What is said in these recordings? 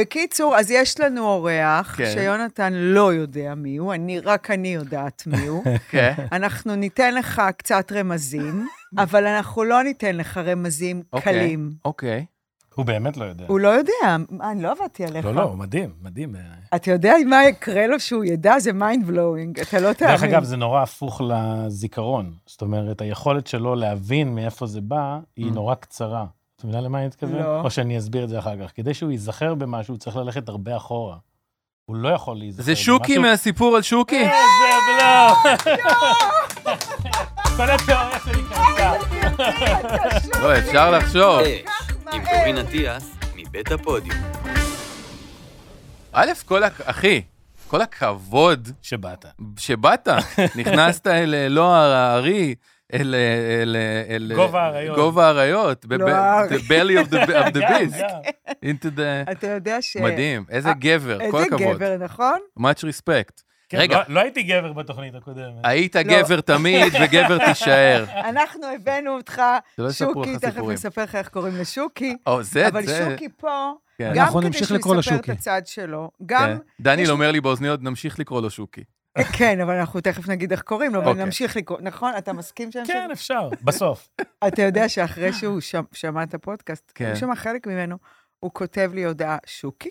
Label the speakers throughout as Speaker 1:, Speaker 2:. Speaker 1: בקיצור, אז יש לנו אורח,
Speaker 2: כן.
Speaker 1: שיונתן לא יודע מי הוא, אני, רק אני יודעת מי הוא.
Speaker 2: כן.
Speaker 1: אנחנו ניתן לך קצת רמזים, אבל אנחנו לא ניתן לך רמזים
Speaker 2: אוקיי,
Speaker 1: קלים.
Speaker 2: אוקיי.
Speaker 3: הוא באמת לא יודע.
Speaker 1: הוא לא יודע, מה, אני לא עבדתי עליך.
Speaker 3: לא, לא, הוא מדהים, מדהים. אה,
Speaker 1: אתה יודע מה יקרה לו שהוא ידע? זה מיינד בלואוינג, אתה לא תאמין.
Speaker 3: דרך אגב, זה נורא הפוך לזיכרון. זאת אומרת, היכולת שלו להבין מאיפה זה בא, היא
Speaker 2: Mm.
Speaker 3: נורא קצרה. את מבינה למה אני מתכוון?
Speaker 1: לא.
Speaker 3: או שאני אסביר את זה אחר כך. כדי שהוא ייזכר במשהו, הוא צריך ללכת הרבה אחורה. הוא לא יכול להיזכר
Speaker 2: אה, זה שוקי מהסיפור על שוקי?
Speaker 3: אה, זה לא.
Speaker 1: לא!
Speaker 3: כל התיאוריה שלי קרקע.
Speaker 1: אה,
Speaker 2: לא, אפשר לחשוב.
Speaker 4: אש, עם קורין אטיאס, מבית הפודיום.
Speaker 1: אה.
Speaker 2: א', כל הכ... אחי, כל הכבוד
Speaker 3: שבאת.
Speaker 2: שבאת, נכנסת אל אה, לא הארי, אל... אה, אל, אה, אל אה,
Speaker 3: גובה האריות.
Speaker 2: גובה האריות. ב-
Speaker 1: לא
Speaker 2: ב-
Speaker 1: הארי.
Speaker 2: The belly of the, of the
Speaker 3: גם,
Speaker 2: beast.
Speaker 3: גם.
Speaker 2: Into the...
Speaker 1: אתה יודע ש...
Speaker 2: מדהים, איזה
Speaker 1: אה,
Speaker 2: גבר, כל
Speaker 1: איזה
Speaker 2: הכבוד.
Speaker 1: גבר, נכון?
Speaker 2: much respect.
Speaker 3: כן,
Speaker 2: רגע.
Speaker 3: לא- לא הייתי גבר בתוכנית הקודמת.
Speaker 2: היית
Speaker 1: לא.
Speaker 2: גבר תמיד, וגבר תישאר.
Speaker 1: אנחנו הבאנו אותך,
Speaker 2: שלא יספרו
Speaker 1: שוקי,
Speaker 2: לך
Speaker 1: תכף
Speaker 2: סיפורים.
Speaker 1: נספר לך איך קוראים לשוקי,
Speaker 2: או, זה,
Speaker 1: אבל
Speaker 2: זה...
Speaker 1: שוקי פה,
Speaker 2: כן.
Speaker 1: גם
Speaker 5: אנחנו
Speaker 1: כדי
Speaker 5: נמשיך
Speaker 1: שהוא
Speaker 5: לקרוא לו
Speaker 1: יספר את
Speaker 5: שוקי.
Speaker 1: הצד שלו,
Speaker 2: כן.
Speaker 1: גם, יש-
Speaker 2: דניאל אומר לי באוזניות, נמשיך לקרוא לו שוקי.
Speaker 1: כן, אבל אנחנו תכף נגיד איך קוראים לו,
Speaker 2: אוקיי.
Speaker 1: ונמשיך לקרוא, נכון? אתה מסכים שם?
Speaker 3: כן, אפשר, בסוף.
Speaker 1: אתה יודע שאחרי שהוא שמ- שמע את הפודקאסט,
Speaker 2: כן.
Speaker 1: הוא שמע חלק ממנו, הוא כותב לי הודעה, שוקי?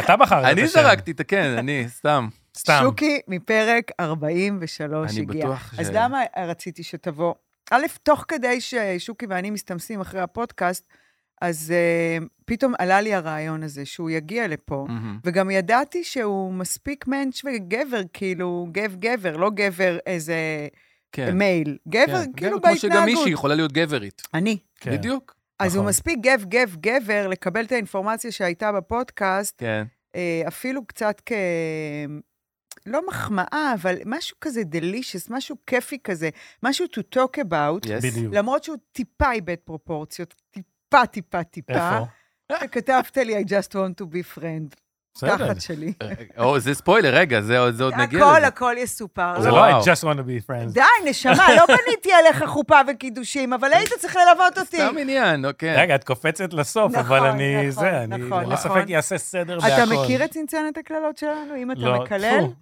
Speaker 3: אתה בחרת את השם.
Speaker 2: אני זרקתי את הכן, אני, סתם.
Speaker 3: סתם.
Speaker 1: שוקי מפרק 43
Speaker 2: אני
Speaker 1: הגיע.
Speaker 2: בטוח
Speaker 1: לא אז
Speaker 2: ש-
Speaker 1: למה רציתי שתבוא? א', תוך כדי ששוקי ואני מסתמסים אחרי הפודקאסט, אז uh, פתאום עלה לי הרעיון הזה שהוא יגיע לפה,
Speaker 2: מהמם.
Speaker 1: וגם ידעתי שהוא מספיק מענץ' וגבר, כאילו, גב גבר, לא גבר איזה
Speaker 2: כן.
Speaker 1: מייל.
Speaker 2: כן.
Speaker 1: גבר,
Speaker 2: גבר,
Speaker 1: כאילו
Speaker 2: כמו
Speaker 1: בהתנהגות.
Speaker 2: שגם מישהי יכולה להיות גברית.
Speaker 1: אני.
Speaker 3: כן.
Speaker 2: בדיוק.
Speaker 1: אז הוא
Speaker 3: נכון.
Speaker 1: מספיק גב גב גבר לקבל את האינפורמציה שהייתה בפודקאסט,
Speaker 2: כן.
Speaker 1: אה, אפילו קצת כ... לא מחמאה, אבל משהו כזה delicious, משהו כיפי כזה, משהו to talk about,
Speaker 2: יס.
Speaker 3: בדיוק.
Speaker 1: למרות שהוא טיפה איבד פרופורציות, טיפה, טיפה, טיפה.
Speaker 3: איפה?
Speaker 1: וכתבת לי, I just want to be friend,
Speaker 3: בסדר.
Speaker 1: תחת שלי.
Speaker 2: או, זה ספוילר, רגע, זה עוד זה עוד נגיע
Speaker 1: הכל,
Speaker 2: לזה.
Speaker 1: הכל יסופר.
Speaker 3: זה
Speaker 1: לא.
Speaker 3: לא I
Speaker 2: וואו.
Speaker 3: just want to be friends.
Speaker 1: די, נשמה, לא בניתי עליך חופה וקידושים, אבל היית צריך ללוות אותי.
Speaker 2: סתם עניין, אוקיי.
Speaker 3: רגע, את קופצת לסוף,
Speaker 1: נכון,
Speaker 3: אבל אני...
Speaker 1: נכון,
Speaker 3: זה, אני
Speaker 1: נכון,
Speaker 3: ללא
Speaker 1: נכון.
Speaker 3: ספק אעשה סדר בהכל.
Speaker 1: אתה מכיר את צנצנת הקללות שלנו? אם אתה
Speaker 3: לא,
Speaker 1: מקלל,
Speaker 3: טפו.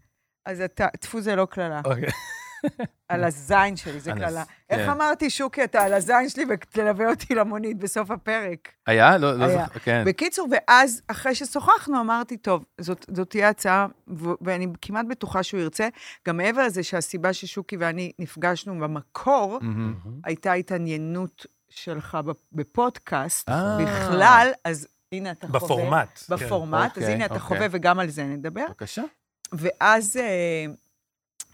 Speaker 1: אז אתה, טפו זה לא קללה.
Speaker 3: אוקיי.
Speaker 1: על הזין שלי, זה
Speaker 3: על
Speaker 1: קללה.
Speaker 3: הז-
Speaker 1: איך
Speaker 2: כן.
Speaker 1: אמרתי, שוקי, אתה על הזין שלי ותלווה אותי למונית בסוף הפרק.
Speaker 2: היה? לא, לא
Speaker 1: היה.
Speaker 2: זוכר, כן.
Speaker 1: בקיצור, ואז, אחרי ששוחחנו, אמרתי, טוב, זאת, זאת תהיה הצעה, ו- ואני כמעט בטוחה שהוא ירצה. גם מעבר לזה שהסיבה ששוקי ואני נפגשנו במקור,
Speaker 2: מהמם.
Speaker 3: Mm-hmm.
Speaker 1: הייתה התעניינות שלך בפ- בפודקאסט
Speaker 2: אה.
Speaker 1: בכלל, אז הנה אתה חווה.
Speaker 3: בפורמט. כן.
Speaker 1: בפורמט, אז
Speaker 2: אוקיי,
Speaker 1: הנה אתה
Speaker 2: אוקיי.
Speaker 1: חווה, וגם על זה נדבר.
Speaker 2: בבקשה.
Speaker 1: ואז אה,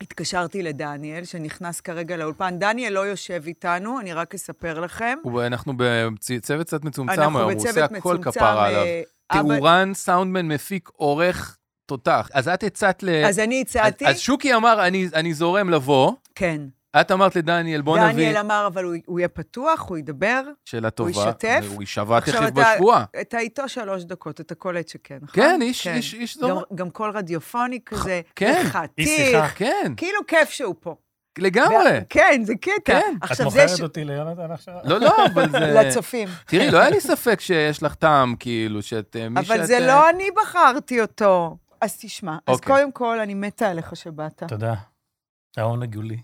Speaker 1: התקשרתי לדניאל, שנכנס כרגע לאולפן. דניאל לא יושב איתנו, אני רק אספר לכם.
Speaker 2: הוא- אנחנו בצוות קצת מצומצם היום,
Speaker 1: אנחנו
Speaker 2: הוא עושה
Speaker 1: בצוות
Speaker 2: הכל
Speaker 1: מצומצם.
Speaker 2: כפרה עליו.
Speaker 1: אה, אבל-
Speaker 2: תאורן, סאונדמן, מפיק, עורך, תותח. אז את הצעת ל...
Speaker 1: אז אני הצעתי,
Speaker 2: אז- אז שוקי אמר, "אני- אני זורם לבוא.
Speaker 1: כן.
Speaker 2: את אמרת לדניאל, בוא נביא...
Speaker 1: דניאל אמר, אבל הוא- הוא יהיה פתוח, הוא ידבר.
Speaker 2: שאלה טובה.
Speaker 1: ישתף?
Speaker 2: הוא יישבע
Speaker 1: עכשיו
Speaker 2: תכף
Speaker 1: אתה-
Speaker 2: בשבועה.
Speaker 1: אתה איתו שלוש דקות, אתה קולט שכן, נכון?
Speaker 2: כן, איש- איש- איש זורם.
Speaker 1: גם- גם קול רדיופוני כזה,
Speaker 2: כן.
Speaker 3: איש
Speaker 1: חתיך,
Speaker 3: שיחה.
Speaker 2: כן,
Speaker 1: כאילו כיף שהוא פה.
Speaker 2: לגמרי.
Speaker 1: ו- כן, זה קטע.
Speaker 2: כן.
Speaker 3: את
Speaker 1: עכשיו, זה
Speaker 3: מוכרת
Speaker 1: ש-
Speaker 3: אותי ליונתן עכשיו?
Speaker 2: לא, לא, אבל זה...
Speaker 1: לצופים.
Speaker 2: תראי, לא היה לי ספק שיש לך טעם, כאילו, שאת... אה, מי
Speaker 1: אבל
Speaker 2: שאת,
Speaker 1: זה
Speaker 2: אה,
Speaker 1: לא אני בחרתי אותו. אז תשמע, אז
Speaker 2: אוקיי.
Speaker 1: קודם כל, אני מתה עליך שבאת.
Speaker 3: תודה. ההון הגולי.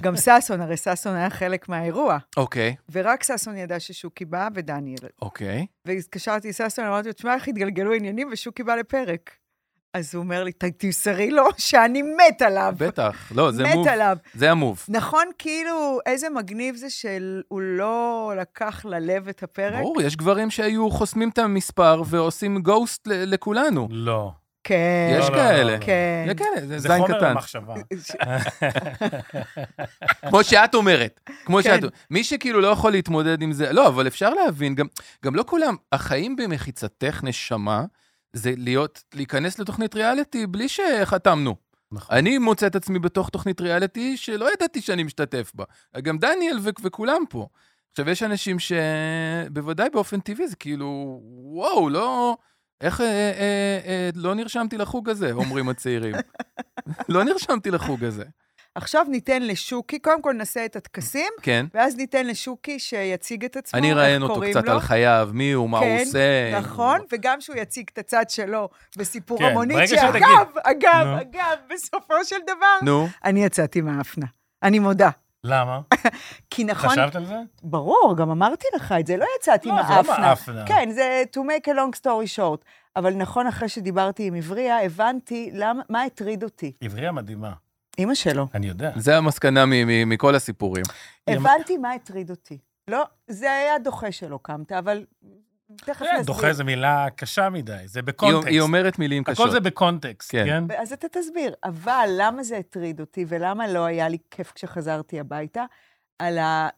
Speaker 1: גם ששון, הרי ששון היה חלק מהאירוע,
Speaker 2: אוקיי,
Speaker 1: ורק ששון ידע ששוקי בא ודניאל.
Speaker 2: אוקיי.
Speaker 1: והתקשרתי לששון, אמרתי לו, תשמע, איך התגלגלו עניינים, ושוקי בא לפרק. אז הוא אומר לי, "ת- תמסרי לו שאני מת עליו.
Speaker 2: בטח. לא, זה מוב.
Speaker 1: מת עליו.
Speaker 2: זה המוב.
Speaker 1: נכון, כאילו, איזה מגניב זה שהוא לא לקח ללב את הפרק.
Speaker 2: ברור, יש גברים שהיו חוסמים את המספר ועושים גוסט ל- לכולנו.
Speaker 3: לא.
Speaker 1: כן.
Speaker 2: יש
Speaker 3: לא, לא,
Speaker 2: כאלה.
Speaker 3: לא.
Speaker 1: כן.
Speaker 2: זה כאלה, זה
Speaker 3: זה
Speaker 2: זין
Speaker 3: חומר
Speaker 2: קטן.
Speaker 3: למחשבה.
Speaker 2: כמו שאת אומרת. כמו
Speaker 1: כן.
Speaker 2: שאת... מי שכאילו לא יכול להתמודד עם זה... לא, אבל אפשר להבין, גם- גם לא כולם, החיים במחיצתך נשמה, זה להיות, להיכנס לתוכנית ריאליטי בלי שחתמנו.
Speaker 3: נכון.
Speaker 2: אני מוצא את עצמי בתוך תוכנית ריאליטי שלא ידעתי שאני משתתף בה. גם דניאל ו- וכולם פה. עכשיו, יש אנשים שבוודאי באופן טבעי זה כאילו, וואו, לא... איך אה, אה, אה, לא נרשמתי לחוג הזה, אומרים הצעירים. לא נרשמתי לחוג הזה.
Speaker 1: עכשיו ניתן לשוקי, קודם כל נעשה את הטקסים,
Speaker 2: כן.
Speaker 1: ואז ניתן לשוקי שיציג את עצמו,
Speaker 2: אני
Speaker 1: איך
Speaker 2: אראיין אותו
Speaker 1: קוראים
Speaker 2: קצת
Speaker 1: לו.
Speaker 2: על חייו, מי הוא, מה הוא
Speaker 1: כן,
Speaker 2: עושה.
Speaker 1: נכון, וגם שהוא יציג את הצד שלו בסיפור
Speaker 3: כן,
Speaker 1: המונית,
Speaker 3: ברגע
Speaker 1: שאגב,
Speaker 3: שתגיד.
Speaker 1: אגב,
Speaker 3: נו.
Speaker 1: אגב, בסופו של דבר,
Speaker 2: נו,
Speaker 1: אני יצאתי מהאפנה. אני מודה.
Speaker 3: למה?
Speaker 1: כי נכון,
Speaker 3: חשבת על זה?
Speaker 1: ברור, גם אמרתי לך את זה, לא יצאתי
Speaker 3: לא, זה
Speaker 1: מהאפנה.
Speaker 3: לא מאפנה.
Speaker 1: כן, זה to make a long story short. אבל נכון, אחרי שדיברתי עם עבריה, הבנתי למה, מה הטריד אותי.
Speaker 3: עברייה מדהימה,
Speaker 1: אימא שלו.
Speaker 3: אני יודע.
Speaker 2: זה המסקנה מ- מ- מכל הסיפורים.
Speaker 3: היא אמ-
Speaker 1: הבנתי מה הטריד אותי. לא, זה היה דוחה שלא קמת, אבל תכף נסביר.
Speaker 3: כן, דוחה זו מילה קשה מדי, זה
Speaker 2: היא-
Speaker 3: בקונטקסט.
Speaker 2: היא אומרת מילים קשות.
Speaker 3: הכל זה בקונטקסט,
Speaker 2: כן.
Speaker 3: כן?
Speaker 1: אז אתה תסביר. אבל למה זה הטריד אותי, ולמה לא היה לי כיף כשחזרתי הביתה, על ה...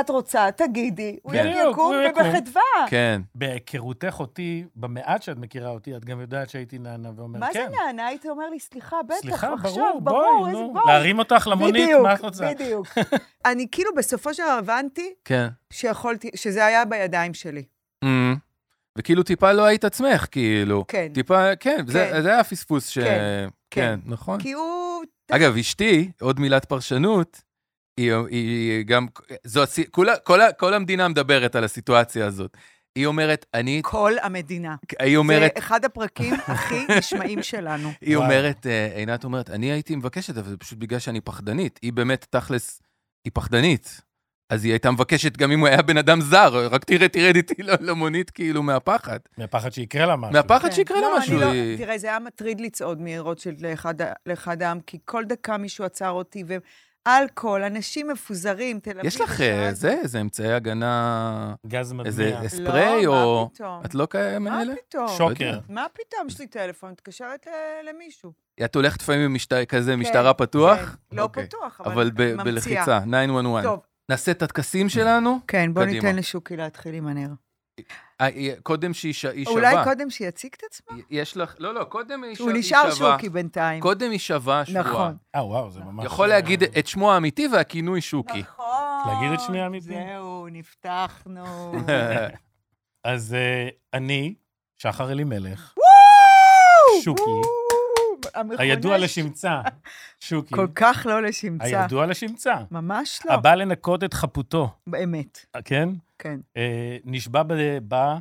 Speaker 1: את רוצה, תגידי, הוא
Speaker 3: כן.
Speaker 2: בדיוק,
Speaker 1: יקום
Speaker 3: הוא יקום.
Speaker 1: ובחדווה.
Speaker 2: כן.
Speaker 3: בהיכרותך אותי, במעט שאת מכירה אותי, את גם יודעת שהייתי נענה ואומר
Speaker 1: מה זה
Speaker 3: כן.
Speaker 1: נענה? היית אומר לי, סליחה, בטח,
Speaker 3: סליחה,
Speaker 1: עכשיו,
Speaker 3: ברור,
Speaker 1: ברור,
Speaker 3: בואי,
Speaker 1: איזה
Speaker 3: נו.
Speaker 1: בואי.
Speaker 3: להרים אותך למונית, מה את רוצה?
Speaker 1: בדיוק, בדיוק. אני כאילו בסופו של דבר הבנתי
Speaker 2: כן.
Speaker 1: שיכולתי, שזה היה בידיים שלי.
Speaker 2: אמ, וכאילו טיפה לא היית עצמך, כאילו.
Speaker 1: כן.
Speaker 2: טיפה, כן,
Speaker 1: כן.
Speaker 2: זה זה היה הפספוס ש...
Speaker 1: כן,
Speaker 2: כן,
Speaker 1: כן.
Speaker 2: נכון.
Speaker 1: כי הוא...
Speaker 2: אגב, אשתי, עוד מילת פרשנות, היא, היא, היא גם, זו, הסי- כולה, כל, ה- כל המדינה מדברת על הסיטואציה הזאת. היא אומרת, אני,
Speaker 1: כל המדינה.
Speaker 2: היא אומרת,
Speaker 1: זה אחד הפרקים הכי נשמעים שלנו.
Speaker 2: היא
Speaker 3: וואו.
Speaker 2: אומרת, אה, עינת אומרת, אני הייתי מבקשת, אבל זה פשוט בגלל שאני פחדנית. היא באמת, תכלס, היא פחדנית. אז היא הייתה מבקשת גם אם הוא היה בן אדם זר, רק תראה, תרד איתי ל- למונית כאילו מהפחד.
Speaker 3: מהפחד שיקרה לה משהו.
Speaker 2: מהפחד
Speaker 1: כן.
Speaker 2: שיקרה לה
Speaker 1: לא, אני
Speaker 2: משהו.
Speaker 1: לא-
Speaker 2: היא-
Speaker 1: תראה, זה היה מטריד לצעוד מרוטשילד לאחד ה- לאחד העם, כי כל דקה מישהו עצר אותי, ואלכוהול, אנשים מפוזרים, תל אביב...
Speaker 2: יש לך
Speaker 1: בשעה
Speaker 2: אה,
Speaker 1: זו-
Speaker 2: זה, איזה אמצעי הגנה,
Speaker 3: גז
Speaker 2: איזה
Speaker 3: מדמיע.
Speaker 1: לא,
Speaker 2: ספרי
Speaker 1: מה
Speaker 2: או...
Speaker 1: פתאום?
Speaker 2: את לא כאלה
Speaker 1: מה
Speaker 2: מאלה?
Speaker 1: פתאום?
Speaker 3: שוקר.
Speaker 1: מה פתאום? יש לי טלפון, מתקשרת ל- למישהו.
Speaker 2: את הולכת לפעמים במשטר כזה, משטרה
Speaker 1: כן,
Speaker 2: פתוח?
Speaker 1: כן, לא
Speaker 2: אוקיי.
Speaker 1: פתוח,
Speaker 2: אבל
Speaker 1: אבל
Speaker 2: ב-
Speaker 1: ממציאה.
Speaker 2: בלחיצה, 911.
Speaker 1: טוב,
Speaker 2: נעשה את הטקסים שלנו,
Speaker 1: כן, בוא
Speaker 2: קדימה.
Speaker 1: ניתן לשוקי להתחיל עם הנר.
Speaker 2: אה, היא- קודם שהיא ש- היא שווה.
Speaker 1: אולי קודם שיציג את עצמו?
Speaker 2: יש לך, לא, לא, קודם היא ש-
Speaker 1: הוא
Speaker 2: היא
Speaker 1: נשאר
Speaker 2: שווה.
Speaker 1: שוקי בינתיים.
Speaker 2: קודם היא שווה שבועה.
Speaker 1: נכון.
Speaker 3: אה, וואו, זה ממש...
Speaker 2: יכול להגיד את שמו האמיתי והכינוי שוקי.
Speaker 1: נכון.
Speaker 3: להגיד את שמי האמיתי?
Speaker 1: זהו, נפתחנו.
Speaker 3: אז אה, אני, שחר אלימלך, שוקי.
Speaker 1: המכונה
Speaker 3: הידוע
Speaker 1: ש-
Speaker 3: לשמצה, שוקי,
Speaker 1: כל כך לא לשמצה.
Speaker 3: הידוע לשמצה,
Speaker 1: ממש לא.
Speaker 3: הבא לנקות את חפותו,
Speaker 1: באמת,
Speaker 3: כן?
Speaker 1: כן.
Speaker 3: אה, נשבע ב- ב-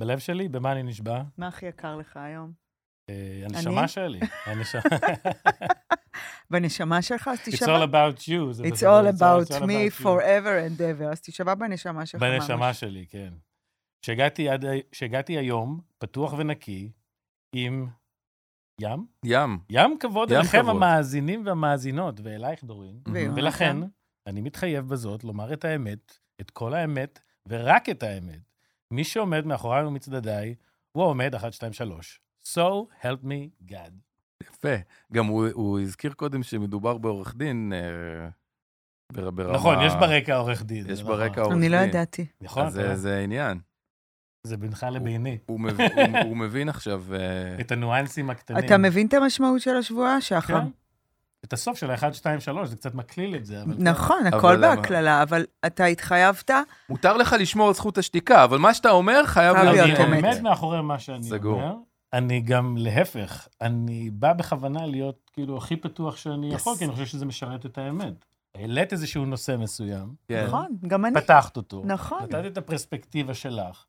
Speaker 3: בלב שלי, במה אני נשבע?
Speaker 1: מה הכי יקר לך היום?
Speaker 3: אה,
Speaker 1: אני?
Speaker 3: הנשמה שלי. הנשמה.
Speaker 1: בנשמה שלך, אז
Speaker 3: It's
Speaker 1: תישבע.
Speaker 3: all about you. זה
Speaker 1: It's
Speaker 3: בסדר,
Speaker 1: all
Speaker 3: it's all
Speaker 1: about me
Speaker 3: you.
Speaker 1: forever and ever. אז תישבע בנשמה שלך. ממש.
Speaker 3: בנשמה שלי, כן. כשהגעתי עד ה- כשהגעתי היום, פתוח ונקי, עם ים?
Speaker 2: ים.
Speaker 3: ים כבוד
Speaker 2: ים
Speaker 3: אליכם
Speaker 2: כבוד. Mm-hmm.
Speaker 3: המאזינים והמאזינות, ואלייך, דורין.
Speaker 1: ויונתן.
Speaker 3: ולכן, אני מתחייב בזאת לומר את האמת, את כל האמת, ורק את האמת. מי שעומד מאחוריי ומצדדיי, הוא העומד 1, 2, 3. So help me God.
Speaker 2: יפה. גם הוא- הוא הזכיר קודם שמדובר בעורך דין. אה, בר- ברמה-
Speaker 3: נכון, יש ברקע עורך דין. זה
Speaker 2: יש
Speaker 3: נכון.
Speaker 2: ברקע עורך דין.
Speaker 1: אני לא ידעתי.
Speaker 3: נכון,
Speaker 2: אז אה, זה-
Speaker 3: אתה-
Speaker 2: זה עניין.
Speaker 3: זה בינך לביני.
Speaker 2: הוא מב- הוא- הוא מבין עכשיו... אה,
Speaker 3: את הניואנסים הקטנים.
Speaker 1: אתה מבין את המשמעות של השבועה, שחר?
Speaker 3: כן. את הסוף של ה-1, 2, 3, זה קצת מקליל את זה, אבל...
Speaker 1: נכון,
Speaker 2: אבל
Speaker 1: הכל
Speaker 2: למה?
Speaker 1: בהקללה, אבל אתה התחייבת,
Speaker 3: כן.
Speaker 2: מותר לך לשמור על זכות השתיקה, אבל מה שאתה אומר חייב
Speaker 1: חייב
Speaker 2: להיות
Speaker 1: להיות
Speaker 3: לא, אני
Speaker 1: אמת.
Speaker 3: עומד מאחורי מה שאני
Speaker 2: סגור.
Speaker 3: אומר. אני גם, להפך, אני בא בכוונה להיות כאילו הכי פתוח שאני
Speaker 2: Yes.
Speaker 3: יכול, כי אני חושב שזה משרת את האמת. העלית איזשהו נושא מסוים,
Speaker 2: כן.
Speaker 1: נכון, גם אני.
Speaker 3: פתחת אותו,
Speaker 1: נכון.
Speaker 3: נתת את הפרספקטיבה שלך,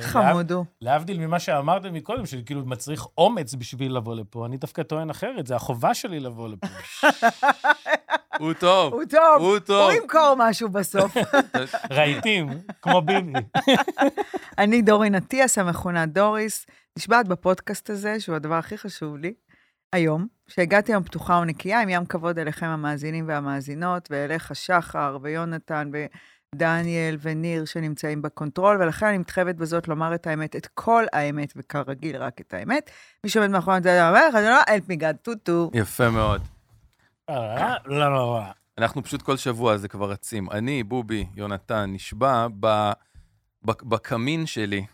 Speaker 1: חמוד הוא.
Speaker 3: ולהבדיל ממה שאמרתם מקודם, שכאילו מצריך אומץ בשביל לבוא לפה, אני דווקא טוען אחרת, זה החובה שלי לבוא לפה.
Speaker 2: הוא טוב,
Speaker 1: הוא טוב,
Speaker 2: הוא טוב.
Speaker 1: הוא ימכור משהו בסוף.
Speaker 3: רהיטים, כמו ביבי.
Speaker 1: אני דורין אטיאס, המכונה דוריס, נשבעת בפודקאסט הזה, שהוא הדבר הכי חשוב לי, היום, שהגעתי היום פתוחה ונקייה, עם ים כבוד אליכם המאזינים והמאזינות, ואליך שחר ויונתן ודניאל וניר שנמצאים בקונטרול, ולכן אני מתחייבת בזאת לומר את האמת, את כל האמת, וכרגיל רק את האמת. מי שעומד מאחורי זה, אני אומר לך, זה לא אלפ מגד טוטו.
Speaker 2: יפה מאוד.
Speaker 3: אה, לא, לא, לא.
Speaker 2: אנחנו פשוט כל שבוע זה כבר רצים. אני, בובי, יונתן, נשבע ב... בק- בקמין שלי,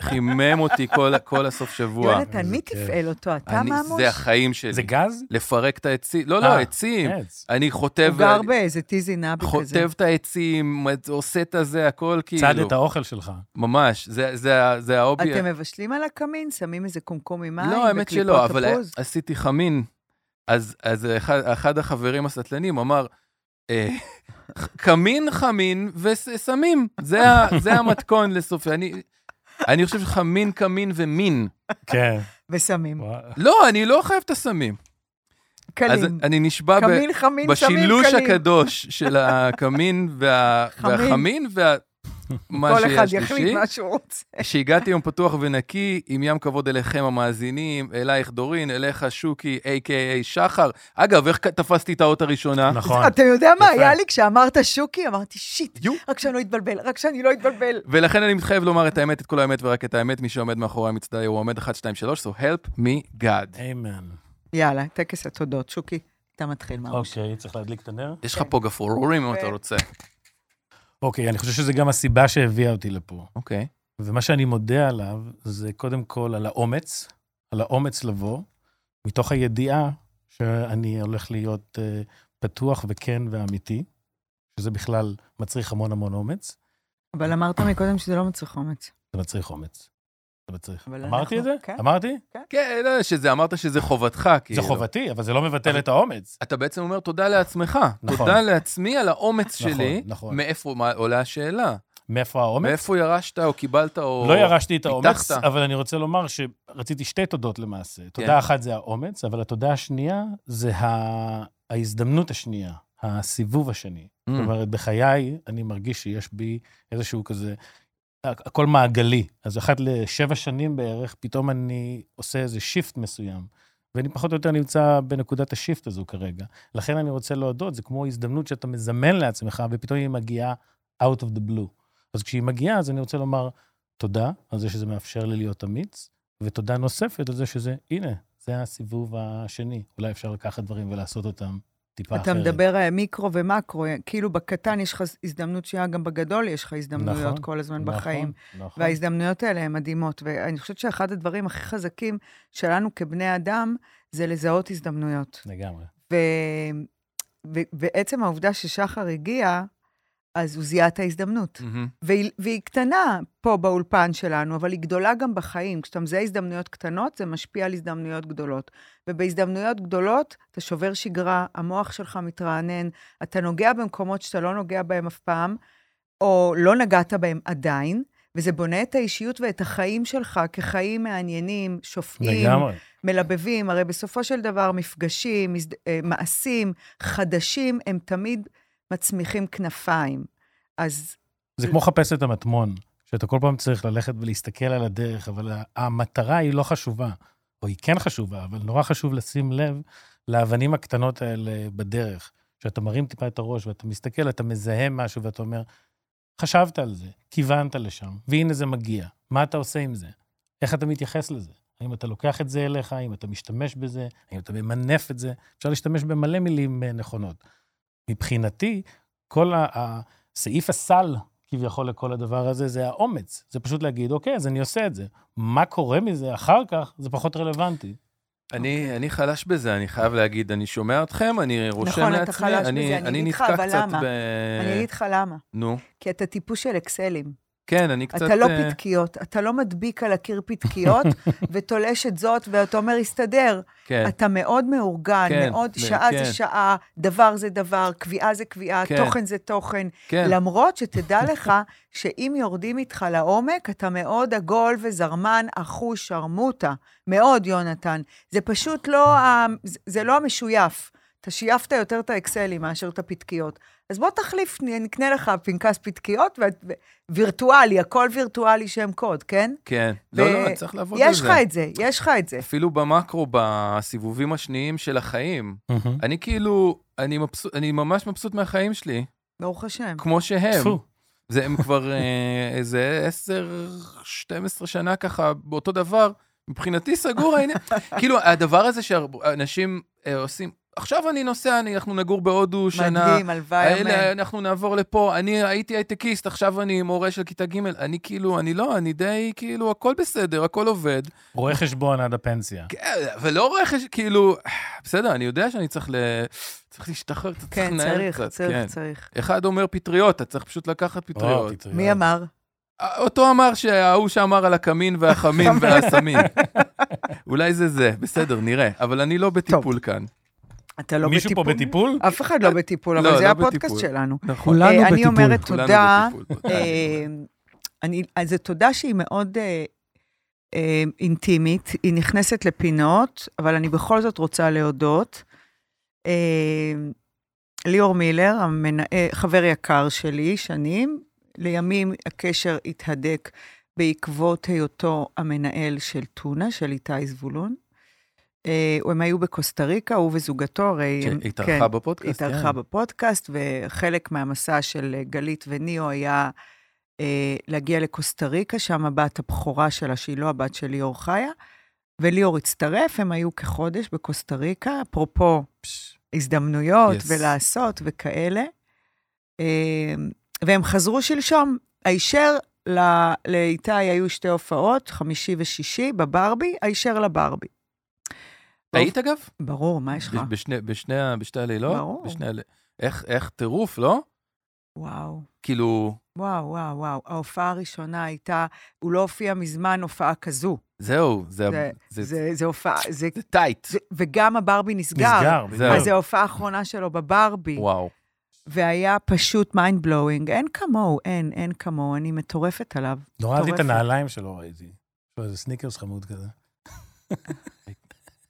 Speaker 2: שחימם אותי כל, כל הסוף שבוע.
Speaker 1: יונתן, מי
Speaker 3: איזה כיף.
Speaker 1: תפעל אותו? אתה
Speaker 2: אני-
Speaker 1: ממוש?
Speaker 2: זה החיים שלי.
Speaker 3: זה גז?
Speaker 2: לפרק את העצים. לא, לא,
Speaker 3: אה,
Speaker 2: עצים.
Speaker 3: עץ.
Speaker 2: אני חוטב...
Speaker 1: הוא גר באיזה טיזי נבי כזה.
Speaker 2: חוטב את העצים, עושה את הזה, הכל כאילו.
Speaker 3: צד את האוכל שלך.
Speaker 2: ממש, זה, זה, ה- זה ההובי.
Speaker 1: אתם מבשלים על הקמין? שמים איזה קומקום עם מים?
Speaker 2: לא, האמת
Speaker 1: וקליפות
Speaker 2: שלא, אבל
Speaker 1: תפוז?
Speaker 2: עשיתי חמין. אז, אז אחד, אחד החברים הסטלנים אמר, אה, קמין, חמין וסמים, זה, ה- זה המתכון לסופי. אני, אני חושב שחמין, קמין ומין.
Speaker 3: כן.
Speaker 1: וסמים.
Speaker 2: לא, אני לא חייב את הסמים. אז
Speaker 1: קלים.
Speaker 2: אני נשבע ב-
Speaker 1: קמין, חמין, סמים, קלים.
Speaker 2: בשילוש הקדוש של הקמין וה,
Speaker 1: חמין.
Speaker 2: והחמין, וה... מה
Speaker 1: כל אחד
Speaker 2: שהשלישי.
Speaker 1: יחליט מה שהוא רוצה.
Speaker 2: שהגעתי יום פתוח ונקי, עם ים כבוד אליכם המאזינים, אלייך דורין, אליך שוקי, a.k.a. שחר. אגב, איך תפסתי את האות הראשונה?
Speaker 3: נכון.
Speaker 1: אתה יודע מה
Speaker 3: יפה.
Speaker 1: היה לי כשאמרת שוקי? אמרתי, שיט,
Speaker 2: יו.
Speaker 1: רק שאני לא אתבלבל, רק שאני לא אתבלבל.
Speaker 2: ולכן אני מתחייב לומר את האמת, את כל האמת ורק את האמת, מי שעומד מאחורי המצדה הוא עומד 1, 2, 3, so help me God.
Speaker 3: אמן.
Speaker 1: יאללה, טקס התודות. שוקי, אתה מתחיל, מה?
Speaker 3: אוקיי, צריך להדליק את הנר?
Speaker 2: יש לך פה גפרורים אם אתה
Speaker 1: כן.
Speaker 2: רוצה.
Speaker 3: אוקיי, אני חושב שזה גם הסיבה שהביאה אותי לפה.
Speaker 2: אוקיי.
Speaker 3: ומה שאני מודה עליו, זה קודם כל על האומץ, על האומץ לבוא, מתוך הידיעה שאני הולך להיות אה, פתוח וכן ואמיתי, שזה בכלל מצריך המון המון אומץ.
Speaker 1: אבל אמרת מקודם שזה לא מצריך אומץ.
Speaker 3: זה מצריך אומץ. זה מצריך.
Speaker 1: אבל
Speaker 3: אמרתי
Speaker 1: אנחנו-
Speaker 3: את זה?
Speaker 1: כן.
Speaker 3: אמרתי?
Speaker 2: כן, לא, שזה, אמרת שזה חובתך, כאילו.
Speaker 3: זה חובתי, אבל זה לא מבטל
Speaker 2: אבל-
Speaker 3: את האומץ.
Speaker 2: אתה בעצם אומר תודה לעצמך.
Speaker 3: נכון.
Speaker 2: תודה לעצמי על האומץ
Speaker 3: נכון,
Speaker 2: שלי.
Speaker 3: נכון.
Speaker 2: מאיפה מה- עולה השאלה?
Speaker 3: מאיפה האומץ?
Speaker 2: מאיפה ירשת או קיבלת או...
Speaker 3: לא ירשתי את האומץ,
Speaker 2: פיתחת. כן.
Speaker 3: אבל אני רוצה לומר שרציתי שתי תודות למעשה. תודה אחת זה האומץ, אבל התודה השנייה זה ה- ההזדמנות השנייה, הסיבוב השני.
Speaker 2: Mm.
Speaker 3: זאת אומרת, בחיי אני מרגיש שיש בי איזשהו כזה, הכ- הכל מעגלי. אז אחת לשבע שנים בערך, פתאום אני עושה איזה שיפט מסוים. ואני פחות או יותר נמצא בנקודת השיפט הזו כרגע. לכן אני רוצה להודות, זה כמו הזדמנות שאתה מזמן לעצמך, ופתאום היא מגיעה out of the blue. אז כשהיא מגיעה, אז אני רוצה לומר תודה על זה שזה מאפשר לי להיות אמיץ, ותודה נוספת על זה שזה, הנה, זה הסיבוב השני. אולי אפשר לקחת דברים ולעשות אותם טיפה
Speaker 1: אתה
Speaker 3: אחרת.
Speaker 1: מדבר אה, מיקרו ומקרו, אה, כאילו בקטן יש לך הזדמנות שנייה, גם בגדול יש לך הזדמנויות
Speaker 3: נכון,
Speaker 1: כל הזמן
Speaker 3: נכון,
Speaker 1: בחיים.
Speaker 3: נכון.
Speaker 1: וההזדמנויות האלה הן מדהימות. ואני חושבת שאחד הדברים הכי חזקים שלנו כבני אדם, זה לזהות הזדמנויות.
Speaker 3: לגמרי.
Speaker 1: ו... ו... ועצם העובדה ששחר הגיע, אז הוא זיהה את ההזדמנות.
Speaker 2: מהמם.
Speaker 1: והיא, והיא קטנה פה באולפן שלנו, אבל היא גדולה גם בחיים. כשאתה מזהה הזדמנויות קטנות, זה משפיע על הזדמנויות גדולות. ובהזדמנויות גדולות, אתה שובר שגרה, המוח שלך מתרענן, אתה נוגע במקומות שאתה לא נוגע בהם אף פעם, או לא נגעת בהם עדיין, וזה בונה את האישיות ואת החיים שלך כחיים מעניינים, שופעים,
Speaker 3: לגמרי.
Speaker 1: מלבבים, הרי בסופו של דבר מפגשים, הזד... אה, מעשים חדשים, הם תמיד מצמיחים כנפיים. אז
Speaker 3: זה כמו לחפש את המטמון, שאתה כל פעם צריך ללכת ולהסתכל על הדרך, אבל ה- המטרה היא לא חשובה, או היא כן חשובה, אבל נורא חשוב לשים לב לאבנים הקטנות האלה בדרך. שאתה מרים טיפה את הראש ואתה מסתכל, אתה מזהה משהו ואתה אומר, חשבת על זה, כיוונת לשם, והנה זה מגיע. מה אתה עושה עם זה? איך אתה מתייחס לזה? האם אתה לוקח את זה אליך, האם אתה משתמש בזה, האם אתה ממנף את זה? אפשר להשתמש במלא מילים אה, נכונות. מבחינתי, כל ה- ה- סעיף הסל, כביכול, לכל הדבר הזה, זה האומץ. זה פשוט להגיד, אוקיי, אז אני עושה את זה. מה קורה מזה אחר כך, זה פחות רלוונטי.
Speaker 1: אוקיי.
Speaker 2: אני, אני חלש בזה, אני חייב להגיד, אני שומע אתכם, אני רושם
Speaker 1: נכון, אתה
Speaker 2: לעצמי,
Speaker 1: חלש בזה,
Speaker 2: אני,
Speaker 1: אני אגיד לך,
Speaker 2: נתקע
Speaker 1: אבל
Speaker 2: קצת
Speaker 1: למה?
Speaker 2: ב... אה.
Speaker 1: אני אגיד לך למה.
Speaker 2: נו,
Speaker 1: כי אתה טיפוס של אקסלים.
Speaker 2: כן, אני קצת...
Speaker 1: אתה לא
Speaker 2: אה,
Speaker 1: פתקיות, אתה לא מדביק על הקיר פתקיות ותולש את זאת, ואתה אומר, הסתדר.
Speaker 2: כן,
Speaker 1: אתה מאוד מאורגן,
Speaker 2: כן,
Speaker 1: מאוד,
Speaker 2: מ-
Speaker 1: שעה
Speaker 2: כן.
Speaker 1: זה שעה, דבר זה דבר, קביעה זה קביעה,
Speaker 2: כן.
Speaker 1: תוכן זה תוכן.
Speaker 2: כן.
Speaker 1: למרות שתדע לך שאם יורדים איתך לעומק, אתה מאוד עגול וזרמן, אחוש, שרמוטה. מאוד, יונתן. זה פשוט לא, ה... זה- זה לא המשויף. אתה שייפת יותר את האקסלים מאשר את הפתקיות. אז בוא תחליף, נ- נקנה לך פנקס פתקיות, ו... ו- וירטואלי, הכל וירטואלי שם קוד, כן?
Speaker 2: כן.
Speaker 1: ו-
Speaker 2: לא, לא, צריך לעבוד על
Speaker 1: יש
Speaker 2: זה.
Speaker 1: לך את זה, יש לך את זה.
Speaker 2: אפילו במקרו, בסיבובים השניים של החיים. אני כאילו, אני מבסוט, אני ממש מבסוט מהחיים שלי,
Speaker 1: ברוך השם.
Speaker 2: כמו שהם.
Speaker 3: טפו.
Speaker 2: זה הם כבר אה, איזה 10, 12 שנה ככה, באותו דבר. מבחינתי סגור העניין. כאילו, הדבר הזה שאנשים אה, עושים, עכשיו אני נוסע, אני- אנחנו נגור בהודו שנה.
Speaker 1: מדהים, הלוואי,
Speaker 2: האלה,
Speaker 1: אמן.
Speaker 2: אנחנו נעבור לפה, אני הייתי הייטקיסט, עכשיו אני מורה של כיתה ג', אני כאילו, אני לא, אני די, כאילו, הכל בסדר, הכל עובד.
Speaker 3: רואה חשבון עד הפנסיה.
Speaker 2: כן, ולא רכש, כאילו, בסדר, אני יודע שאני צריך ל... צריך להשתחרר, אתה צריך
Speaker 1: כן,
Speaker 2: לנהל
Speaker 1: צריך,
Speaker 2: קצת.
Speaker 1: צריך, צריך.
Speaker 2: אחד אומר פטריות, אתה צריך פשוט לקחת
Speaker 3: וואו,
Speaker 2: פטריות.
Speaker 3: פטריות.
Speaker 1: מי אמר?
Speaker 2: אותו אמר שההוא שאמר על הקמין והחמין והסמין. אולי זה זה, בסדר, נראה. אבל אני לא בטיפול כאן.
Speaker 1: אתה לא
Speaker 3: מישהו פה
Speaker 1: בטיפול?
Speaker 3: בטיפול?
Speaker 1: אף אחד לא בטיפול,
Speaker 2: לא,
Speaker 1: אבל זה
Speaker 2: לא
Speaker 1: הפודקאסט
Speaker 2: בטיפול.
Speaker 1: שלנו.
Speaker 2: נכון.
Speaker 5: כולנו
Speaker 1: אה, אני
Speaker 5: בטיפול.
Speaker 1: אומרת
Speaker 2: כולנו
Speaker 1: תודה.
Speaker 2: בטיפול, תודה.
Speaker 1: אה, אני, אז זו תודה שהיא מאוד אה, אה, אינטימית, היא נכנסת לפינות, אבל אני בכל זאת רוצה להודות. אה, ליאור מילר, המנ... אה, חבר יקר שלי שנים, לימים הקשר התהדק בעקבות היותו המנהל של טונה, של איתי זבולון. אה, הם היו בקוסטה ריקה, הוא וזוגתו, הרי... הם- כן.
Speaker 2: שהתארחה בפודקאסט.
Speaker 1: התארחה בפודקאסט, וחלק מהמסע של אה, גלית וניאו היה אה, להגיע לקוסטה ריקה, שם הבת הבכורה שלה, שהיא לא הבת של ליאור חיה, וליאור הצטרף, הם היו כחודש בקוסטה ריקה, אפרופו הזדמנויות
Speaker 2: Yes.
Speaker 1: ולעשות וכאלה. אה, והם חזרו שלשום, הישר ל- לאיתי היו שתי הופעות, חמישי ושישי, בברבי, הישר לברבי.
Speaker 2: היית אגב?
Speaker 1: ברור, מה יש לך?
Speaker 2: בש- בשני- בשני ה- בשתי הלילות?
Speaker 1: ברור.
Speaker 2: בשני הלילות. איך טירוף, לא?
Speaker 1: וואו.
Speaker 2: כאילו,
Speaker 1: וואו, וואו, וואו. ההופעה הראשונה הייתה, הוא לא הופיע מזמן הופעה כזו.
Speaker 2: זהו, זה-
Speaker 1: זה-
Speaker 2: זה זה
Speaker 1: זה, זה הופעה, זה,
Speaker 2: טייט.
Speaker 1: זה, וגם הברבי נסגר.
Speaker 3: נסגר.
Speaker 2: זהו.
Speaker 1: אז זו ההופעה האחרונה שלו בברבי.
Speaker 2: וואו.
Speaker 1: והיה פשוט מיינד בלואוינג. אין כמוהו, אין, אין כמוהו. אני מטורפת עליו.
Speaker 3: נורא אהבתי את
Speaker 1: מטורפת.
Speaker 3: הנעליים שלו, ראיתי. יש לו איזה סניקרס חמוד כזה.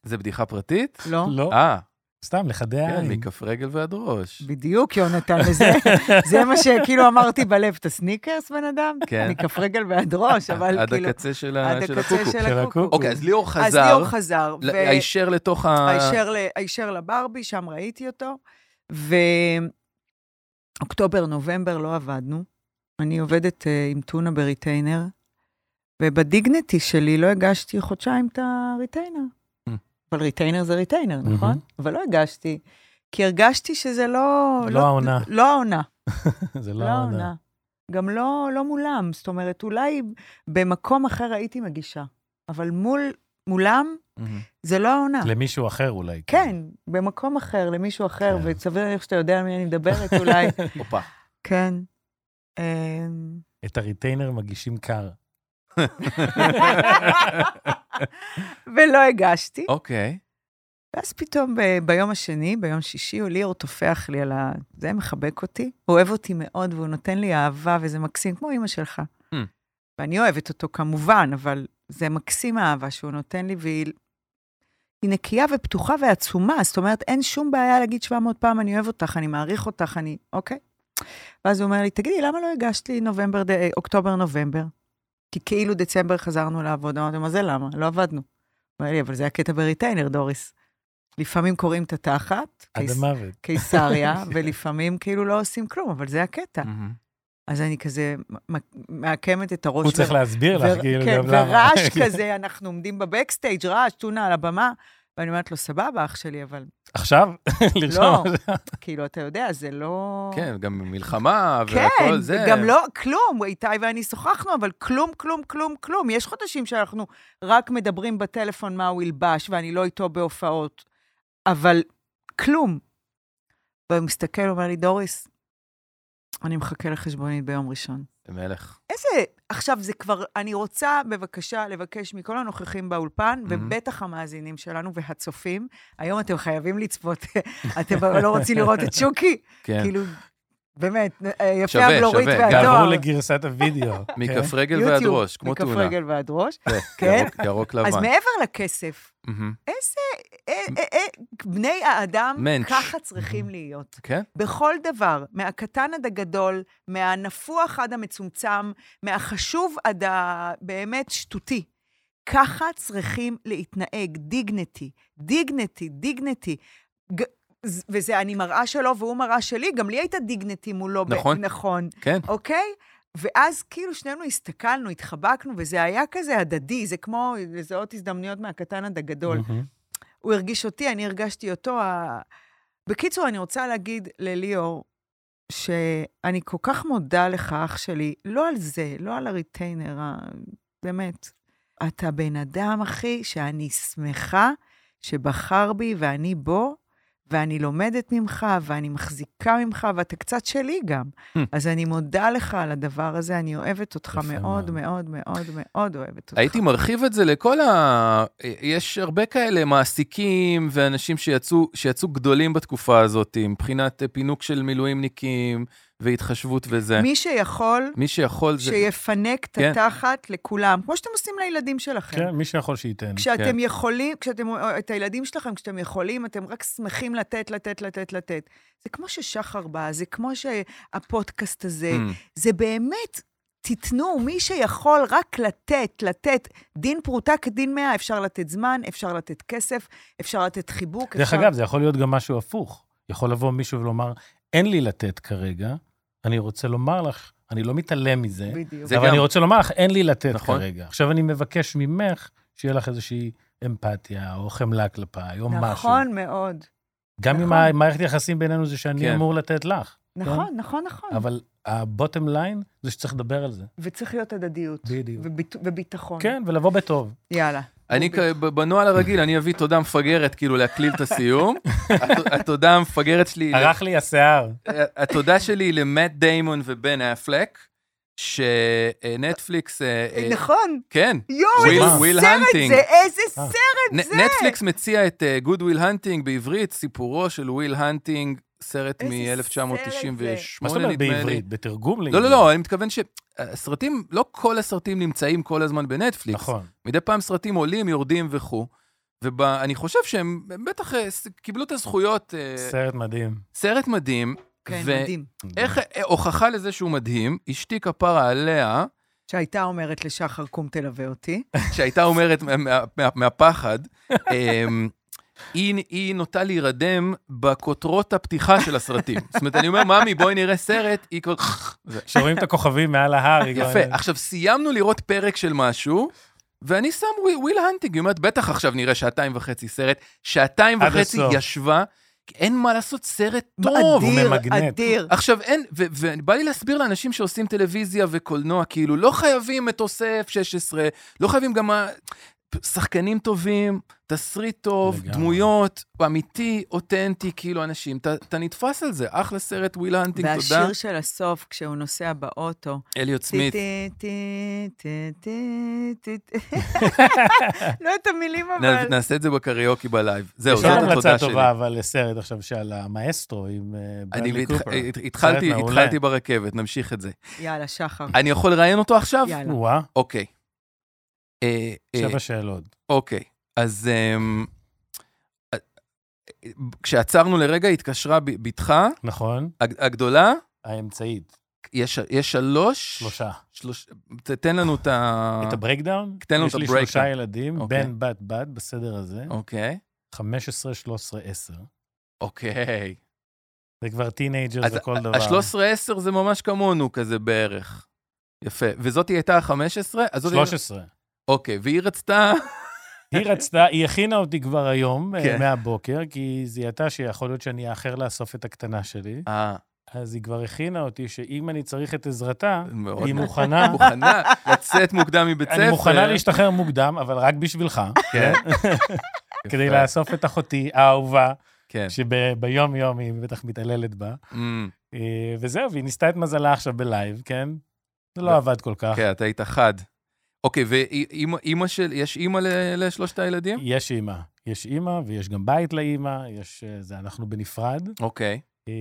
Speaker 2: זה בדיחה פרטית?
Speaker 1: לא?
Speaker 3: לא,
Speaker 2: אה,
Speaker 3: סתם, לחדי
Speaker 2: כן,
Speaker 3: העין.
Speaker 2: מכף רגל ועד ראש.
Speaker 1: בדיוק, יונתן, וזה זה מה שכאילו אמרתי בלב, את הסניקרס, בן אדם?
Speaker 2: כן.
Speaker 1: אני כף רגל ועד ראש, אבל
Speaker 2: עד
Speaker 1: כאילו...
Speaker 2: הקצה של ה- של הקוקו.
Speaker 1: של
Speaker 3: של
Speaker 1: הקוקו.
Speaker 3: הקוקו.
Speaker 2: אוקיי, אז ליאור
Speaker 1: אז ליאור
Speaker 2: חזר,
Speaker 1: חזר.
Speaker 2: ל-
Speaker 1: ו-
Speaker 2: הישר לתוך ה...
Speaker 1: הישר, ל, הישר לברבי, שם ראיתי אותו. ואוקטובר, נובמבר לא עבדנו. אני עובדת uh, עם טונה בריטיינר, ובדיגנטי שלי לא הגשתי חודשיים את הריטיינר.
Speaker 2: Mm.
Speaker 1: אבל ריטיינר זה ריטיינר,
Speaker 3: מהמם.
Speaker 1: נכון? אבל לא הגשתי, כי הרגשתי שזה לא...
Speaker 3: לא העונה.
Speaker 1: לא העונה.
Speaker 3: זה
Speaker 1: לא
Speaker 3: לא העונה.
Speaker 1: העונה. גם לא, לא מולם, זאת אומרת, אולי במקום אחר הייתי מגישה, אבל מול, מולם
Speaker 2: מהמם.
Speaker 1: זה לא העונה.
Speaker 3: למישהו אחר אולי. כאילו.
Speaker 1: כן, במקום אחר, למישהו אחר,
Speaker 3: כן.
Speaker 1: וסביר להניח שאתה יודע על מי אני מדברת אולי.
Speaker 2: הופה.
Speaker 1: כן. אמ,
Speaker 3: את הריטיינר מגישים קר.
Speaker 1: ולא הגשתי.
Speaker 2: אוקיי.
Speaker 1: ואז פתאום ב- ביום השני, ביום שישי, הוא ליאור טופח לי על ה... זה מחבק אותי, הוא אוהב אותי מאוד, והוא נותן לי אהבה, וזה מקסים, כמו אימא שלך.
Speaker 2: Hmm.
Speaker 1: ואני אוהבת אותו כמובן, אבל זה מקסים האהבה שהוא נותן לי, והיא היא נקייה ופתוחה ועצומה, זאת אומרת, אין שום בעיה להגיד 700 פעם, אני אוהב אותך, אני מעריך אותך, אני... אוקיי. ואז הוא אומר לי, תגידי, למה לא הגשת לי נובמבר, ד... אה, אוקטובר-נובמבר? כי כאילו דצמבר חזרנו לעבוד. אמרתי, מה זה למה? לא עבדנו. הוא אומר לי, אבל זה הקטע בריטיינר, דוריס. לפעמים קוראים את התחת,
Speaker 3: עד
Speaker 1: קיס-
Speaker 3: המוות.
Speaker 1: קיסריה, ולפעמים כאילו לא עושים כלום, אבל זה הקטע.
Speaker 3: אה.
Speaker 2: מהמם.
Speaker 1: אז אני כזה מ- מ- מעקמת את הראש.
Speaker 3: הוא צריך
Speaker 1: ו-
Speaker 3: להסביר לך,
Speaker 1: ו-
Speaker 3: כאילו,
Speaker 1: כן,
Speaker 3: גם למה.
Speaker 1: ורעש כזה, אנחנו עומדים בבקסטייג', רעש, טונה על הבמה. ואני אומרת לו, סבבה, אח שלי, אבל
Speaker 3: עכשיו?
Speaker 1: לא,
Speaker 3: לרשום.
Speaker 1: כאילו, אתה יודע, זה לא...
Speaker 2: כן, גם מלחמה
Speaker 1: כן,
Speaker 2: והכל זה.
Speaker 1: גם לא, כלום, איתי ואני שוחחנו, אבל כלום, כלום, כלום, כלום. יש חודשים שאנחנו רק מדברים בטלפון מה הוא ילבש, ואני לא איתו בהופעות, אבל כלום. והוא מסתכל, הוא אומר לי, דוריס, אני מחכה לחשבונית ביום ראשון.
Speaker 2: מלך.
Speaker 1: איזה... עכשיו, זה כבר... אני רוצה, בבקשה, לבקש מכל הנוכחים באולפן,
Speaker 2: Mhm.
Speaker 1: ובטח המאזינים שלנו והצופים, היום אתם חייבים לצפות, אתם לא רוצים לראות את שוקי?
Speaker 2: כן.
Speaker 1: כאילו, באמת, אה, יפה
Speaker 2: שווה,
Speaker 1: הבלורית
Speaker 2: שווה.
Speaker 1: והדואר.
Speaker 3: תעברו לגרסת הווידאו.
Speaker 2: מכף
Speaker 3: כן?
Speaker 2: רגל ועד
Speaker 1: יוטיוב,
Speaker 2: ראש, כמו
Speaker 1: מכף
Speaker 2: תאונה.
Speaker 1: רגל ועד ראש.
Speaker 2: כן.
Speaker 1: כן.
Speaker 2: ירוק- ירוק לבן.
Speaker 1: אז מעבר לכסף,
Speaker 2: מהמם.
Speaker 1: איזה... אה, אה, אה, בני האדם
Speaker 2: מענטש.
Speaker 1: ככה צריכים להיות.
Speaker 2: כן?
Speaker 1: בכל דבר, מהקטן עד הגדול, מהנפוח עד המצומצם, מהחשוב עד הבאמת שטותי. ככה צריכים להתנהג, דיגנטי, דיגנטי, דיגנטי. ג- ז- וזה, אני מראה שלו והוא מראה שלי, גם לי הייתה דיגנטי מולו. ב-
Speaker 2: נכון.
Speaker 1: נכון,
Speaker 2: כן.
Speaker 1: אוקיי? ואז כאילו שנינו הסתכלנו, התחבקנו, וזה היה כזה הדדי, זה כמו לזהות הזדמנויות מהקטן עד הגדול.
Speaker 3: מהמם.
Speaker 1: הוא הרגיש אותי, אני הרגשתי אותו. ה... בקיצור, אני רוצה להגיד לליאור, שאני כל כך מודה לך, אח שלי, לא על זה, לא על הריטיינר, ה- באמת. אתה בן אדם, אחי, שאני שמחה שבחר בי ואני בו, ואני לומדת ממך, ואני מחזיקה ממך, ואתה קצת שלי גם. אז אני מודה לך על הדבר הזה, אני אוהבת אותך
Speaker 3: יפה
Speaker 1: מאוד,
Speaker 3: מאוד.
Speaker 1: מאוד, מאוד, מאוד אוהבת אותך.
Speaker 2: הייתי מרחיב את זה לכל ה... יש הרבה כאלה מעסיקים ואנשים שיצאו, שיצאו גדולים בתקופה הזאת, מבחינת אה, פינוק של מילואימניקים והתחשבות וזה. מי,
Speaker 1: מי שיכול,
Speaker 2: שיכול זה...
Speaker 1: שיפנק את
Speaker 2: כן.
Speaker 1: התחת לכולם, כמו שאתם עושים לילדים שלכם.
Speaker 3: כן, מי שיכול שייתן.
Speaker 1: כשאתם
Speaker 2: כן.
Speaker 1: יכולים, כשאתם, או- את הילדים שלכם, כשאתם יכולים, אתם רק שמחים לתת, לתת, לתת, לתת. זה כמו ששחר בא, זה כמו שהפודקאסט הזה,
Speaker 2: Mm.
Speaker 1: זה באמת, תיתנו, מי שיכול רק לתת, לתת, דין פרוטה כדין מאה, אפשר לתת זמן, אפשר לתת כסף, אפשר לתת חיבוק,
Speaker 3: דרך
Speaker 1: אפשר...
Speaker 3: אגב, זה יכול להיות גם משהו הפוך. יכול לבוא מישהו ולומר, אין לי לתת כרגע, אני רוצה לומר לך, אני לא מתעלם מזה,
Speaker 1: בדיוק.
Speaker 2: זה
Speaker 3: אבל
Speaker 2: גם-
Speaker 3: אני רוצה לומר לך, אין לי לתת
Speaker 2: נכון.
Speaker 3: כרגע. עכשיו אני מבקש ממך שיהיה לך איזושהי אמפתיה, או חמלה כלפיי, או לא משהו. כן?
Speaker 1: נכון מאוד.
Speaker 3: גם אם
Speaker 1: נכון.
Speaker 3: המערכת יחסים בינינו זה שאני
Speaker 2: כן.
Speaker 3: אמור לתת לך.
Speaker 1: נכון, נכון, נכון.
Speaker 3: אבל ה-bottom line זה שצריך לדבר על זה.
Speaker 1: וצריך להיות הדדיות.
Speaker 3: בדיוק.
Speaker 1: וביט- וביטחון.
Speaker 3: כן, ולבוא בטוב.
Speaker 1: יאללה.
Speaker 2: אני
Speaker 1: רוביק.
Speaker 2: כ- ב- בנוהל הרגיל, אני אביא תודה מפגרת, כאילו להקליל את הסיום. הת- התודה המפגרת שלי, היא ל-
Speaker 3: ערך לי השיער.
Speaker 2: ה- התודה שלי היא למט דיימון ובן אפלק, שנטפליקס... אה,
Speaker 1: נכון.
Speaker 2: כן.
Speaker 1: יואו,
Speaker 2: וויל-
Speaker 1: איזה
Speaker 2: וויל
Speaker 1: סרט
Speaker 2: הנטינג.
Speaker 1: זה, איזה
Speaker 3: אה.
Speaker 1: סרט.
Speaker 2: נ- נטפליקס מציע את אה, גוד וויל הנטינג בעברית, סיפורו של וויל הנטינג, סרט
Speaker 1: איזה
Speaker 3: מה זאת
Speaker 2: מ-1998
Speaker 3: אומרת
Speaker 2: נדמה לי.
Speaker 3: בעברית? בתרגום
Speaker 2: לא,
Speaker 3: לעברית.
Speaker 2: לא, לא, אני מתכוון שהסרטים, לא כל הסרטים נמצאים כל הזמן בנטפליקס.
Speaker 3: נכון.
Speaker 2: מדי פעם סרטים עולים, יורדים וכו'. ואני חושב שהם הם בטח אה, ס- קיבלו את הזכויות. אה,
Speaker 3: סרט מדהים.
Speaker 2: סרט מדהים.
Speaker 1: כן,
Speaker 2: ו-
Speaker 1: מדהים.
Speaker 2: איך אה, הוכחה לזה שהוא מדהים? אשתי כפרה עליה,
Speaker 1: שהייתה אומרת לשחר קום תלווה אותי.
Speaker 2: שהייתה אומרת מה- מה- מה- מהפחד, אמ, היא היא נוטה להירדם בכותרות הפתיחה של הסרטים. זאת אומרת, אני אומר, ממי, בואי נראה סרט, היא כבר... זה.
Speaker 3: שרואים את הכוכבים מעל ההר. היא
Speaker 2: יפה.
Speaker 3: כבר-
Speaker 2: עכשיו, סיימנו לראות פרק של משהו, ואני שם ווי- וויל הנטינג, היא אומרת, בטח עכשיו נראה שעתיים וחצי סרט. שעתיים
Speaker 3: עד
Speaker 2: וחצי
Speaker 3: הסוף.
Speaker 2: ישבה, כי אין מה לעשות, סרט טוב.
Speaker 1: אדיר,
Speaker 3: ממגנט.
Speaker 1: אדיר.
Speaker 2: עכשיו אין, ו- ובא לי להסביר לאנשים שעושים טלוויזיה וקולנוע, כאילו, לא חייבים מטוסי F-16, לא חייבים גם ה- שחקנים טובים, תסריט טוב,
Speaker 3: לגמרי.
Speaker 2: דמויות, אמיתי, אותנטי, כאילו, אנשים, אתה- אתה נתפס על זה, אחלה סרט, וויל הנטינג, תודה.
Speaker 1: והשיר של הסוף, כשהוא נוסע באוטו.
Speaker 2: אליוט סמית,
Speaker 1: טי, טי, טי, טי, טי, טי. לא את המילים, אבל...
Speaker 2: נ- נעשה את זה בקריוקי בלייב. זהו,
Speaker 3: יש
Speaker 2: זאת
Speaker 3: עוד לא המלצה
Speaker 2: התודה שלי.
Speaker 3: טובה, אבל לסרט עכשיו שעל המאסטרו עם אה,
Speaker 2: אני
Speaker 3: ברדלי
Speaker 2: והתח-
Speaker 3: קופר.
Speaker 2: הת- התחלתי
Speaker 3: סרט מעולה.
Speaker 2: התחלתי ברכבת, נמשיך את זה.
Speaker 1: יאללה, שחר.
Speaker 2: אני יכול לראיין אותו עכשיו?
Speaker 1: יאללה.
Speaker 3: וואה,
Speaker 2: אוקיי. אה, אה,
Speaker 3: שבע שאלות.
Speaker 2: אוקיי, אז אמ, אה, אה, כשעצרנו לרגע, התקשרה ב- בתך
Speaker 3: נכון,
Speaker 2: הג- הגדולה,
Speaker 3: האמצעית,
Speaker 2: יש יש שלוש...
Speaker 3: שלושה.
Speaker 2: שלוש- ת- תן לנו את ה...
Speaker 3: את הברייקדאון?
Speaker 2: אה. תן לנו את
Speaker 3: יש לי
Speaker 2: הברייקדאון.
Speaker 3: שלושה ילדים,
Speaker 2: אוקיי.
Speaker 3: בן, בת, בת, בסדר הזה,
Speaker 2: אוקיי,
Speaker 3: 15, 13, 10.
Speaker 2: אוקיי.
Speaker 3: זה כבר טינג'ר
Speaker 2: אז
Speaker 3: וכל דבר.
Speaker 2: ה-13-10 זה ממש כמונו כזה בערך. יפה. וזאתי הייתה ה-15?
Speaker 3: 13.
Speaker 2: אוקיי, והיא רצתה...
Speaker 3: היא רצתה, היא הכינה אותי כבר היום, אה,
Speaker 2: כן.
Speaker 3: מהבוקר, כי היא זיהתה שיכול להיות שאני אאחר לאסוף את הקטנה שלי,
Speaker 2: אה,
Speaker 3: אז היא כבר הכינה אותי שאם אני צריך את עזרתה,
Speaker 2: מאוד
Speaker 3: היא
Speaker 2: נ-
Speaker 3: מוכנה,
Speaker 2: מוכנה לצאת מוקדם מבית ספר.
Speaker 3: אני מוכנה להשתחרר מוקדם, אבל רק בשבילך,
Speaker 2: כן.
Speaker 3: כדי
Speaker 2: יפה,
Speaker 3: לאסוף את אחותי האהובה,
Speaker 2: כן.
Speaker 3: שביום-יום היא בטח מתעללת בה.
Speaker 2: אמ,
Speaker 3: אה, וזהו, והיא ניסתה את מזלה עכשיו בלייב, כן? זה
Speaker 2: לא.
Speaker 3: לא עבד כל כך.
Speaker 2: כן, אתה היית חד. אוקיי, ואימא של... יש אימא ל- לשלושת הילדים?
Speaker 3: יש אימא. יש אימא, ויש גם בית לאימא, יש... אה, זה אנחנו בנפרד.
Speaker 2: אוקיי.
Speaker 3: אה,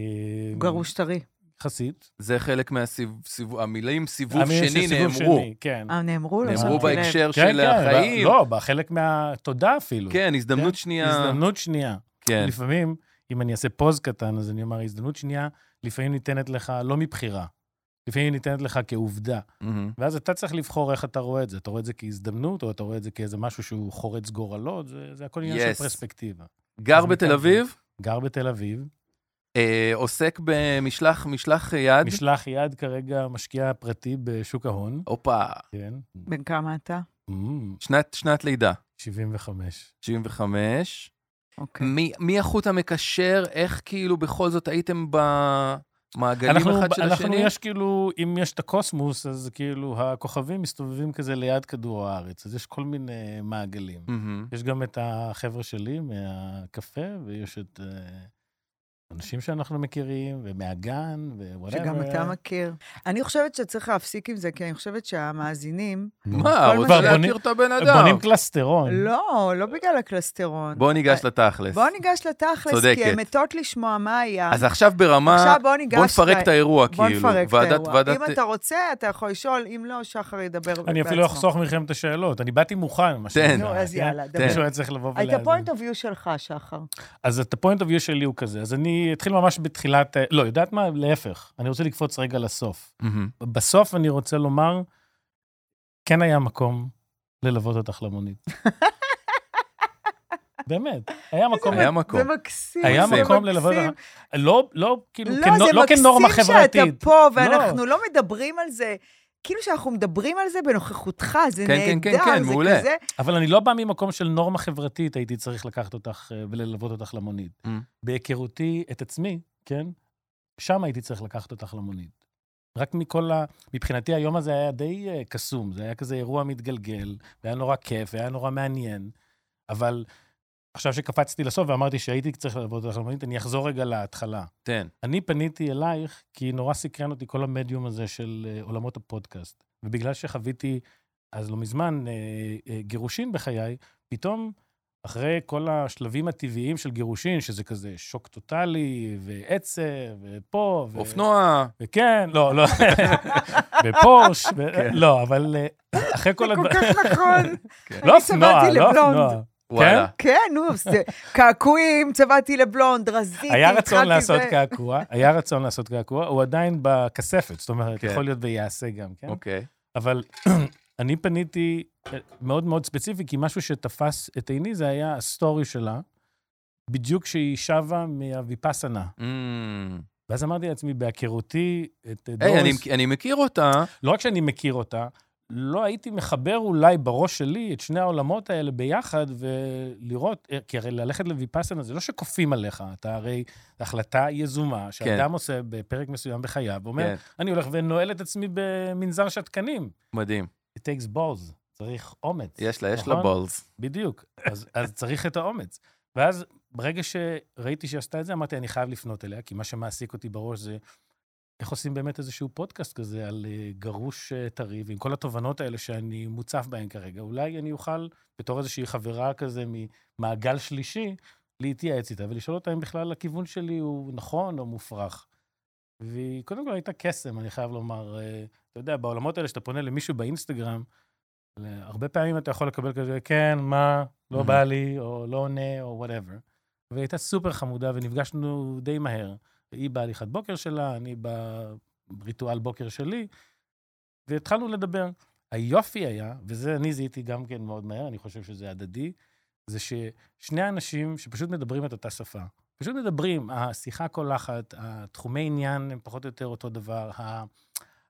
Speaker 1: הוא גרוש טרי.
Speaker 3: יחסית.
Speaker 2: זה חלק מהסיבוב, המילים סיבוב
Speaker 3: המילים
Speaker 2: שני
Speaker 3: של סיבוב
Speaker 2: נאמרו.
Speaker 3: שני, כן.
Speaker 1: אה, נאמרו? לא
Speaker 2: נאמרו
Speaker 1: שמתי לב.
Speaker 2: בהקשר
Speaker 3: כן,
Speaker 2: של
Speaker 3: כן,
Speaker 2: החיים.
Speaker 3: ב- לא, בחלק מהתודה אפילו.
Speaker 2: כן, הזדמנות
Speaker 3: כן,
Speaker 2: שנייה.
Speaker 3: הזדמנות שנייה.
Speaker 2: כן,
Speaker 3: לפעמים, אם אני אעשה פוז קטן, אז אני אומר, הזדמנות שנייה, לפעמים ניתנת לך לא מבחירה. לפעמים ניתנת לך כעובדה.
Speaker 2: מהמם.
Speaker 3: ואז אתה צריך לבחור איך אתה רואה את זה. אתה רואה את זה כהזדמנות, או אתה רואה את זה כאיזה משהו שהוא חורץ גורלות, זה, זה הכל עניין
Speaker 2: Yes.
Speaker 3: של פרספקטיבה.
Speaker 2: גר
Speaker 3: אז
Speaker 2: בתל
Speaker 3: מכאן-
Speaker 2: אביב,
Speaker 3: גר בתל אביב,
Speaker 2: אה, עוסק במשלח משלח יד.
Speaker 3: משלח יד כרגע משקיע פרטי בשוק ההון,
Speaker 2: הופה,
Speaker 3: כן,
Speaker 1: בן כמה אתה?
Speaker 3: אמ,
Speaker 2: שנת- שנת לידה,
Speaker 3: 75.
Speaker 2: 75.
Speaker 3: כן.
Speaker 1: אוקיי.
Speaker 2: מי- מי החוט המקשר? איך כאילו בכל זאת הייתם במעגלים
Speaker 3: אנחנו,
Speaker 2: אחד של
Speaker 3: אנחנו
Speaker 2: השני?
Speaker 3: יש כאילו, אם יש את הקוסמוס, אז כאילו הכוכבים מסתובבים כזה ליד כדור הארץ, אז יש כל מיני מעגלים.
Speaker 2: מהמם.
Speaker 3: יש גם את החבר'ה שלי מהקפה, ויש את אה, אנשים שאנחנו מכירים, ומהגן, ווואטאבר.
Speaker 1: שגם אתה מכיר. אני חושבת שצריך להפסיק עם זה, כי אני חושבת שהמאזינים...
Speaker 2: מה, הוא רוצה
Speaker 1: כבר
Speaker 2: להכיר
Speaker 3: בונים-
Speaker 2: את הבן אדם.
Speaker 3: בונים קלסטרון.
Speaker 1: לא, לא בגלל הקלסטרון.
Speaker 2: נכון. בוא ניגש לתכלס.
Speaker 1: בוא ניגש לתכלס,
Speaker 2: צודקת.
Speaker 1: כי הן מתות לשמוע מה היה.
Speaker 2: אז עכשיו ברמה,
Speaker 1: עכשיו בוא ניגש...
Speaker 2: בוא נפרק
Speaker 1: ל-
Speaker 2: את האירוע, כאילו.
Speaker 1: בוא נפרק את
Speaker 2: ועדת-
Speaker 1: האירוע.
Speaker 2: ועדת-
Speaker 1: אם אתה רוצה, אתה יכול לשאול, אם לא, שחר ידבר בעצמו.
Speaker 3: אני אפילו אחסוך מכם את השאלות, אני באתי מוכן.
Speaker 2: תן.
Speaker 3: מה שנקרא,
Speaker 1: נו, אז
Speaker 3: כן?
Speaker 1: יאללה, דבר.
Speaker 3: מישהו היה צריך לבוא
Speaker 1: היית
Speaker 3: ולהאזין.
Speaker 1: point of view שלך, שחר.
Speaker 3: אז את הפוינט אוף יו שלי הוא כזה, אז אני אתחיל ממש בתחילת... לא, יודעת מה? להפך, אני רוצה לקפוץ רגע לסוף.
Speaker 2: מהמם.
Speaker 3: בסוף אני רוצה לומר, כן היה מקום ללוות אותך למונית. באמת, היה מקום.
Speaker 2: היה מקום.
Speaker 1: זה מקסים.
Speaker 3: היה
Speaker 1: זה
Speaker 3: מקום
Speaker 1: מקסים.
Speaker 3: ללוות אותך. לא, לא, כאילו,
Speaker 1: לא,
Speaker 3: כנו-
Speaker 1: זה
Speaker 3: לא
Speaker 1: מקסים
Speaker 3: כנורמה
Speaker 1: שאתה
Speaker 3: חברתית.
Speaker 1: פה, ואנחנו לא מדברים על זה. כאילו שאנחנו מדברים על זה בנוכחותך, זה
Speaker 2: כן,
Speaker 1: נהדר,
Speaker 2: כן, כן, כן,
Speaker 1: זה
Speaker 2: מעולה.
Speaker 1: כזה.
Speaker 3: אבל אני לא בא ממקום של נורמה חברתית, הייתי צריך לקחת אותך אה, וללוות אותך למונית.
Speaker 2: Mm.
Speaker 3: בהיכרותי את עצמי, כן? שם הייתי צריך לקחת אותך למונית. רק מכל ה... מבחינתי היום הזה היה די אה, קסום, זה היה כזה אירוע מתגלגל, והיה נורא כיף, והיה נורא מעניין, אבל עכשיו שקפצתי לסוף ואמרתי שהייתי צריך ללוות אותך למונית, אני אחזור רגע להתחלה.
Speaker 2: תן.
Speaker 3: אני פניתי אלייך כי נורא סקרן אותי כל המדיום הזה של אה, עולמות הפודקאסט. ובגלל שחוויתי אז לא מזמן אה, אה, גירושין בחיי, פתאום, אחרי כל השלבים הטבעיים של גירושין, שזה כזה שוק טוטאלי, ועצב, ופה, ו...
Speaker 2: אופנוע,
Speaker 3: וכן, לא, לא, ופורש, ו...
Speaker 2: כן.
Speaker 3: לא, אבל אה, אחרי כל
Speaker 1: זה כל
Speaker 3: הדבר...
Speaker 1: כך נכון. אני
Speaker 3: לא אופנוע,
Speaker 1: צבעתי
Speaker 3: לא
Speaker 1: לבלונד.
Speaker 3: אופנוע.
Speaker 2: וואלה.
Speaker 1: כן, נו, זה- קעקועים, צבעתי לבלונד, רזיתי,
Speaker 3: היה רצון
Speaker 1: התחלתי
Speaker 3: לעשות
Speaker 1: זה.
Speaker 3: קעקוע, היה רצון לעשות קעקוע, הוא עדיין בכספת, זאת אומרת,
Speaker 2: כן.
Speaker 3: יכול להיות ויעשה גם, כן?
Speaker 2: אוקיי.
Speaker 3: אבל אני פניתי אה, מאוד מאוד ספציפי, כי משהו שתפס את עיני זה היה הסטורי שלה, בדיוק כשהיא שבה מהוויפאסנה.
Speaker 2: Mm.
Speaker 3: ואז אמרתי לעצמי, בהיכרותי את אה,
Speaker 2: היי, אני-
Speaker 3: דוריס,
Speaker 2: אני מכיר אותה.
Speaker 3: לא רק שאני מכיר אותה, לא הייתי מחבר אולי בראש שלי את שני העולמות האלה ביחד ולראות, אה, כי הרי ללכת לוויפאסנה זה לא שכופים עליך, אתה הרי, זו החלטה יזומה שאדם עושה בפרק מסוים בחייו, ואומר,
Speaker 2: כן,
Speaker 3: אני הולך ונועל את עצמי במנזר שתקנים.
Speaker 2: מדהים.
Speaker 3: It takes balls, צריך אומץ.
Speaker 2: יש לה, יש לה
Speaker 3: נכון?
Speaker 2: בולס.
Speaker 3: בדיוק, אז, אז צריך את האומץ. ואז ברגע שראיתי שהיא עשתה את זה, אמרתי, אני חייב לפנות אליה, כי מה שמעסיק אותי בראש זה איך עושים באמת איזשהו פודקאסט כזה על אה, גרוש אה, טרי, ועם כל התובנות האלה שאני מוצף בהן כרגע. אולי אני אוכל, בתור איזושהי חברה כזה ממעגל שלישי, להתייעץ איתה ולשאול אותה אם בכלל הכיוון שלי הוא נכון או מופרך. והיא קודם כל הייתה קסם, אני חייב לומר. אה, אתה יודע, בעולמות האלה שאתה פונה למישהו באינסטגרם, ל- הרבה פעמים אתה יכול לקבל כזה, כן, מה, לא
Speaker 2: Mhm.
Speaker 3: בא לי, או לא עונה, או וואטאבר. והיא הייתה סופר חמודה, ונפגשנו די מהר. היא בהליכת בוקר שלה, אני בריטואל בוקר שלי, והתחלנו לדבר. היופי היה, וזה אני זיהיתי גם כן מאוד מהר, אני חושב שזה הדדי, זה ששני אנשים שפשוט מדברים את אותה שפה. פשוט מדברים, השיחה קולחת, התחומי עניין הם פחות או יותר אותו דבר, ה-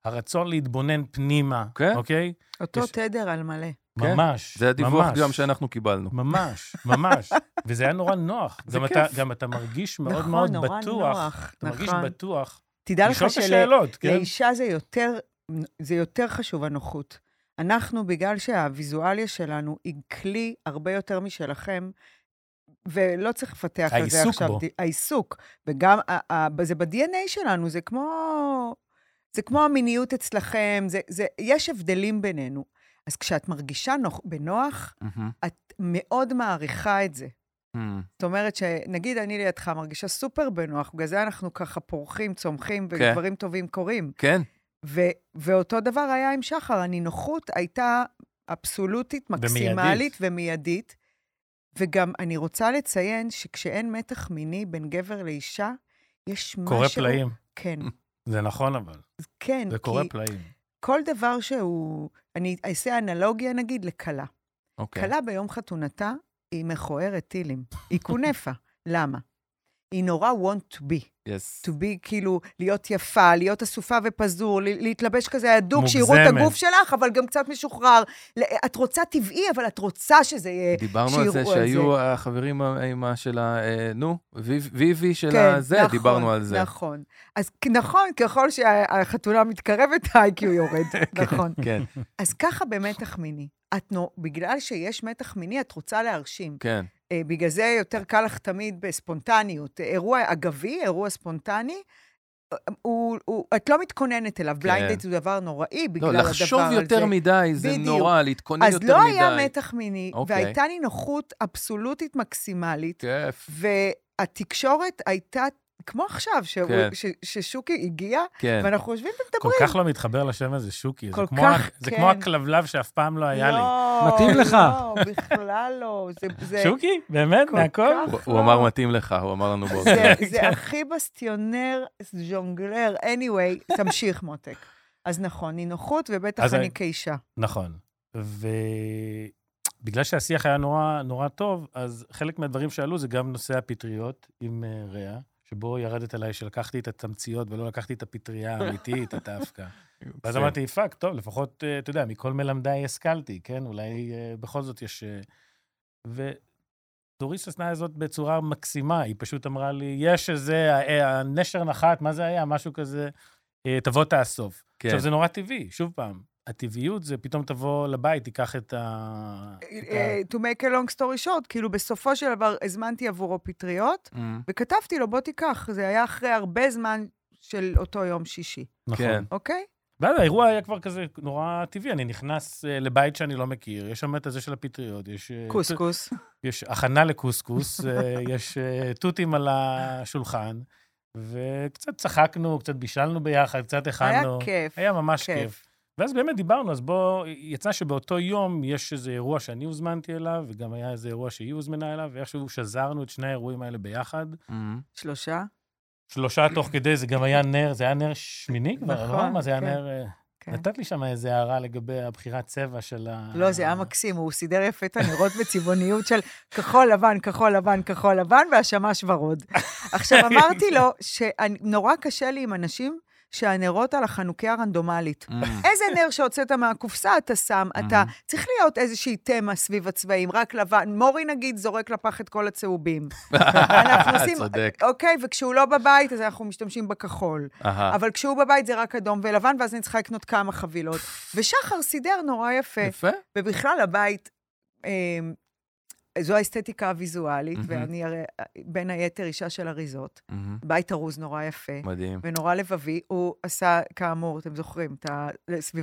Speaker 3: הרצון להתבונן פנימה,
Speaker 2: כן.
Speaker 3: אוקיי?
Speaker 1: אותו
Speaker 3: יש-
Speaker 1: תדר על מלא.
Speaker 2: כן.
Speaker 3: ממש,
Speaker 2: זה הדיווח
Speaker 3: ממש.
Speaker 2: גם שאנחנו קיבלנו.
Speaker 3: ממש, ממש. וזה היה נורא נוח.
Speaker 1: זה
Speaker 3: גם אתה,
Speaker 1: כיף.
Speaker 3: גם אתה מרגיש מאוד
Speaker 1: נכון,
Speaker 3: מאוד
Speaker 1: נורא
Speaker 3: בטוח.
Speaker 1: נוח,
Speaker 3: אתה מרגיש
Speaker 1: נכון.
Speaker 3: בטוח.
Speaker 1: תדע לך
Speaker 3: לשאול את השאלות, כן?
Speaker 1: שלאישה זה יותר, זה יותר חשוב, הנוחות. אנחנו, בגלל שהוויזואליה שלנו היא כלי הרבה יותר משלכם, ולא צריך לפתח את זה
Speaker 3: העיסוק
Speaker 1: עכשיו.
Speaker 3: בו.
Speaker 1: ד- העיסוק, וגם, ה- ה- זה ב-DNA שלנו, זה כמו, זה כמו המיניות אצלכם, זה, זה, יש הבדלים בינינו. אז כשאת מרגישה נוח, בנוח,
Speaker 2: מהמם.
Speaker 1: את מאוד מעריכה את זה.
Speaker 2: מהמם.
Speaker 1: זאת אומרת שנגיד אני לידך מרגישה סופר בנוח, בגלל זה אנחנו ככה פורחים, צומחים,
Speaker 2: כן.
Speaker 1: ודברים טובים קורים.
Speaker 2: כן,
Speaker 1: ו- ואותו דבר היה עם שחר, הנינוחות הייתה אבסולוטית, מקסימלית ומיידית. וגם אני רוצה לציין שכשאין מתח מיני בין גבר לאישה, יש משהו...
Speaker 3: קורא פלאים.
Speaker 1: כן,
Speaker 3: זה נכון אבל,
Speaker 1: כן.
Speaker 3: זה קורא
Speaker 1: כי
Speaker 3: פלאים.
Speaker 1: כל דבר שהוא... אני אעשה אנלוגיה נגיד לכלה.
Speaker 2: אוקיי.
Speaker 1: כלה ביום חתונתה, היא מכוערת טילים. היא כונפה. למה? היא נורא want to be.
Speaker 2: יס.
Speaker 1: to be, כאילו, להיות יפה, להיות אסופה ופזור, ל- להתלבש כזה הדוק, שיראו את
Speaker 3: מוגזמת.
Speaker 1: הגוף שלך, אבל גם קצת משוחרר. ל- את רוצה טבעי, אבל את רוצה שזה יהיה...
Speaker 2: דיברנו על זה
Speaker 1: שיראו אה, על
Speaker 2: שהיו החברים עם ה- של ה... אה, נו, ויב- ויבי של
Speaker 1: כן,
Speaker 2: הזה,
Speaker 1: נכון,
Speaker 2: דיברנו על זה.
Speaker 1: נכון. אז כ- נכון, ככל שהחתונה מתקרבת, ה-IQ יורד, נכון.
Speaker 2: כן,
Speaker 1: אז ככה במתח מיני. את נו, בגלל שיש מתח מיני, את רוצה להרשים.
Speaker 2: כן.
Speaker 1: אה, בגלל זה יותר קל לך תמיד בספונטניות. אירוע אגבי, אירוע ספונטני, אה, הוא, הוא, את לא מתכוננת אליו. בליינד דייט הוא דבר נוראי בגלל
Speaker 2: כן. לא,
Speaker 1: הדבר הזה.
Speaker 2: לחשוב יותר מדי, זה
Speaker 1: בדיוק.
Speaker 2: נורא, להתכונן
Speaker 1: אז
Speaker 2: יותר מדי.
Speaker 1: לא היה מתח מיני,
Speaker 2: אוקיי.
Speaker 1: והייתה נינוחות אבסולוטית מקסימלית,
Speaker 2: כיף,
Speaker 1: והתקשורת הייתה כמו עכשיו, ש...
Speaker 2: כן.
Speaker 1: ש... ששוקי הגיע,
Speaker 2: כן.
Speaker 1: ואנחנו יושבים
Speaker 3: כל
Speaker 1: ומדברים.
Speaker 3: כך לא מתחבר לשם הזה, שוקי. זה
Speaker 1: כל
Speaker 3: כמו
Speaker 1: כך,
Speaker 3: ה- זה
Speaker 1: כן.
Speaker 3: כמו הכלבלב שאף פעם לא היה לי.
Speaker 1: לא,
Speaker 5: מתאים לך.
Speaker 1: לא, בכלל לא. זה, זה,
Speaker 3: שוקי, באמת,
Speaker 1: כל
Speaker 3: מהכל?
Speaker 1: כך
Speaker 2: הוא-
Speaker 1: לא.
Speaker 2: הוא אמר מתאים לך, הוא אמר לנו בואו.
Speaker 1: זה,
Speaker 2: כן.
Speaker 1: זה הכי בסטיונר, ז'ונגלר. anyway, תמשיך, מותק. אז נכון, נינוחות, ובטח
Speaker 3: אז
Speaker 1: אני
Speaker 3: אני-
Speaker 1: כאישה.
Speaker 3: נכון. ובגלל שהשיח היה נורא, נורא טוב, אז חלק מהדברים שעלו זה גם נושא הפטריות עם אה, ריאה, שבו ירדת עליי שלקחתי את התמציות ולא לקחתי את הפטריה האמיתית, את האבקה. ואז אמרתי, פאק, טוב, לפחות, אה, אתה יודע, מכל מלמדיי השכלתי, כן? אולי אה, בכל זאת יש... אה, ודוריס עשתה זאת בצורה מקסימה, היא פשוט אמרה לי, יש איזה, אה, הנשר נחת, מה זה היה? משהו כזה, אה, תבוא תאסוף.
Speaker 2: כן.
Speaker 3: עכשיו, זה נורא טבעי, שוב פעם. הטבעיות זה פתאום תבוא לבית, תיקח את ה... את ה-
Speaker 1: אה, To make a long story short, כאילו בסופו של דבר הזמנתי עבורו פטריות,
Speaker 2: אמ,
Speaker 1: וכתבתי לו, בוא תיקח. זה היה אחרי הרבה זמן של אותו יום שישי,
Speaker 2: כן.
Speaker 3: נכון.
Speaker 1: אוקיי?
Speaker 3: ואז האירוע היה כבר כזה נורא טבעי, אני נכנס אה, לבית שאני לא מכיר, יש שם את הזה של הפטריות, יש... אה,
Speaker 1: קוסקוס.
Speaker 3: יש הכנה לקוסקוס, אה, יש אה, תותים על השולחן, וקצת צחקנו, קצת בישלנו ביחד, קצת
Speaker 1: היה
Speaker 3: הכנו.
Speaker 1: כיף.
Speaker 3: היה ממש
Speaker 1: כיף.
Speaker 3: כיף. ואז באמת דיברנו, אז בוא, יצא שבאותו יום יש איזה אירוע שאני הוזמנתי אליו, וגם היה איזה אירוע שהיא הוזמנה אליו, ואיכשהו שזרנו את שני האירועים האלה ביחד.
Speaker 2: אמ,
Speaker 1: שלושה?
Speaker 3: שלושה תוך כדי, זה גם היה נר, זה היה נר שמיני כבר,
Speaker 1: נכון,
Speaker 3: לא? מה זה היה
Speaker 1: כן.
Speaker 3: נר... אה,
Speaker 1: כן.
Speaker 3: נתת לי שם איזה הערה לגבי הבחירת צבע של ה...
Speaker 1: לא, זה היה מקסים, הוא סידר יפה את הנרות בצבעוניות של כחול לבן, כחול לבן, כחול לבן, והשמש ורוד. עכשיו, אמרתי לו שנורא קשה לי עם אנשים שהנרות על החנוכיה הרנדומלית.
Speaker 2: אמ,
Speaker 1: איזה נר שהוצאת מהקופסה אתה שם, אתה... צריך להיות איזושהי תמה סביב הצבעים, רק לבן. מורי, נגיד, זורק לפח את כל הצהובים. אנחנו עושים...
Speaker 2: צודק.
Speaker 1: אוקיי, וכשהוא לא בבית, אז אנחנו משתמשים בכחול.
Speaker 2: אהה,
Speaker 1: אבל כשהוא בבית זה רק אדום ולבן, ואז אני צריכה לקנות כמה חבילות. ושחר סידר נורא יפה.
Speaker 2: יפה.
Speaker 1: ובכלל, הבית, אמ, זו האסתטיקה הוויזואלית,
Speaker 2: מהמם.
Speaker 1: ואני הרי אה, בין היתר אישה של אריזות.
Speaker 2: אמ,
Speaker 1: בית ארוז נורא יפה
Speaker 2: מדהים.
Speaker 1: ונורא לבבי. הוא עשה, כאמור, אתם זוכרים, את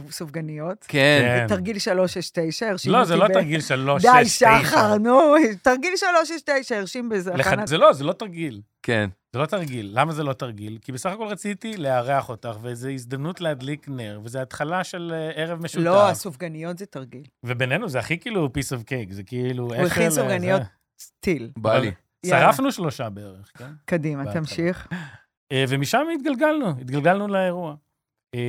Speaker 1: הסופגניות.
Speaker 2: כן,
Speaker 3: כן.
Speaker 1: תרגיל 369, הרשים
Speaker 3: לא,
Speaker 1: אותי
Speaker 3: זה לא
Speaker 1: ב-
Speaker 3: תרגיל שלוש,
Speaker 1: די,
Speaker 3: שש, תשע.
Speaker 1: שחר, נו, תרגיל 369, הרשים בזה.
Speaker 3: לח-
Speaker 1: הכנת-
Speaker 3: זה לא, זה לא תרגיל.
Speaker 2: כן.
Speaker 3: זה לא תרגיל. למה זה לא תרגיל? כי בסך הכל רציתי לארח אותך, וזו הזדמנות להדליק נר, וזו התחלה של אה, ערב משותף.
Speaker 1: לא, הסופגניות זה תרגיל.
Speaker 3: ובינינו זה הכי כאילו piece of cake, זה כאילו...
Speaker 1: הוא הכין
Speaker 3: אפל, אה,
Speaker 1: סופגניות.
Speaker 3: זה-
Speaker 1: טיל.
Speaker 2: בא לי.
Speaker 1: יאללה.
Speaker 3: שרפנו שלושה בערך, כן?
Speaker 1: קדימה,
Speaker 3: בהתחלה.
Speaker 1: תמשיך.
Speaker 3: אה, ומשם התגלגלנו, התגלגלנו לאירוע. אה,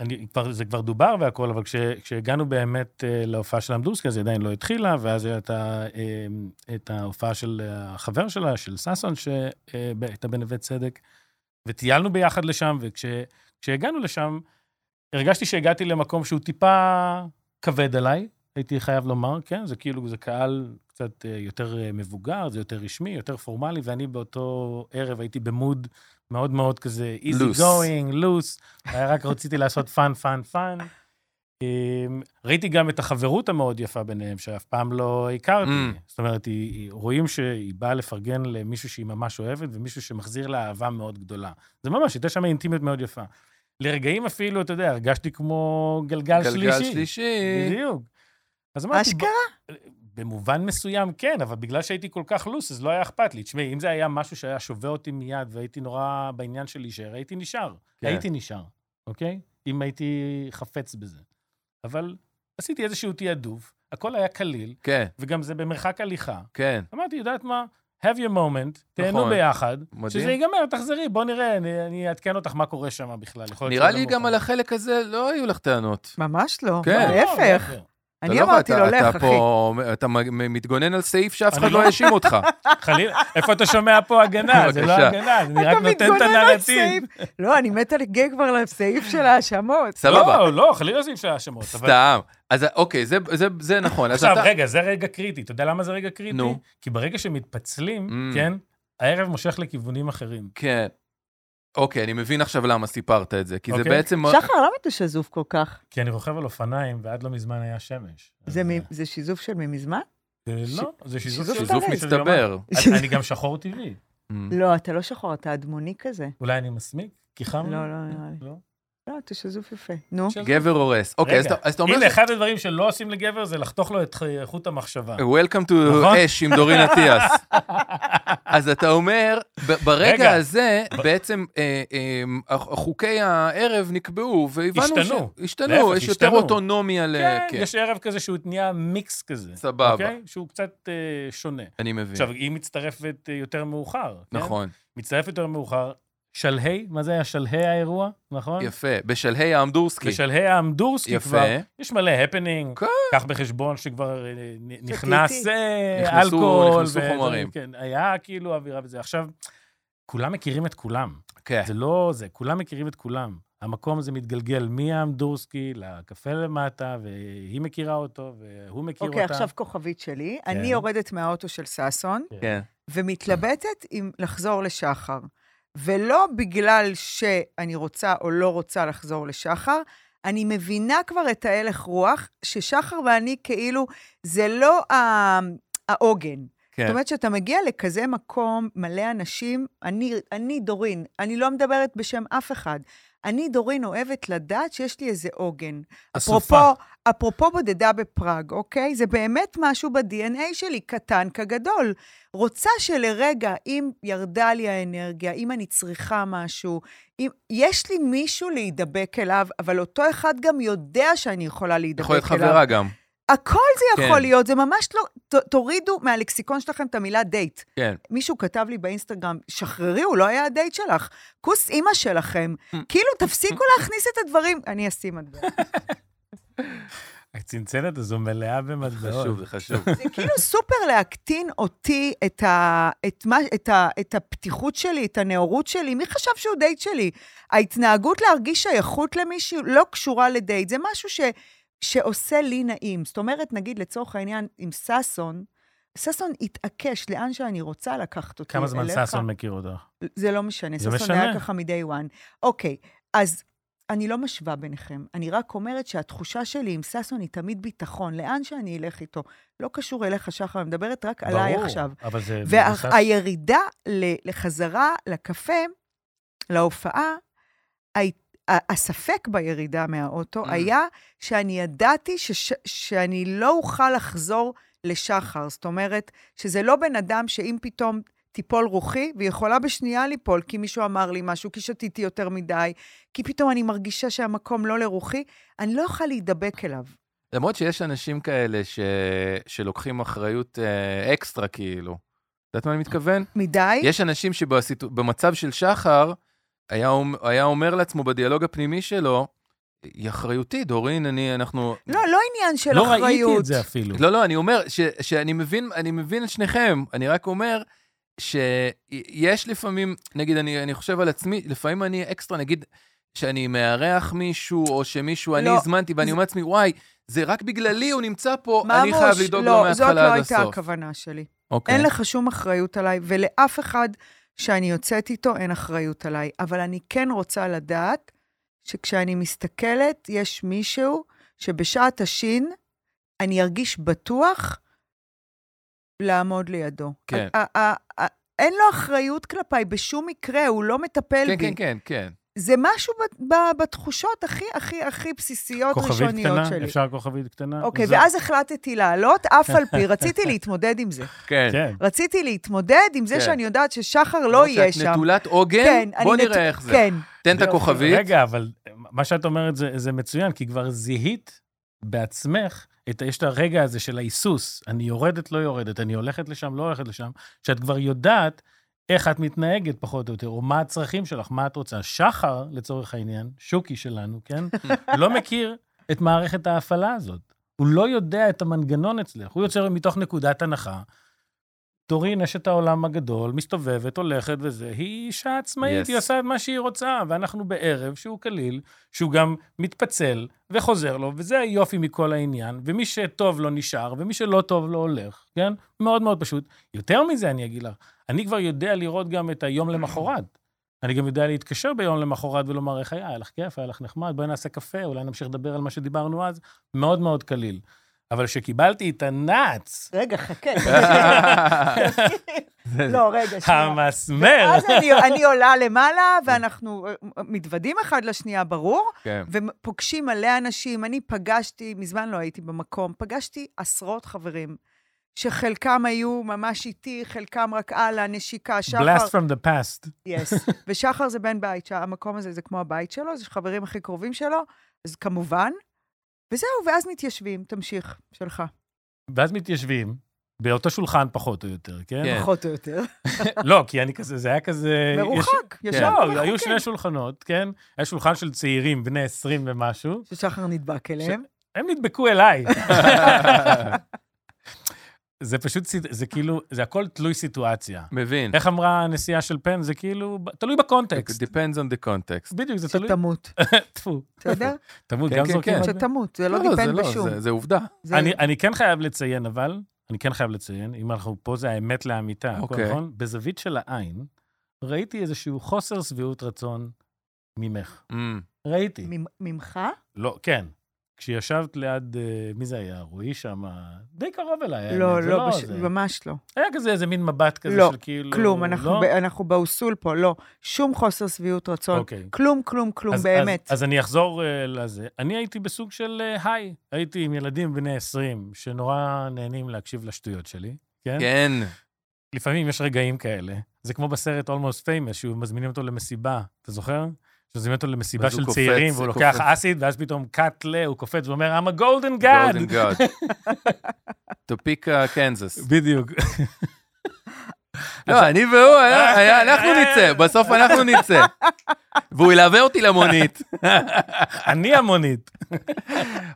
Speaker 3: אני, כבר, זה כבר דובר והכל, אבל כש, כשהגענו באמת אה, להופעה של אמדורסקי, אז היא עדיין לא התחילה, ואז הייתה אה, את ההופעה של החבר שלה, של ששון, אה, שהייתה בנווה צדק, וטיילנו ביחד לשם, וכשהגענו לשם, הרגשתי שהגעתי למקום שהוא טיפה כבד עליי, הייתי חייב לומר, כן, זה כאילו, זה קהל קצת אה, יותר אה, מבוגר, זה יותר רשמי, יותר פורמלי, ואני באותו ערב הייתי במוד מאוד מאוד כזה easy
Speaker 2: Loose.
Speaker 3: going, loose, היה רק רציתי לעשות פאן, פאן, פאן. ראיתי גם את החברות המאוד יפה ביניהם, שאף פעם לא הכרתי.
Speaker 2: Mm.
Speaker 3: זאת אומרת, היא, היא- רואים שהיא באה לפרגן למישהו שהיא ממש אוהבת, ומישהו שמחזיר לה אהבה מאוד גדולה. זה ממש, הייתה שם אינטימיות מאוד יפה. לרגעים אפילו, אתה יודע, הרגשתי כמו גלגל,
Speaker 2: גלגל שלישי.
Speaker 3: בדיוק. אז אמרתי...
Speaker 1: אשכרה?
Speaker 3: "בוא-" במובן מסוים כן, אבל בגלל שהייתי כל כך לוס, אז לא היה אכפת לי. תשמעי, אם זה היה משהו שהיה שובה אותי מיד והייתי נורא בעניין של להישאר, הייתי נשאר.
Speaker 2: כן.
Speaker 3: כן. הייתי נשאר, אוקיי? אם הייתי חפץ בזה. אבל עשיתי איזשהו תעדוף, הכל היה קליל,
Speaker 2: כן,
Speaker 3: וגם זה במרחק הליכה.
Speaker 2: כן.
Speaker 3: אמרתי, יודעת מה? have your moment, תהנו
Speaker 2: נכון.
Speaker 3: ביחד.
Speaker 2: מדהים.
Speaker 3: שזה ייגמר, תחזרי, בוא נראה, אני- אני אעדכן אותך מה קורה שם בכלל. יכול להיות
Speaker 2: נראה
Speaker 3: שלא
Speaker 2: לי גם
Speaker 3: מאוחר.
Speaker 2: על החלק הזה לא היו לך טענות.
Speaker 1: ממש לא.
Speaker 2: כן.
Speaker 3: לא, לא,
Speaker 1: להפך.
Speaker 3: להפך.
Speaker 2: אתה
Speaker 1: אני
Speaker 2: לא-
Speaker 1: אמרתי
Speaker 2: אתה-
Speaker 1: לו, לך,
Speaker 2: אתה
Speaker 1: אחי.
Speaker 2: פה, אתה מג- מתגונן על סעיף שאף
Speaker 3: אני
Speaker 2: אחד לא
Speaker 3: לא-
Speaker 2: האשים אותך.
Speaker 3: חלילה, איפה אתה שומע פה הגנה? זה לא
Speaker 2: בבקשה.
Speaker 3: הגנה, אני רק
Speaker 1: אתה
Speaker 3: נותן את
Speaker 1: מתגונן על
Speaker 3: הנרטיב.
Speaker 1: סעיף. לא, אני מתה לגג כבר לסעיף של ההאשמות.
Speaker 2: סבבה,
Speaker 3: לא, לא, חלילה זה אפשר האשמות. אבל-
Speaker 2: סתם. אז אוקיי, זה- זה- זה נכון. אז
Speaker 3: עכשיו,
Speaker 2: אתה-
Speaker 3: רגע, זה רגע קריטי. אתה יודע למה זה רגע קריטי?
Speaker 2: נו.
Speaker 3: כי ברגע שמתפצלים,
Speaker 2: Mm.
Speaker 3: כן, הערב מושך לכיוונים אחרים.
Speaker 2: כן. אוקיי, אני מבין עכשיו למה סיפרת את זה, כי זה
Speaker 3: אוקיי.
Speaker 2: בעצם...
Speaker 1: שחר, למה אתה שזוף כל כך?
Speaker 3: כי אני רוכב על אופניים, ועד לא מזמן היה שמש.
Speaker 1: זה
Speaker 3: אז,
Speaker 1: מ-
Speaker 3: אה,
Speaker 1: זה שיזוף של ממזמן?
Speaker 3: זה לא, זה שיזוף
Speaker 1: שיזוף
Speaker 3: של-
Speaker 2: שזוף
Speaker 1: טרי.
Speaker 3: של יומיים.
Speaker 2: מצטבר.
Speaker 3: אני- אני גם שחור טבעי.
Speaker 2: אמ,
Speaker 3: אה.
Speaker 1: לא, אתה לא שחור, אתה אדמוני כזה.
Speaker 3: אולי אני מסמיק? כי חם? לי?
Speaker 1: לא, לא, נראה לי.
Speaker 3: לא?
Speaker 1: לא, אתה שזוף יפה. נו,
Speaker 3: שזוף.
Speaker 2: גבר הורס. אוקיי, אז
Speaker 3: רגע,
Speaker 2: אתה- אז אתה אומר...
Speaker 3: הנה, אחד הדברים שלא עושים לגבר זה לחתוך לו את חי- חוט
Speaker 2: אה,
Speaker 3: המחשבה.
Speaker 2: Welcome to
Speaker 3: נכון?
Speaker 2: אש עם דורין אטיאס. אז אתה אומר, ב- ברגע
Speaker 3: רגע.
Speaker 2: הזה, בעצם אה, אה, הח- חוקי הערב נקבעו, והבנו
Speaker 3: השתנו.
Speaker 2: ש... השתנו.
Speaker 3: להפך,
Speaker 2: יש יותר
Speaker 3: השתנו.
Speaker 2: אוטונומיה ל...
Speaker 3: כן, יש ערב כזה שהוא נהיה מיקס כזה.
Speaker 2: סבבה.
Speaker 3: אוקיי? שהוא קצת אה, שונה.
Speaker 2: אני מבין.
Speaker 3: עכשיו, היא מצטרפת אה, יותר מאוחר. כן?
Speaker 2: נכון,
Speaker 3: מצטרף יותר מאוחר. שלהי, מה זה היה? שלהי האירוע, נכון?
Speaker 2: יפה. בשלהי האמדורסקי.
Speaker 3: בשלהי האמדורסקי
Speaker 2: יפה.
Speaker 3: כבר. יש מלא הפנינג.
Speaker 2: כן.
Speaker 3: קח בחשבון שכבר אה, נ- נכנס
Speaker 1: איטי.
Speaker 3: אה,
Speaker 2: נכנסו-
Speaker 3: אלכוהול.
Speaker 2: נכנסו
Speaker 3: ודברים,
Speaker 2: חומרים.
Speaker 3: כן, היה כאילו אווירה וזה. עכשיו, כולם מכירים את כולם.
Speaker 2: כן.
Speaker 3: זה לא זה, כולם מכירים את כולם. המקום הזה מתגלגל מהאמדורסקי לקפה למטה, והיא מכירה אותו, והוא מכיר
Speaker 1: אוקיי,
Speaker 3: אותה.
Speaker 1: עכשיו כוכבית שלי. אני
Speaker 3: כן.
Speaker 1: יורדת מהאוטו של ששון,
Speaker 2: כן.
Speaker 1: ומתלבטת אם לחזור לשחר. ולא בגלל שאני רוצה או לא רוצה לחזור לשחר, אני מבינה כבר את ההלך רוח, ששחר ואני כאילו, זה לא ה- העוגן.
Speaker 2: כן.
Speaker 1: זאת אומרת, כשאתה מגיע לכזה מקום מלא אנשים, אני, אני דורין, אני לא מדברת בשם אף אחד. אני, דורין, אוהבת לדעת שיש לי איזה עוגן.
Speaker 3: אסופה.
Speaker 1: אפרופו, אפרופו בודדה בפראג, אוקיי? זה באמת משהו ב-DNA שלי, קטן כגדול. רוצה שלרגע, אם ירדה לי האנרגיה, אם אני צריכה משהו, אם... יש לי מישהו להידבק אליו, אבל אותו אחד גם יודע שאני יכולה להידבק
Speaker 2: יכול
Speaker 1: אליו.
Speaker 2: להיות חברה גם.
Speaker 1: הכל זה יכול
Speaker 2: כן.
Speaker 1: כן. להיות, זה ממש לא... ת, תורידו מהלקסיקון שלכם את המילה דייט.
Speaker 2: כן.
Speaker 1: מישהו כתב לי באינסטגרם, שחררי, הוא לא היה הדייט שלך. כוס אימא שלכם.
Speaker 2: Mm.
Speaker 1: כאילו, תפסיקו להכניס את הדברים. אני אשים את זה.
Speaker 3: הצנצנת הזו מלאה במטבעות.
Speaker 2: חשוב, זה חשוב.
Speaker 1: זה כאילו סופר להקטין אותי, את, ה, את, מה, את, ה, את הפתיחות שלי, את הנאורות שלי. מי חשב שהוא דייט שלי? ההתנהגות להרגיש שייכות למישהו לא קשורה לדייט. זה משהו ש, שעושה לי נעים. זאת אומרת, נגיד, לצורך העניין, עם ששון, ששון התעקש לאן שאני רוצה לקחת אותי.
Speaker 3: כמה זמן
Speaker 1: אליך.
Speaker 3: ששון מכיר אותך?
Speaker 1: זה לא משנה,
Speaker 3: זה
Speaker 1: ששון היה
Speaker 3: משנה.
Speaker 1: ככה מ-day one. אוקיי, אז אני לא משווה ביניכם, אני רק אומרת שהתחושה שלי עם ששון היא תמיד ביטחון, לאן שאני אלך איתו. לא קשור אליך, שחר, אני מדברת רק עליי
Speaker 3: ברור,
Speaker 1: עכשיו.
Speaker 3: אבל זה... מבוסס-
Speaker 1: והירידה ל- לחזרה לקפה, להופעה, הי- ה- הספק בירידה מהאוטו
Speaker 3: אה.
Speaker 2: Mm.
Speaker 1: היה שאני ידעתי שש- שאני לא אוכל לחזור לשחר. זאת אומרת, שזה לא בן אדם שאם פתאום תיפול רוחי, ויכולה בשנייה ליפול, כי מישהו אמר לי משהו, כי שתיתי יותר מדי, כי פתאום אני מרגישה שהמקום לא לרוחי, אני לא אוכל להידבק אליו.
Speaker 2: למרות שיש אנשים כאלה ש... שלוקחים אחריות אה, אקסטרה, כאילו. את יודעת מה אני מתכוון?
Speaker 1: אוקיי. מדי,
Speaker 2: יש אנשים שבמצב של שחר, היה, אומ- היה אומר לעצמו בדיאלוג הפנימי שלו, היא אחריותית, דורין, אני, אנחנו...
Speaker 1: לא, לא עניין של
Speaker 3: לא
Speaker 1: אחריות.
Speaker 3: ראיתי את זה אפילו.
Speaker 2: לא, לא, אני אומר ש, שאני מבין, אני מבין את שניכם, אני רק אומר שיש לפעמים, נגיד, אני, אני חושב על עצמי, לפעמים אני אקסטרה, נגיד, שאני מארח מישהו, או שמישהו אני
Speaker 1: לא,
Speaker 2: הזמנתי, ואני
Speaker 1: זה-
Speaker 2: אומר לעצמי, וואי, זה רק בגללי, הוא נמצא פה, אני
Speaker 1: ממוש,
Speaker 2: חייב לדאוג לו
Speaker 1: לא, זאת לא
Speaker 2: מההתחלה עד הסוף.
Speaker 1: הייתה הכוונה שלי.
Speaker 2: אוקיי.
Speaker 1: אין לך שום אחריות עליי, ולאף אחד שאני יוצאת איתו אין אחריות עליי. אבל אני כן רוצה לדעת שכשאני מסתכלת, יש מישהו שבשעת השין אני ארגיש בטוח לעמוד לידו.
Speaker 2: כן.
Speaker 1: ה- ה- ה- אין לו אחריות כלפיי בשום מקרה, הוא לא מטפל בי.
Speaker 2: כן, כן, כן, כן.
Speaker 1: זה משהו ב- ב- בתחושות הכי הכי הכי
Speaker 2: לא
Speaker 1: בסיסיות,
Speaker 3: כוכבית
Speaker 1: ראשוניות
Speaker 3: קטנה?
Speaker 1: שלי.
Speaker 3: אפשר כוכבית קטנה?
Speaker 1: אוקיי,
Speaker 3: זה-
Speaker 1: ואז החלטתי לעלות, אף על פי, רציתי להתמודד עם זה.
Speaker 2: כן.
Speaker 3: כן.
Speaker 1: רציתי להתמודד עם זה
Speaker 2: כן.
Speaker 1: שאני יודעת ששחר לא יהיה
Speaker 2: את
Speaker 1: שם. כן,
Speaker 2: נטולת עוגן?
Speaker 1: אני
Speaker 2: בוא
Speaker 1: נטו-
Speaker 2: נראה איך זה.
Speaker 1: כן,
Speaker 2: תן את הכוכבית.
Speaker 3: רגע, אבל מה שאת אומרת זה, זה מצוין, כי כבר זיהית בעצמך, את, יש את הרגע הזה של ההיסוס, אני יורדת, לא יורדת, אני הולכת לשם, לא הולכת לשם, שאת כבר יודעת איך את מתנהגת פחות או יותר, או מה הצרכים שלך, מה את רוצה. שחר, לצורך העניין, שוקי שלנו, כן? לא מכיר את מערכת ההפעלה הזאת. הוא לא יודע את המנגנון אצלך. הוא יוצר מתוך נקודת הנחה. דורין, יש את העולם הגדול, מסתובבת, הולכת וזה, היא אישה עצמאית,
Speaker 2: Yes.
Speaker 3: היא עושה את מה שהיא רוצה, ואנחנו בערב שהוא קליל, שהוא גם מתפצל וחוזר לו, וזה היופי מכל העניין, ומי שטוב לו נשאר, ומי שלא טוב לו הולך, כן? מאוד מאוד פשוט. יותר מזה אני אגיד לך, אני כבר יודע לראות גם את היום למחרת. אני גם יודע להתקשר ביום למחרת ולומר, איך היה? היה לך כיף, היה לך נחמד, בואי נעשה קפה, אולי נמשיך לדבר על מה שדיברנו אז. מאוד מאוד קליל. אבל כשקיבלתי את הנאץ,
Speaker 1: רגע, חכה.
Speaker 2: זה-
Speaker 1: לא, רגע, שנייה.
Speaker 3: המסמר,
Speaker 1: אז אני, אני עולה למעלה, ואנחנו אה, מתוודים אחד לשנייה, ברור,
Speaker 2: כן.
Speaker 1: ופוגשים מלא אנשים. אני פגשתי, מזמן לא הייתי במקום, פגשתי עשרות חברים, שחלקם היו ממש איתי, חלקם רק על הנשיקה, שחר...
Speaker 3: blast from the past.
Speaker 1: יס. ושחר זה בן בית, המקום הזה זה כמו הבית שלו, זה חברים הכי קרובים שלו, אז כמובן. וזהו, ואז מתיישבים, תמשיך, שלך,
Speaker 3: ואז מתיישבים, באותו שולחן פחות או יותר, כן?
Speaker 2: כן.
Speaker 1: פחות או יותר.
Speaker 3: לא, כי אני כזה, זה היה כזה... יש-
Speaker 1: מרוחק, ישבנו
Speaker 3: לא, היו
Speaker 1: מרוחקים.
Speaker 3: שני שולחנות, כן? היה שולחן של צעירים, בני 20 ומשהו.
Speaker 1: כן. ששחר נדבק אליהם.
Speaker 3: הם נדבקו אליי. זה פשוט, סיט- זה כאילו, זה הכל תלוי סיטואציה.
Speaker 2: מבין.
Speaker 3: איך אמרה הנסיעה של פן? זה כאילו, ב- תלוי בקונטקסט.
Speaker 2: depends on the context.
Speaker 3: בדיוק, זה תלוי...
Speaker 1: שתמות,
Speaker 3: טפו.
Speaker 1: בסדר?
Speaker 3: תמות,
Speaker 2: כן,
Speaker 3: גם
Speaker 2: כן,
Speaker 3: זורקים.
Speaker 2: כן.
Speaker 3: על זה?
Speaker 1: שתמות, זה לא
Speaker 2: זה
Speaker 1: דיפנד בשום.
Speaker 2: זה- זה עובדה.
Speaker 1: זה-
Speaker 3: אני, אני כן חייב לציין, אבל, אני כן חייב לציין, אם אנחנו פה זה האמת לאמיתה, הכל
Speaker 2: אוקיי.
Speaker 3: נכון? בזווית של העין, ראיתי איזשהו חוסר שביעות רצון ממך.
Speaker 2: אמ,
Speaker 3: כן? ראיתי.
Speaker 1: ממ- ממך?
Speaker 3: לא, כן. כשישבת ליד, אה, מי זה היה? רועי שם, די קרוב אליי.
Speaker 1: לא,
Speaker 3: האמת, זה
Speaker 1: לא, בש-
Speaker 3: זה.
Speaker 1: ממש לא.
Speaker 3: היה כזה איזה מין מבט כזה
Speaker 1: לא,
Speaker 3: של כאילו...
Speaker 1: כלום, אנחנו
Speaker 3: לא?
Speaker 1: ב- אנחנו באוסול פה, לא. שום חוסר שביעות רצון.
Speaker 3: אוקיי.
Speaker 1: כלום, כלום, כלום,
Speaker 3: אז-
Speaker 1: באמת.
Speaker 3: אז, אז אני אחזור אה, לזה. אני הייתי בסוג של אה, היי. הייתי עם ילדים בני 20, שנורא נהנים להקשיב לשטויות שלי, כן?
Speaker 2: כן.
Speaker 3: לפעמים יש רגעים כאלה. זה כמו בסרט Almost Famous, שהוא מזמינים אותו למסיבה, אתה זוכר? שמזמינים אותו למסיבה
Speaker 2: אז הוא
Speaker 3: של
Speaker 2: קופץ,
Speaker 3: צעירים, והוא
Speaker 2: קופץ.
Speaker 3: לוקח אסיד, ואז פתאום קאטלה, הוא קופץ ואומר, I'm a golden
Speaker 2: גולדן
Speaker 3: god.
Speaker 2: גאד. טופיקה, קנזס.
Speaker 3: בדיוק.
Speaker 2: לא, אני והוא, היה- היה- אנחנו נצא, בסוף אנחנו נצא. והוא ילווה אותי למונית.
Speaker 3: אני המונית.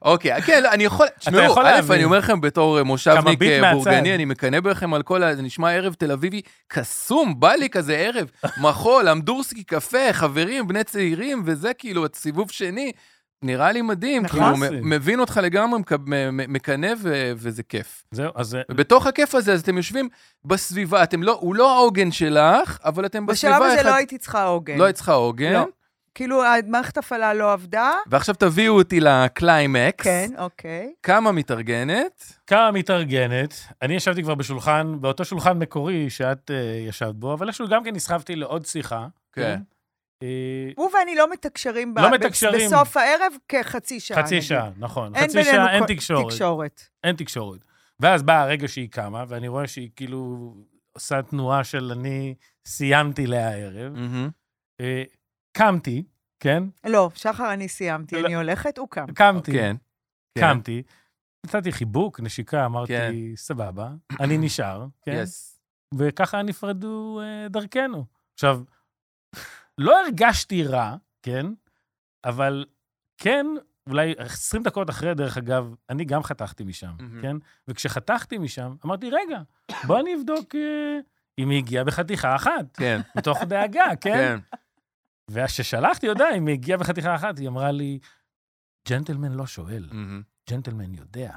Speaker 2: אוקיי, כן, לא, אני יכול, תשמעו,
Speaker 3: יכול
Speaker 2: א',
Speaker 3: להבין.
Speaker 2: אני אומר לכם בתור אה, מושבניק
Speaker 3: ביט
Speaker 2: אה,
Speaker 3: מהצד.
Speaker 2: בורגני, אני מקנא בכם על כל ה... זה נשמע ערב תל אביבי קסום, בא לי כזה ערב, מחול, אמדורסקי, קפה, חברים, בני צעירים, וזה כאילו, סיבוב שני. נראה לי מדהים,
Speaker 1: נכון.
Speaker 2: כאילו, מ-
Speaker 3: קלאסי.
Speaker 2: מבין אותך לגמרי, מק- מ- מ- מקנא ו- וזה כיף.
Speaker 3: זהו, אז אה,
Speaker 2: ובתוך הכיף הזה, אז אתם יושבים בסביבה, אתם לא, הוא לא העוגן שלך, אבל אתם בסביבה...
Speaker 1: בשלב הזה
Speaker 2: אחד-
Speaker 1: לא הייתי צריכה עוגן.
Speaker 2: לא היית צריכה עוגן,
Speaker 1: לא. כאילו, מערכת הפעלה לא עבדה?
Speaker 2: ועכשיו תביאו אותי לקליימקס.
Speaker 1: כן, אוקיי.
Speaker 2: כמה מתארגנת?
Speaker 3: כמה מתארגנת, אני ישבתי כבר בשולחן, באותו שולחן מקורי שאת אה, ישבת בו, אבל איכשהו גם כן נסחבתי לעוד שיחה.
Speaker 2: כן.
Speaker 3: אה,
Speaker 1: הוא ואני לא מתקשרים ב-
Speaker 3: לא
Speaker 1: ב-
Speaker 3: מתקשרים.
Speaker 1: בסוף הערב כחצי שעה.
Speaker 3: חצי
Speaker 1: נגיד.
Speaker 3: שעה, נכון.
Speaker 1: אין
Speaker 3: חצי שעה,
Speaker 1: בינינו
Speaker 3: אין
Speaker 1: כל-
Speaker 3: תקשורת.
Speaker 1: תקשורת.
Speaker 3: אין תקשורת. ואז בא הרגע שהיא קמה, ואני רואה שהיא כאילו עושה תנועה של אני סיימתי להערב.
Speaker 2: מהמם.
Speaker 3: אה, קמתי, כן?
Speaker 1: לא, שחר, אני סיימתי,
Speaker 3: לא.
Speaker 1: אני הולכת, הוא קם.
Speaker 3: קמתי,
Speaker 2: כן. כן.
Speaker 3: קמתי. נתתי חיבוק, נשיקה,
Speaker 2: כן.
Speaker 3: אמרתי, סבבה, אני נשאר, כן?
Speaker 2: יס.
Speaker 3: וככה נפרדו אה, דרכנו. עכשיו, לא הרגשתי רע, כן? אבל כן, אולי 20 דקות אחרי, דרך אגב, אני גם חתכתי משם,
Speaker 2: מהמם.
Speaker 3: כן? וכשחתכתי משם, אמרתי, רגע, בוא אני אבדוק אה, אם היא הגיעה בחתיכה אחת,
Speaker 2: כן,
Speaker 3: מתוך דאגה, כן?
Speaker 2: כן.
Speaker 3: וכששלחתי הודעה, אם היא הגיעה בחתיכה אחת, היא אמרה לי, ג'נטלמן לא שואל,
Speaker 2: מהמם.
Speaker 3: ג'נטלמן יודע.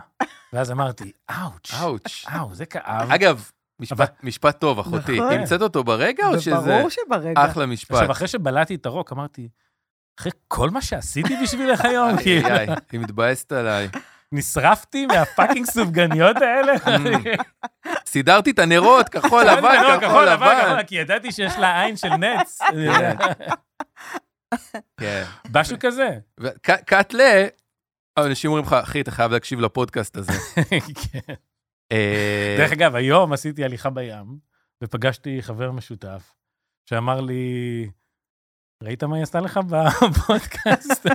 Speaker 3: ואז אמרתי, אאוץ',
Speaker 2: אאוץ'.
Speaker 3: אאו, זה כאב.
Speaker 2: אגב, משפט-
Speaker 3: אבל-
Speaker 2: משפט טוב, אחותי.
Speaker 1: נכון.
Speaker 2: המצאת אותו ברגע או שזה
Speaker 1: ברור שברגע.
Speaker 2: אחלה משפט?
Speaker 3: עכשיו, אחרי שבלעתי את הרוק, אמרתי, אחרי כל מה שעשיתי בשבילך היום,
Speaker 2: איי,
Speaker 3: כאילו,
Speaker 2: איי, היא מתבאסת עליי.
Speaker 3: נשרפתי מהפאקינג סופגניות האלה.
Speaker 1: Mm.
Speaker 2: סידרתי את הנרות, כחול
Speaker 3: לא,
Speaker 2: לבן, כחול לבן.
Speaker 3: כי ידעתי שיש לה עין של נץ. אני יודע.
Speaker 2: כן.
Speaker 3: משהו כזה.
Speaker 2: וק- קאטלה, אה, אנשים אומרים לך, אחי, אתה חייב להקשיב לפודקאסט הזה.
Speaker 3: כן.
Speaker 2: אה,
Speaker 3: דרך אגב, היום עשיתי הליכה בים, ופגשתי חבר משותף, שאמר לי, ראית מה היא עשתה לך בפודקאסט?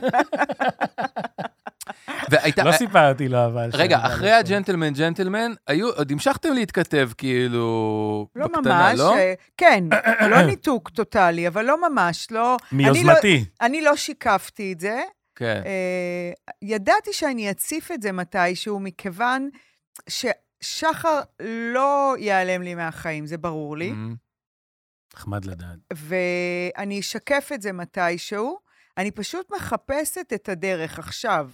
Speaker 2: והייתה- אה,
Speaker 3: לא סיפרתי לו, אבל...
Speaker 2: רגע,
Speaker 3: שאני בא
Speaker 2: אחרי
Speaker 3: לפה.
Speaker 2: הג'נטלמן ג'נטלמן, היו- עוד המשכתם להתכתב כאילו
Speaker 1: לא
Speaker 2: בקטנה,
Speaker 1: ממש,
Speaker 2: לא?
Speaker 1: אה, כן, לא ניתוק טוטאלי, אבל לא ממש, לא... אני לא-
Speaker 3: מיוזמתי.
Speaker 1: אני לא שיקפתי את זה,
Speaker 2: כן.
Speaker 1: אה, ידעתי שאני אציף את זה מתישהו, מכיוון ששחר לא ייעלם לי מהחיים, זה ברור לי,
Speaker 2: אמ,
Speaker 3: נחמד לדעת.
Speaker 1: ואני אשקף את זה מתישהו. אני פשוט מחפשת את הדרך עכשיו.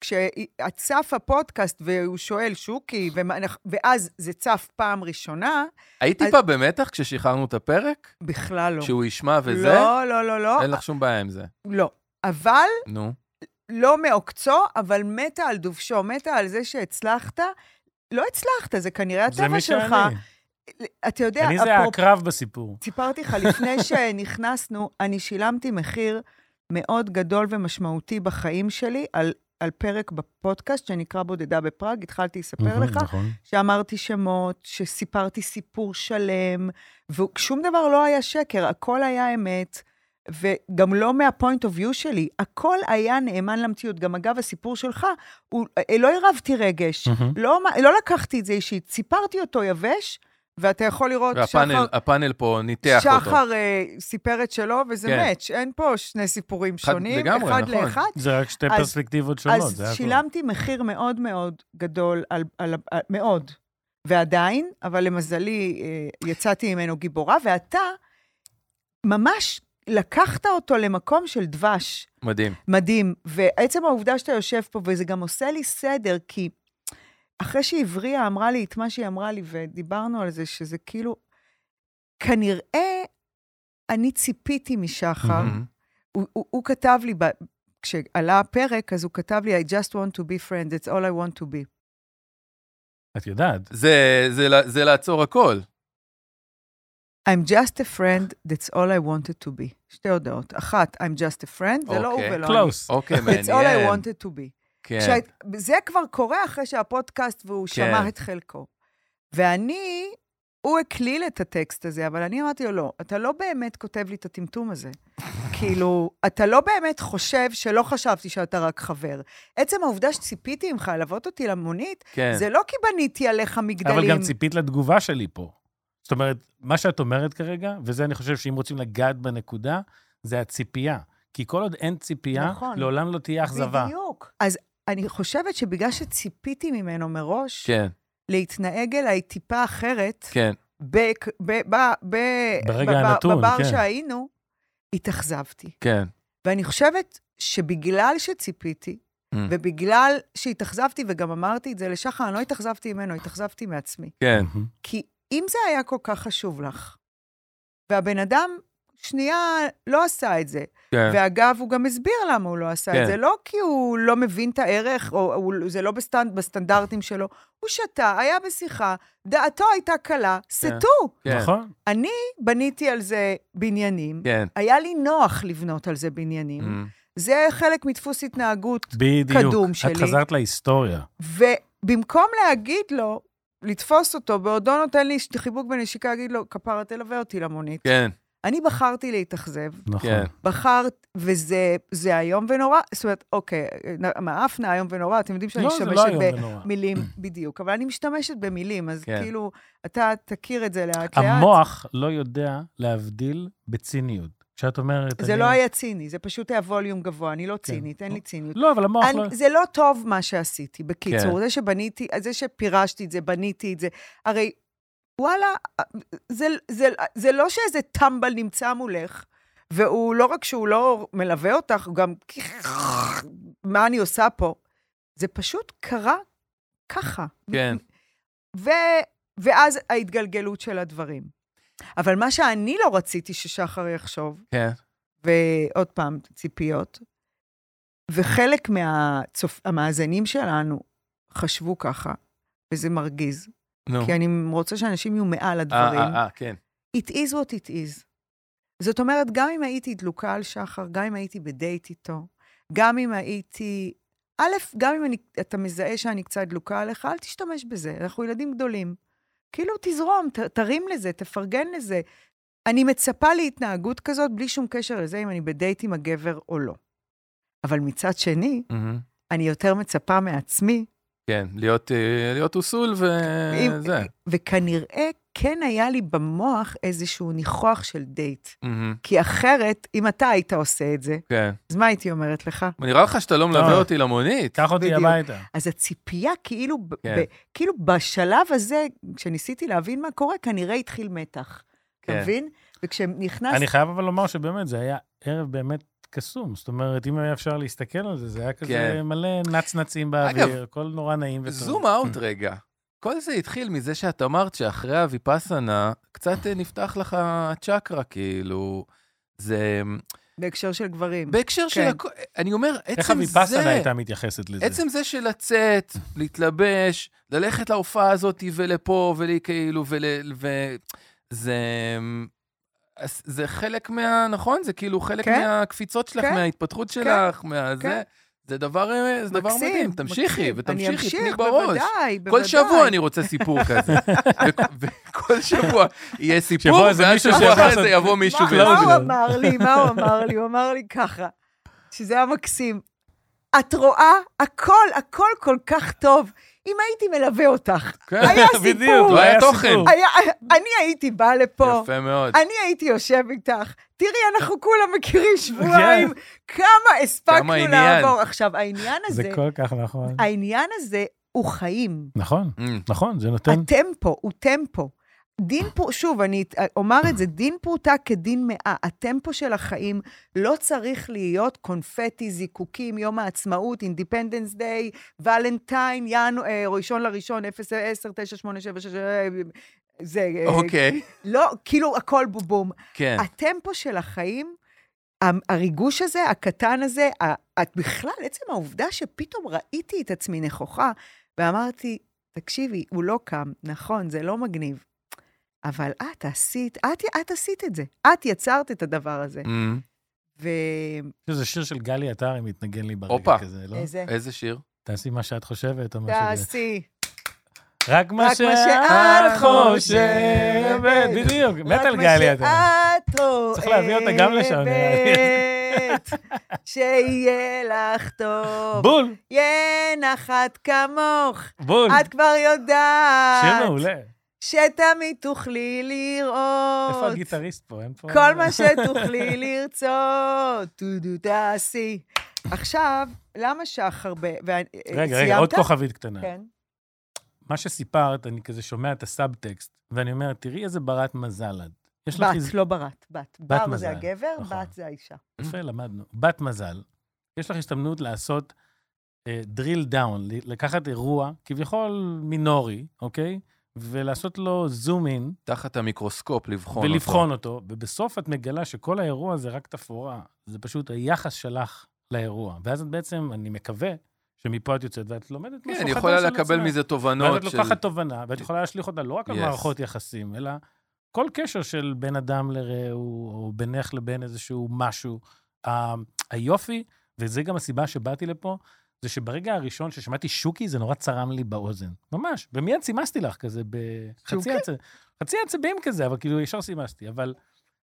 Speaker 1: כשצף הפודקאסט והוא שואל, שוקי, ומה- ואז זה צף פעם ראשונה,
Speaker 2: היית
Speaker 1: אז-
Speaker 2: טיפה במתח כששחררנו את הפרק?
Speaker 1: בכלל לא.
Speaker 2: שהוא ישמע וזה?
Speaker 1: לא, לא, לא, לא,
Speaker 2: אין לך שום בעיה עם זה.
Speaker 1: לא. אבל
Speaker 2: נו.
Speaker 1: לא מעוקצו, אבל מתה על דובשו, מתה על זה שהצלחת. לא הצלחת, זה כנראה
Speaker 3: זה
Speaker 1: הטבע
Speaker 3: מי
Speaker 1: שלך.
Speaker 3: שאני.
Speaker 1: אתה יודע,
Speaker 3: אני זה
Speaker 1: אפרופו-
Speaker 3: הקרב בסיפור.
Speaker 1: סיפרתי לך לפני שנכנסנו, אני שילמתי מחיר מאוד גדול ומשמעותי בחיים שלי על, על פרק בפודקאסט שנקרא בודדה בפראג, התחלתי לספר לך,
Speaker 3: נכון.
Speaker 1: שאמרתי שמות, שסיפרתי סיפור שלם, ושום דבר לא היה שקר, הכל היה אמת, וגם לא מהפוינט אוף יו שלי, הכל היה נאמן למציאות. גם אגב, הסיפור שלך, הוא, אה, לא הרבתי רגש,
Speaker 3: מהמם.
Speaker 1: לא, מה- לא לקחתי את זה אישית, סיפרתי אותו יבש, ואתה יכול לראות
Speaker 2: והפאנל הפאנל פה ניתח אותו.
Speaker 1: שחר אה, סיפר את שלו, וזה
Speaker 2: כן.
Speaker 1: מאץ', אין פה שני סיפורים
Speaker 2: אחד-
Speaker 1: שונים,
Speaker 2: לגמרי,
Speaker 1: אחד
Speaker 2: נכון.
Speaker 1: לאחד.
Speaker 3: זה רק שתי
Speaker 1: אז-
Speaker 3: פרספקטיבות שונות,
Speaker 1: אז
Speaker 3: זה הכול.
Speaker 1: שילמתי מחיר מאוד מאוד גדול, על, על, על, מאוד, ועדיין, אבל למזלי אה, יצאתי ממנו גיבורה, ואתה ממש לקחת אותו למקום של דבש.
Speaker 2: מדהים.
Speaker 1: מדהים. ועצם העובדה שאתה יושב פה, וזה גם עושה לי סדר, כי אחרי שהבריה אמרה לי את מה שהיא אמרה לי, ודיברנו על זה, שזה כאילו, כנראה אני ציפיתי משחר.
Speaker 2: אמ,
Speaker 1: הוא, הוא, הוא כתב לי, ב, כשעלה הפרק, אז הוא כתב לי, I just want to be friend, that's all I want to be.
Speaker 3: את יודעת.
Speaker 2: זה- זה לה- זה לעצור הכל.
Speaker 1: I'm just a friend, that's all I wanted to be. שתי הודעות. אחת, I'm just a friend, זה לא הוא
Speaker 2: אוקיי.
Speaker 1: ולא אני.
Speaker 3: קלוס.
Speaker 2: אוקיי, מעניין.
Speaker 1: That's all I wanted to be.
Speaker 2: כן.
Speaker 1: כשהיית- זה כבר קורה אחרי שהפודקאסט והוא
Speaker 2: כן.
Speaker 1: שמע את חלקו. ואני, הוא הקליל את הטקסט הזה, אבל אני אמרתי לו, לא, אתה לא באמת כותב לי את הטמטום הזה. כאילו, אתה לא באמת חושב שלא חשבתי שאתה רק חבר. עצם העובדה שציפיתי ממך ללוות אותי למונית,
Speaker 2: כן.
Speaker 1: זה לא כי בניתי עליך מגדלים.
Speaker 3: אבל גם ציפית לתגובה שלי פה. זאת אומרת, מה שאת אומרת כרגע, וזה אני חושב שאם רוצים לגעת בנקודה, זה הציפייה. כי כל עוד אין ציפייה,
Speaker 1: נכון.
Speaker 3: לעולם לא תהיה אכזבה.
Speaker 1: בדיוק. אז אני חושבת שבגלל שציפיתי ממנו מראש,
Speaker 2: כן,
Speaker 1: להתנהג אליי טיפה אחרת,
Speaker 2: כן.
Speaker 1: בק- ב- ב- ב-
Speaker 3: ברגע
Speaker 1: בב-
Speaker 3: הנתון,
Speaker 1: בבר
Speaker 3: כן.
Speaker 1: שהיינו, התאכזבתי.
Speaker 2: כן.
Speaker 1: ואני חושבת שבגלל שציפיתי,
Speaker 2: Mm.
Speaker 1: ובגלל שהתאכזבתי, וגם אמרתי את זה לשחר, אני לא התאכזבתי ממנו, התאכזבתי מעצמי.
Speaker 2: כן.
Speaker 3: מהמם.
Speaker 1: כי אם זה היה כל כך חשוב לך, והבן אדם שנייה לא עשה את זה,
Speaker 2: כן.
Speaker 1: ואגב, הוא גם הסביר למה הוא לא עשה
Speaker 2: כן.
Speaker 1: את זה. לא כי הוא לא מבין את הערך, או הוא, זה לא בסטנד, בסטנדרטים שלו. הוא שתה, היה בשיחה, דעתו הייתה קלה, סטו.
Speaker 2: כן.
Speaker 3: נכון?
Speaker 1: אני בניתי על זה בניינים.
Speaker 2: כן.
Speaker 1: היה לי נוח לבנות על זה בניינים.
Speaker 2: אמ,
Speaker 1: זה חלק מדפוס התנהגות.
Speaker 3: בדיוק.
Speaker 1: קדום
Speaker 3: את
Speaker 1: שלי.
Speaker 3: חזרת להיסטוריה.
Speaker 1: ובמקום להגיד לו, לתפוס אותו, בעודו נותן לי ש- חיבוק בנשיקה, להגיד לו, כפרה, תלווה אותי למונית.
Speaker 2: כן.
Speaker 1: אני בחרתי להתאכזב.
Speaker 3: נכון.
Speaker 2: כן.
Speaker 1: בחרת, וזה זה איום ונורא, זאת אומרת, אוקיי, נ- מעפנה איום ונורא, אתם יודעים שאני
Speaker 3: לא, זה לא
Speaker 1: משתמשת
Speaker 3: איום ונורא.
Speaker 1: במילים בדיוק, אבל אני משתמשת במילים, אז
Speaker 2: כן.
Speaker 1: כאילו, אתה תכיר את זה לאט-לאט.
Speaker 3: המוח לא יודע להבדיל בציניות. כשאת אומרת...
Speaker 1: זה
Speaker 3: אני- כן.
Speaker 1: לא היה ציני, זה פשוט היה ווליום גבוה, אני לא צינית, אין לי ציניות.
Speaker 3: לא, אבל המוח לא...
Speaker 1: אני, זה לא טוב מה שעשיתי, בקיצור. זה שבניתי, זה שפירשתי את זה, בניתי את זה. הרי, וואלה, זה, זה, זה לא שאיזה טמבל נמצא מולך, והוא לא רק שהוא לא מלווה אותך, הוא גם... מה אני עושה פה? זה פשוט קרה ככה.
Speaker 2: כן.
Speaker 1: ו, ואז ההתגלגלות של הדברים. אבל מה שאני לא רציתי ששחר יחשוב,
Speaker 2: כן.
Speaker 1: ועוד פעם, ציפיות. וחלק מהמאזינים שלנו חשבו ככה, וזה מרגיז,
Speaker 2: נו.
Speaker 1: כי אני רוצה שאנשים יהיו מעל
Speaker 2: אה,
Speaker 1: הדברים.
Speaker 2: אה, אה, כן.
Speaker 1: It is what it is. זאת אומרת, גם אם הייתי דלוקה על שחר, גם אם הייתי בדייט איתו, גם אם הייתי... א', גם אם אני, אתה מזהה שאני קצת דלוקה עליך, אל תשתמש בזה, אנחנו ילדים גדולים. כאילו, תזרום, ת, תרים לזה, תפרגן לזה. אני מצפה להתנהגות כזאת בלי שום קשר לזה אם אני בדייט עם הגבר או לא. אבל מצד שני,
Speaker 2: אמ,
Speaker 1: אני יותר מצפה מעצמי,
Speaker 2: כן. להיות, אה, להיות אוסול
Speaker 1: אם-
Speaker 2: וזה.
Speaker 1: וכנראה כן היה לי במוח איזשהו ניחוח של דייט.
Speaker 2: מהמם.
Speaker 1: כי אחרת, אם אתה היית עושה את זה,
Speaker 2: Mm-hmm, כן.
Speaker 1: אז מה הייתי אומרת לך?
Speaker 2: נראה לך שאתה לא מלווה
Speaker 3: לא.
Speaker 2: אותי למונית?
Speaker 3: קח אותי
Speaker 1: בדיוק.
Speaker 3: הביתה.
Speaker 1: אז הציפייה, כאילו, ב-
Speaker 2: כן.
Speaker 1: ב- כאילו בשלב הזה, כשניסיתי להבין מה קורה, כנראה התחיל מתח. אתה
Speaker 2: כן.
Speaker 1: מבין? וכשנכנס...
Speaker 3: אני חייב אבל לומר שבאמת, זה היה ערב באמת קסום. זאת אומרת, אם היה אפשר להסתכל על זה, זה היה כזה
Speaker 2: כן.
Speaker 3: מלא נצנצים
Speaker 2: אגב,
Speaker 3: באוויר, הכל נורא נעים וטוב.
Speaker 2: זום אאוט רגע. כל זה התחיל מזה שאת אמרת שאחרי הוויפאסנה, קצת אה, נפתח לך הצ'קרה, כאילו. זה... mm,
Speaker 1: בהקשר של גברים.
Speaker 2: בהקשר של
Speaker 1: כן.
Speaker 2: הכל... אני אומר, עצם
Speaker 3: איך
Speaker 2: זה...
Speaker 3: הוויפאסנה הייתה מתייחסת לזה?
Speaker 2: עצם זה של לצאת, להתלבש, ללכת להופעה הזאת ולפה ולכאילו ול... ו... זה... אז זה חלק מה... נכון? זה כאילו חלק
Speaker 1: כן.
Speaker 2: מהקפיצות שלך,
Speaker 1: כן.
Speaker 2: מההתפתחות שלך, מהזה.
Speaker 1: כן.
Speaker 2: זה דבר, אה, זה דבר
Speaker 1: מקסים,
Speaker 2: מדהים. תמשיכי,
Speaker 1: מקסים. אני
Speaker 2: ותמשיכי, תני
Speaker 1: אמשיך,
Speaker 2: בראש.
Speaker 1: בוודאי, בוודאי.
Speaker 2: כל שבוע אני רוצה סיפור כזה. וכ- וכל שבוע יהיה סיפור,
Speaker 3: שבוע איזה
Speaker 2: ואז
Speaker 3: מישהו
Speaker 2: שבוע
Speaker 3: שיעשה
Speaker 2: אחרי
Speaker 3: לעשות-
Speaker 2: זה יבוא מישהו לא
Speaker 1: מה, מה הוא
Speaker 3: קלאוזנר.
Speaker 1: אמר לי? מה הוא אמר לי? הוא אמר לי ככה, שזה היה מקסים. את רואה, הכל, הכל כל כך טוב. אם הייתי מלווה אותך,
Speaker 2: כן.
Speaker 1: היה
Speaker 3: בדיוק,
Speaker 1: סיפור.
Speaker 2: לא היה
Speaker 3: היה
Speaker 2: תוכן.
Speaker 3: סיפור.
Speaker 1: היה, אני הייתי באה לפה,
Speaker 2: יפה מאוד.
Speaker 1: אני הייתי יושב איתך. תראי, אנחנו כולם מכירים שבועיים, כמה
Speaker 2: כמה
Speaker 1: הספקנו
Speaker 2: עניין.
Speaker 1: לעבור. עכשיו, העניין
Speaker 3: זה
Speaker 1: הזה,
Speaker 3: כל כך נכון.
Speaker 1: העניין הזה הוא חיים.
Speaker 3: נכון,
Speaker 2: אמ,
Speaker 3: נכון, זה נותן...
Speaker 1: הטמפו הוא טמפו. דין פור, שוב, אני את- אומר את זה, דין פרוטה כדין מאה. הטמפו של החיים לא צריך להיות קונפטי, זיקוקים, יום העצמאות, אינדיפנדנס דיי, ולנטיין, ינואר, אה, ראשון לראשון, 010, 987, זה... אה,
Speaker 2: אוקיי,
Speaker 1: לא, כאילו הכל בובום.
Speaker 2: כן.
Speaker 1: הטמפו של החיים, ה- הריגוש הזה, הקטן הזה, ה- את בכלל, עצם העובדה שפתאום ראיתי את עצמי נכוחה, ואמרתי, תקשיבי, הוא לא קם, נכון, זה לא מגניב, אבל את עשית, את, את עשית את זה, את יצרת את הדבר הזה.
Speaker 2: אמ,
Speaker 1: ואיזה...
Speaker 3: זה שיר של גלי עטר, אם מתנגן לי ברגע
Speaker 2: הופה.
Speaker 3: כזה, לא?
Speaker 2: איזה שיר?
Speaker 3: תעשי מה שאת חושבת, או מה שזה.
Speaker 1: תעשי.
Speaker 3: רק מה
Speaker 1: מה
Speaker 3: שאת
Speaker 1: שאת
Speaker 3: חושבת.
Speaker 1: חושבת.
Speaker 3: בדיוק, מת על
Speaker 1: רק מה אה,
Speaker 3: גלי עטר.
Speaker 1: שאת אוהבת.
Speaker 3: צריך להביא אותה גם לשם, נראה
Speaker 1: שיהיה לך טוב.
Speaker 3: בול,
Speaker 1: ינחת כמוך.
Speaker 3: בול.
Speaker 1: את כבר יודעת.
Speaker 3: שיר מעולה.
Speaker 1: שתמיד תוכלי לראות.
Speaker 3: איפה הגיטריסט פה? אין פה...
Speaker 1: כל מה שתוכלי לרצות, תודו תעשי. עכשיו, למה שחר ב... וה-
Speaker 3: רגע, רגע,
Speaker 1: סיימת?
Speaker 3: עוד כוכבית קטנה.
Speaker 1: כן.
Speaker 3: מה שסיפרת, אני כזה שומע את הסאבטקסט, ואני אומר, תראי איזה ברת מזל את. יש לך
Speaker 1: בת,
Speaker 3: הזדמנות...
Speaker 1: לא ברת, בת. בר
Speaker 3: מזל,
Speaker 1: זה הגבר,
Speaker 3: נכון.
Speaker 1: בת זה האישה.
Speaker 3: יפה, למדנו. בת מזל, יש לך הזדמנות לעשות אה, drill down, ל- לקחת אירוע, כביכול מינורי, אוקיי? ולעשות לו זום אין,
Speaker 2: תחת המיקרוסקופ לבחון אותו.
Speaker 3: ולבחון אותו, ובסוף את מגלה שכל האירוע זה רק תפאורה, זה פשוט היחס שלך לאירוע. ואז את בעצם, אני מקווה, שמפה את יוצאת ואת לומדת
Speaker 2: כן,
Speaker 3: משהו חדש
Speaker 2: אני
Speaker 3: על
Speaker 2: יכולה לקבל
Speaker 3: עצמך.
Speaker 2: מזה
Speaker 3: ואז
Speaker 2: תובנות
Speaker 3: את
Speaker 2: של...
Speaker 3: לוקחת תובנה, ואת יכולה להשליך אותה לא רק על
Speaker 2: Yes.
Speaker 3: מערכות יחסים, אלא כל קשר של בין אדם לרעהו, או בינך לבין איזשהו משהו. ה- היופי, וזה גם הסיבה שבאתי לפה, זה שברגע הראשון ששמעתי שוקי, זה נורא צרם לי באוזן. ממש. ומיד סימסתי לך כזה בחצי
Speaker 1: שוקי?
Speaker 3: עצב... חצי עצבים כזה, אבל כאילו ישר סימסתי. אבל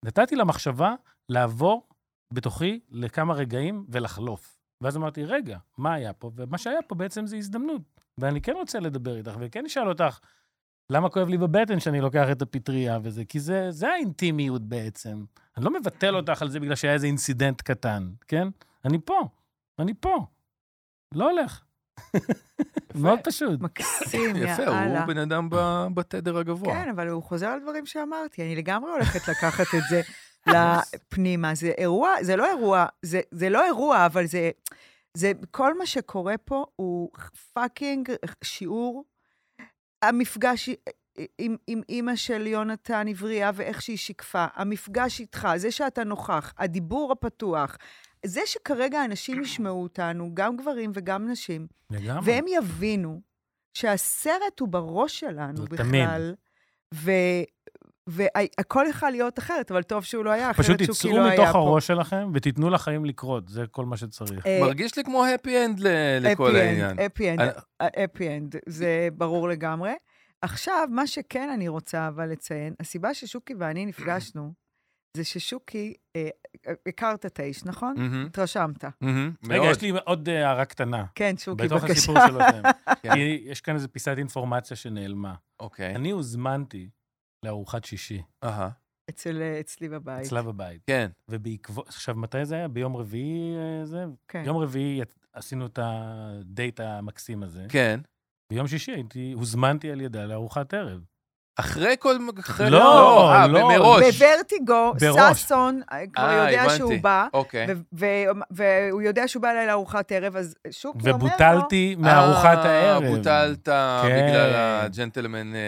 Speaker 3: נתתי למחשבה לעבור בתוכי לכמה רגעים ולחלוף. ואז אמרתי, רגע, מה היה פה? ומה שהיה פה בעצם זה הזדמנות. ואני כן רוצה לדבר איתך, וכן אשאל אותך, למה כואב לי בבטן שאני לוקח את הפטריה וזה? כי זה, זה האינטימיות בעצם. אני לא
Speaker 1: Mm.
Speaker 3: מבטל אותך על זה בגלל שהיה איזה אינסידנט קטן, כן? אני פה, אני פה. לא הולך. מאוד פשוט.
Speaker 1: מקסים, יא
Speaker 2: יפה,
Speaker 1: אללה.
Speaker 2: הוא בן אדם ב- בתדר הגבוה.
Speaker 1: כן, אבל הוא חוזר על דברים שאמרתי, אני לגמרי הולכת לקחת את זה לפנימה. זה אירוע, זה לא אירוע, זה, זה לא אירוע, אבל זה, זה, כל מה שקורה פה הוא פאקינג שיעור. המפגש עם, עם אימא של יונתן עבריה ואיך שהיא שיקפה, המפגש איתך, זה שאתה נוכח, הדיבור הפתוח, זה שכרגע אנשים ישמעו אותנו, גם גברים וגם נשים,
Speaker 3: לגמרי.
Speaker 1: והם יבינו שהסרט הוא בראש שלנו
Speaker 3: זה
Speaker 1: בכלל, והכל יכול להיות אחרת, אבל טוב שהוא לא היה, אחרת
Speaker 3: פשוט
Speaker 1: שוקי לא היה פה.
Speaker 3: תצאו מתוך הראש שלכם ותיתנו לחיים לקרות, זה כל מה שצריך.
Speaker 1: אה,
Speaker 2: מרגיש לי כמו happy end ל- לכל
Speaker 1: happy end, אה?
Speaker 2: העניין.
Speaker 1: happy
Speaker 2: אני-
Speaker 1: end, אה, happy end, זה ברור לגמרי. עכשיו, מה שכן אני רוצה אבל לציין, הסיבה ששוקי ואני נפגשנו, זה ששוקי, אה, אה, הכרת את האיש, נכון?
Speaker 2: מהמם,
Speaker 1: התרשמת.
Speaker 2: מהמם, מאוד.
Speaker 3: רגע, יש לי עוד אה, הערה קטנה.
Speaker 1: כן, שוקי,
Speaker 3: בתוך
Speaker 1: בבקשה.
Speaker 3: הסיפור שלכם.
Speaker 2: כן.
Speaker 1: כן.
Speaker 3: כי יש כאן איזו פיסת אינפורמציה שנעלמה.
Speaker 2: אוקיי.
Speaker 3: אני הוזמנתי לארוחת שישי,
Speaker 2: אהה,
Speaker 1: אצל, אה, אצלי בבית.
Speaker 3: אצלה בבית.
Speaker 2: כן.
Speaker 3: ובעקבות, עכשיו, מתי זה היה? ביום רביעי אה, זה?
Speaker 1: כן.
Speaker 3: יום רביעי ית- עשינו את הדייט המקסים הזה.
Speaker 2: כן.
Speaker 3: ביום שישי הייתי, הוזמנתי על ידה לארוחת ערב.
Speaker 2: כן, אחרי כל... אחרי-
Speaker 3: לא,
Speaker 2: אה,
Speaker 3: לא.
Speaker 2: מראש.
Speaker 1: בוורטיגו,
Speaker 3: בראש.
Speaker 1: ששון אה, כבר
Speaker 2: אה,
Speaker 1: יודע
Speaker 2: הבנתי.
Speaker 1: שהוא בא,
Speaker 2: אוקיי.
Speaker 1: ו- ו- והוא יודע שהוא בא אליי לארוחת ערב, אז שוקי אומר לו...
Speaker 3: ובוטלתי מארוחת
Speaker 2: אה,
Speaker 3: הערב. כן.
Speaker 2: בוטלת בגלל הג'נטלמן... אה,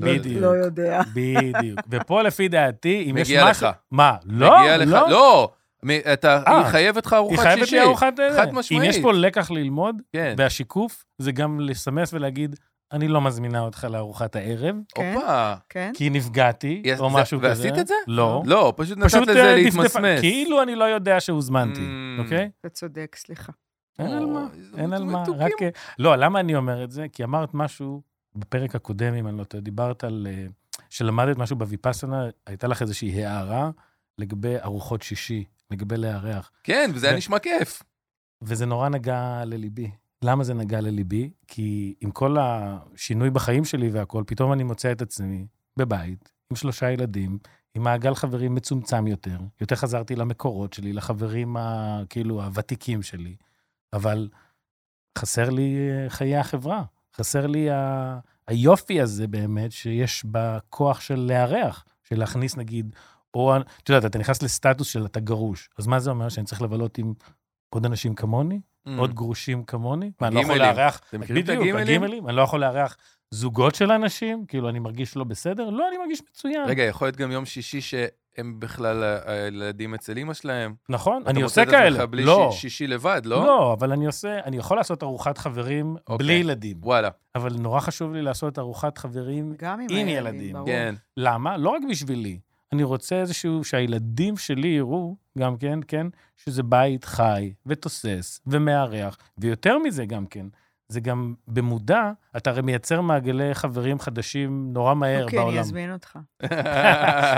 Speaker 2: לא יודע.
Speaker 3: בדיוק.
Speaker 1: לא יודע.
Speaker 3: בדיוק. ופה לפי דעתי, אם יש
Speaker 2: מגיע
Speaker 3: משהו...
Speaker 2: לך.
Speaker 3: מה? לא,
Speaker 2: מגיע לך-
Speaker 3: לא.
Speaker 2: לא! מ- אתה-
Speaker 3: אה.
Speaker 2: היא חייבת לך
Speaker 3: היא
Speaker 2: ארוחת שישי.
Speaker 3: חייבת לי ארוחת ערב.
Speaker 2: חד משמעית.
Speaker 3: אם יש פה לקח ללמוד,
Speaker 2: כן.
Speaker 3: והשיקוף זה גם לסמס ולהגיד, אני לא מזמינה אותך לארוחת הערב,
Speaker 1: כן.
Speaker 2: הופה.
Speaker 1: כן?
Speaker 3: כי נפגעתי,
Speaker 2: יש-
Speaker 3: או
Speaker 2: זה-
Speaker 3: משהו כזה.
Speaker 2: ועשית את זה?
Speaker 3: לא.
Speaker 2: לא, פשוט נתת
Speaker 3: פשוט
Speaker 2: לזה
Speaker 3: אה,
Speaker 2: להתמסמס.
Speaker 3: דפדפה- כאילו אני לא יודע שהוזמנתי,
Speaker 2: Mm.
Speaker 3: אוקיי?
Speaker 1: אתה צודק, סליחה.
Speaker 3: אין על
Speaker 2: אוי,
Speaker 3: מה,
Speaker 2: Mm. זה
Speaker 3: אין על מה,
Speaker 2: מתוקים.
Speaker 3: רק... אה, לא, למה אני אומר את זה? כי אמרת משהו בפרק הקודם, אם אני לא טועה, דיברת על... אה, שלמדת משהו בוויפאסנה, הייתה לך איזושהי הערה לגבי ארוחות שישי, לגבי לארח.
Speaker 2: כן, וזה היה
Speaker 3: ו-
Speaker 2: נשמע כיף.
Speaker 3: וזה נורא נגע לליבי. למה זה נגע לליבי? כי עם כל השינוי בחיים שלי והכול, פתאום אני מוצא את עצמי בבית, עם שלושה ילדים, עם מעגל חברים מצומצם יותר. יותר חזרתי למקורות שלי, לחברים ה, כאילו הוותיקים שלי, אבל חסר לי אה, חיי החברה. חסר לי ה... היופי הזה באמת, שיש בכוח של לארח, של להכניס נגיד, או, את יודעת, אתה נכנס לסטטוס של אתה גרוש, אז מה זה אומר? שאני צריך לבלות עם עוד אנשים כמוני? עוד גרושים כמוני? מה, אני לא יכול
Speaker 2: Mm. הגימלים.
Speaker 3: לארח...
Speaker 2: אתם מכירים את
Speaker 3: בדיוק,
Speaker 2: הגימלים?
Speaker 3: אני לא יכול לארח זוגות של אנשים? כאילו, אני מרגיש לא בסדר? לא, אני מרגיש מצוין.
Speaker 2: רגע, יכול להיות גם יום שישי שהם בכלל ה- הילדים אצל אימא שלהם.
Speaker 3: נכון? אני
Speaker 2: אתה
Speaker 3: עושה
Speaker 2: מוצא את עצמך
Speaker 3: כאלה.
Speaker 2: בלי
Speaker 3: לא.
Speaker 2: ש- שישי לבד, לא?
Speaker 3: לא, אבל אני עושה, אני יכול לעשות ארוחת חברים בלי
Speaker 2: אוקיי.
Speaker 3: ילדים,
Speaker 2: וואלה,
Speaker 3: אבל נורא חשוב לי לעשות ארוחת חברים
Speaker 1: גם עם
Speaker 3: עם
Speaker 1: הילדים,
Speaker 3: ילדים,
Speaker 1: ברור.
Speaker 2: כן.
Speaker 3: למה? לא רק בשבילי. אני רוצה איזשהו, שהילדים שלי יראו, גם כן, כן, שזה בית חי ותוסס ומארח, ויותר מזה גם כן, זה גם במודע, אתה הרי מייצר מעגלי חברים חדשים נורא מהר
Speaker 1: אוקיי,
Speaker 3: כן, בעולם.
Speaker 1: אני אזמין אותך.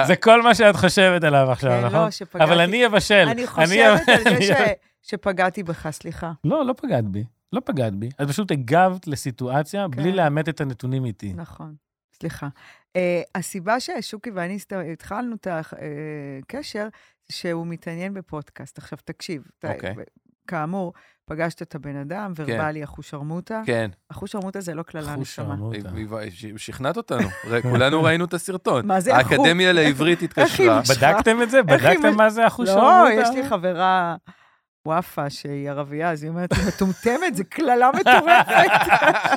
Speaker 3: זה כל מה שאת חושבת עליו עכשיו,
Speaker 1: כן,
Speaker 3: נכון?
Speaker 1: לא, שפגעתי.
Speaker 3: אבל אני אבשל.
Speaker 1: אני חושבת על זה
Speaker 3: אני-
Speaker 1: ש- שפגעתי בך, סליחה.
Speaker 3: לא, לא פגעת בי. לא פגעת בי. את פשוט הגבת לסיטואציה בלי
Speaker 1: כן.
Speaker 3: לאמת את הנתונים איתי.
Speaker 1: נכון, סליחה. Uh, הסיבה ששוקי ואני הסת- התחלנו את הקשר, זה שהוא מתעניין בפודקאסט. עכשיו, תקשיב, אתה-
Speaker 2: אוקיי.
Speaker 1: כאמור, פגשת את הבן אדם,
Speaker 3: כן.
Speaker 1: ורבלי, אחושרמוטה.
Speaker 2: כן,
Speaker 1: אחושרמוטה זה לא קללה
Speaker 3: אחוז
Speaker 1: נשמה.
Speaker 3: שרמוטה.
Speaker 2: ש- שכנעת אותנו, ר- כולנו ראינו את הסרטון.
Speaker 1: מה זה החוג?
Speaker 2: האקדמיה לעברית התקשרה.
Speaker 1: איך היא-
Speaker 3: בדקתם את זה?
Speaker 1: איך היא
Speaker 3: בדקתם
Speaker 1: מש-
Speaker 3: מה זה אחוז
Speaker 1: לא,
Speaker 3: שרמוטה?
Speaker 1: יש לי חברה, וואפה, שהיא ערבייה, אז היא אומרת, היא מטומטמת, זו קללה מטורפת.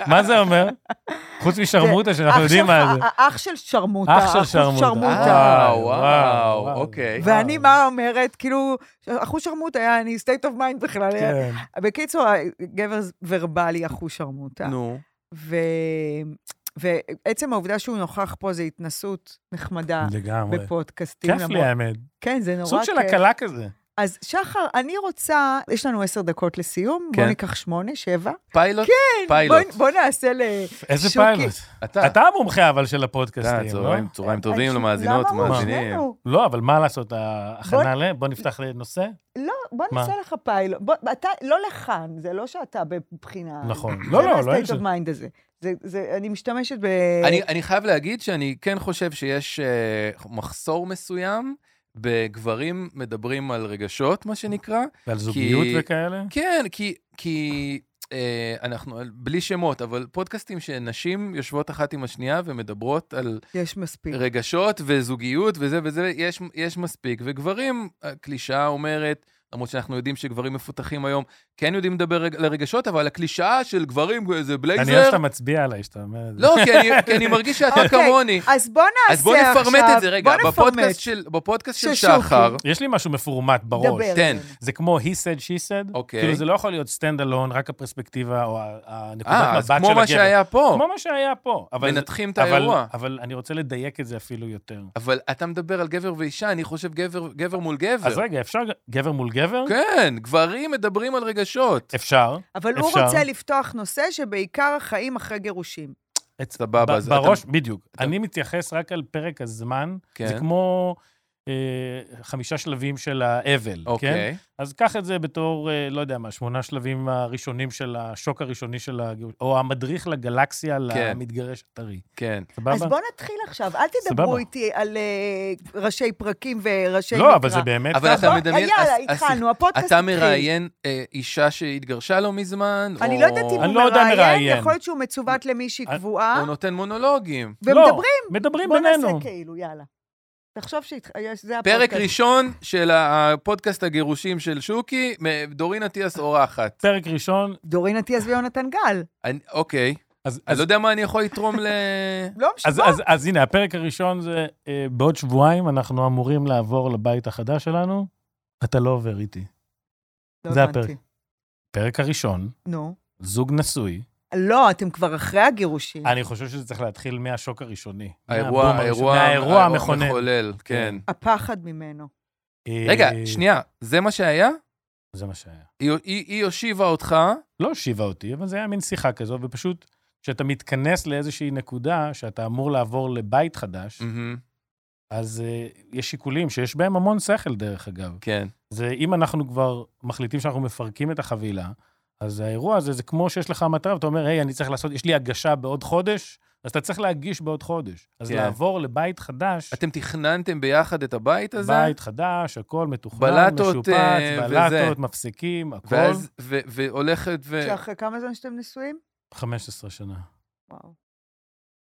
Speaker 3: מה זה אומר? חוץ משרמוטה, שאנחנו
Speaker 1: אח
Speaker 3: יודעים מה
Speaker 1: שלך-
Speaker 3: זה.
Speaker 1: האח של שרמוטה,
Speaker 3: אח של שרמוטה. אה,
Speaker 1: שרמוטה.
Speaker 2: אה,
Speaker 3: וואו,
Speaker 2: וואו,
Speaker 3: וואו.
Speaker 2: אוקיי.
Speaker 3: וואו.
Speaker 1: ואני מה אומרת, כאילו, אחוש שרמוטה היה, אני state of mind בכלל. אה, היה-
Speaker 3: כן.
Speaker 1: בקיצור, גבר ורבלי אחוש שרמוטה.
Speaker 2: נו,
Speaker 1: ו... ועצם העובדה שהוא נוכח פה זו התנסות נחמדה
Speaker 3: לגמרי.
Speaker 1: בפודקאסטים.
Speaker 3: כיף לי
Speaker 1: למרות-
Speaker 3: האמת.
Speaker 1: כן, זה אה, נורא
Speaker 3: סוג
Speaker 1: כיף.
Speaker 3: של הקלה כזה.
Speaker 1: אז שחר, אני רוצה, יש לנו עשר דקות לסיום, בוא
Speaker 2: כן.
Speaker 1: ניקח שמונה, שבע.
Speaker 2: פיילוט?
Speaker 1: כן,
Speaker 2: פיילוט.
Speaker 1: בוא, בוא נעשה ל...
Speaker 3: איזה
Speaker 1: שוקי.
Speaker 3: פיילוט.
Speaker 2: אתה.
Speaker 3: אתה המומחה אבל של
Speaker 2: אתה,
Speaker 3: הפודקאסטים, לא?
Speaker 2: צהריים, צהריים טובים
Speaker 1: אה, למה
Speaker 2: למאזינות,
Speaker 1: הוא
Speaker 2: מאזינים.
Speaker 1: שנינו?
Speaker 3: לא, אבל מה לעשות, ההכנה ל... בוא נפתח לנושא.
Speaker 1: לא, בוא
Speaker 3: מה?
Speaker 1: נעשה לך פיילוט. בוא, אתה לא לכאן, זה לא שאתה בבחינה...
Speaker 3: נכון. לא, לא, לא, אין
Speaker 1: זה
Speaker 3: ש-
Speaker 1: מה-state of mind הזה. זה, זה, אני משתמשת ב...
Speaker 2: אני, אני חייב להגיד שאני כן חושב שיש אה, מחסור מסוים בגברים מדברים על רגשות, מה שנקרא.
Speaker 3: ועל זוגיות וכאלה.
Speaker 2: כן, כי, כי אה, אנחנו, בלי שמות, אבל פודקאסטים שנשים יושבות אחת עם השנייה ומדברות על
Speaker 1: יש מספיק.
Speaker 2: רגשות וזוגיות וזה וזה, יש, יש מספיק. וגברים, הקלישאה אומרת, למרות שאנחנו יודעים שגברים מפותחים היום, כן יודעים לדבר רג- לרגשות, אבל הקלישאה של גברים, זה
Speaker 3: אני אוהב
Speaker 2: בלייזר,
Speaker 3: שאתה מצביע עליי, שאתה אומר את זה.
Speaker 2: לא, כי אני- כי אני מרגיש שאתה
Speaker 1: אוקיי,
Speaker 2: כמוני.
Speaker 1: אז בוא נעשה
Speaker 2: אז בוא נפרמט
Speaker 1: עכשיו-
Speaker 2: את זה רגע.
Speaker 1: בוא נפרמט.
Speaker 2: בפודקאסט של, בפודקאסט של
Speaker 1: של שוקי.
Speaker 2: שחר,
Speaker 3: יש לי משהו מפורמט
Speaker 1: דבר.
Speaker 3: בראש.
Speaker 2: תן.
Speaker 3: זה כמו he said, she said.
Speaker 2: אוקיי.
Speaker 3: כאילו, זה לא יכול להיות stand alone, רק הפרספקטיבה או ה- הנקודת
Speaker 2: אה,
Speaker 3: מבט
Speaker 2: אז
Speaker 3: של הגבר.
Speaker 2: כמו מה שהיה פה,
Speaker 3: כמו מה שהיה פה. אבל-
Speaker 2: מנתחים את
Speaker 3: אבל-
Speaker 2: האירוע.
Speaker 3: אבל אני רוצה לדייק את זה אפילו יותר.
Speaker 2: אבל אתה מדבר על גבר ואישה, אני חושב גבר, גבר מול גבר.
Speaker 3: אז רגע, אפשר גבר מול גבר?
Speaker 2: כן, גברים מדברים על רגשות.
Speaker 3: אפשר.
Speaker 1: אבל הוא
Speaker 3: אפשר.
Speaker 1: רוצה לפתוח נושא שבעיקר החיים אחרי גירושים.
Speaker 2: סבבה,
Speaker 3: ב-
Speaker 2: אז אתה-
Speaker 3: בראש, בדיוק. אני מתייחס רק על פרק הזמן.
Speaker 2: כן.
Speaker 3: זה כמו אה, חמישה שלבים של האבל, כן?
Speaker 2: אוקיי.
Speaker 3: אז קח את זה בתור, אה, לא יודע מה, שמונה שלבים הראשונים של השוק הראשוני של הגירוש, או המדריך לגלקסיה למתגרש הטרי.
Speaker 2: כן.
Speaker 3: סבבה?
Speaker 1: אז בוא נתחיל עכשיו, אל תדברו
Speaker 3: סבבה.
Speaker 1: איתי על אה, ראשי פרקים וראשי מקרא.
Speaker 3: לא, אבל זה באמת...
Speaker 2: אבל
Speaker 1: בוא,
Speaker 2: אתה מדמיין...
Speaker 1: יאללה,
Speaker 2: אז- אז-
Speaker 1: התחלנו, הפודקאסט
Speaker 2: אתה
Speaker 1: התחיל.
Speaker 2: מראיין אה, אישה שהתגרשה לא מזמן,
Speaker 1: אני
Speaker 2: או-
Speaker 1: לא יודעת אם
Speaker 3: אני
Speaker 1: הוא
Speaker 3: לא יודע
Speaker 1: מראיין,
Speaker 3: מראיין.
Speaker 1: יכול להיות שהוא מצוות למישהי
Speaker 3: אני-
Speaker 1: קבועה,
Speaker 2: הוא נותן מונולוגים.
Speaker 1: ומדברים,
Speaker 3: לא, מדברים
Speaker 1: בוא
Speaker 3: בינינו.
Speaker 1: נעשה כאילו, יאללה. תחשוב אה, שזה הפודקאסט.
Speaker 2: פרק ראשון של הפודקאסט הגירושים של שוקי, מ- דורין אטיאס אורחת.
Speaker 3: פרק ראשון,
Speaker 1: דורין אטיאס ויונתן גל.
Speaker 2: אני- אוקיי.
Speaker 3: אז,
Speaker 2: אני
Speaker 3: אז,
Speaker 2: לא יודע מה אני יכול לתרום ל...
Speaker 1: לא
Speaker 3: אז,
Speaker 1: משנה.
Speaker 3: אז, אז הנה, הפרק הראשון זה אה, בעוד שבועיים אנחנו אמורים לעבור לבית החדש שלנו, אתה לא עובר איתי.
Speaker 1: לא
Speaker 3: זה
Speaker 1: הבנתי.
Speaker 3: הפרק. פרק הראשון,
Speaker 1: נו.
Speaker 3: זוג נשוי,
Speaker 1: לא, אתם כבר אחרי הגירושים.
Speaker 3: אני חושב שזה צריך להתחיל מהשוק הראשוני.
Speaker 2: האירוע,
Speaker 3: מהבום הראשון,
Speaker 2: האירוע,
Speaker 3: מהאירוע המכונן.
Speaker 2: המחולל, כן.
Speaker 1: הפחד ממנו.
Speaker 3: אה,
Speaker 2: רגע, שנייה, זה מה שהיה?
Speaker 3: זה מה שהיה.
Speaker 2: היא- היא היא הושיבה אותך,
Speaker 3: לא הושיבה אותי, אבל זה היה מין שיחה כזו, ופשוט כשאתה מתכנס לאיזושהי נקודה שאתה אמור לעבור לבית חדש,
Speaker 2: מהמם,
Speaker 3: אז אה, יש שיקולים שיש בהם המון שכל, דרך אגב.
Speaker 2: כן.
Speaker 3: זה אם אנחנו כבר מחליטים שאנחנו מפרקים את החבילה, אז האירוע הזה, זה כמו שיש לך מטרה, ואתה אומר, היי, אני צריך לעשות, יש לי הגשה בעוד חודש, אז אתה צריך להגיש בעוד חודש. אז
Speaker 2: כן.
Speaker 3: לעבור לבית חדש,
Speaker 2: אתם תכננתם ביחד את הבית הזה?
Speaker 3: בית חדש, הכל מתוכנן,
Speaker 2: בלטות,
Speaker 3: משופץ,
Speaker 2: אה,
Speaker 3: בלטות,
Speaker 2: וזה.
Speaker 3: מפסיקים, הכל.
Speaker 2: ואז, ו- והולכת ו...
Speaker 1: שאחרי כמה זמן שאתם נשואים?
Speaker 3: 15 שנה.
Speaker 1: וואו.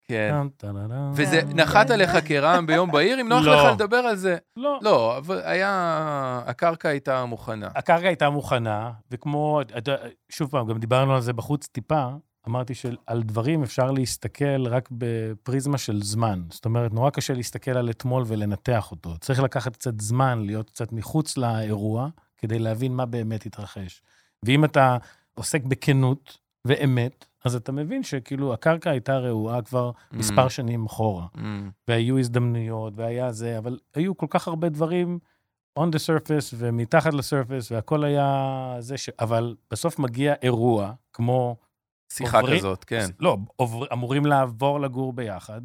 Speaker 2: כן.
Speaker 3: טאם, טאלאלאם.
Speaker 2: וזה נחת עליך כרעם ביום בהיר, אם נוח
Speaker 3: אה, לא.
Speaker 2: לך לדבר על זה.
Speaker 3: לא,
Speaker 2: לא, אבל היה... הקרקע הייתה מוכנה.
Speaker 3: הקרקע הייתה מוכנה, וכמו, אתה יודע, שוב פעם, גם דיברנו על זה בחוץ טיפה, אמרתי שעל דברים אפשר להסתכל רק בפריזמה של זמן. זאת אומרת, נורא קשה להסתכל על אתמול ולנתח אותו. צריך לקחת קצת זמן, להיות קצת מחוץ לאירוע, כדי להבין מה באמת התרחש. ואם אתה עוסק בכנות ואמת, אז אתה מבין שכאילו הקרקע הייתה רעועה כבר מספר
Speaker 2: Mm.
Speaker 3: שנים אחורה.
Speaker 2: Mm.
Speaker 3: והיו הזדמנויות, והיה זה, אבל היו כל כך הרבה דברים on the surface ומתחת לסרפס, והכל היה זה ש... אבל בסוף מגיע אירוע, כמו...
Speaker 2: שיחה
Speaker 3: עוברי-
Speaker 2: כזאת, כן.
Speaker 3: לא, עובר, אמורים לעבור לגור ביחד,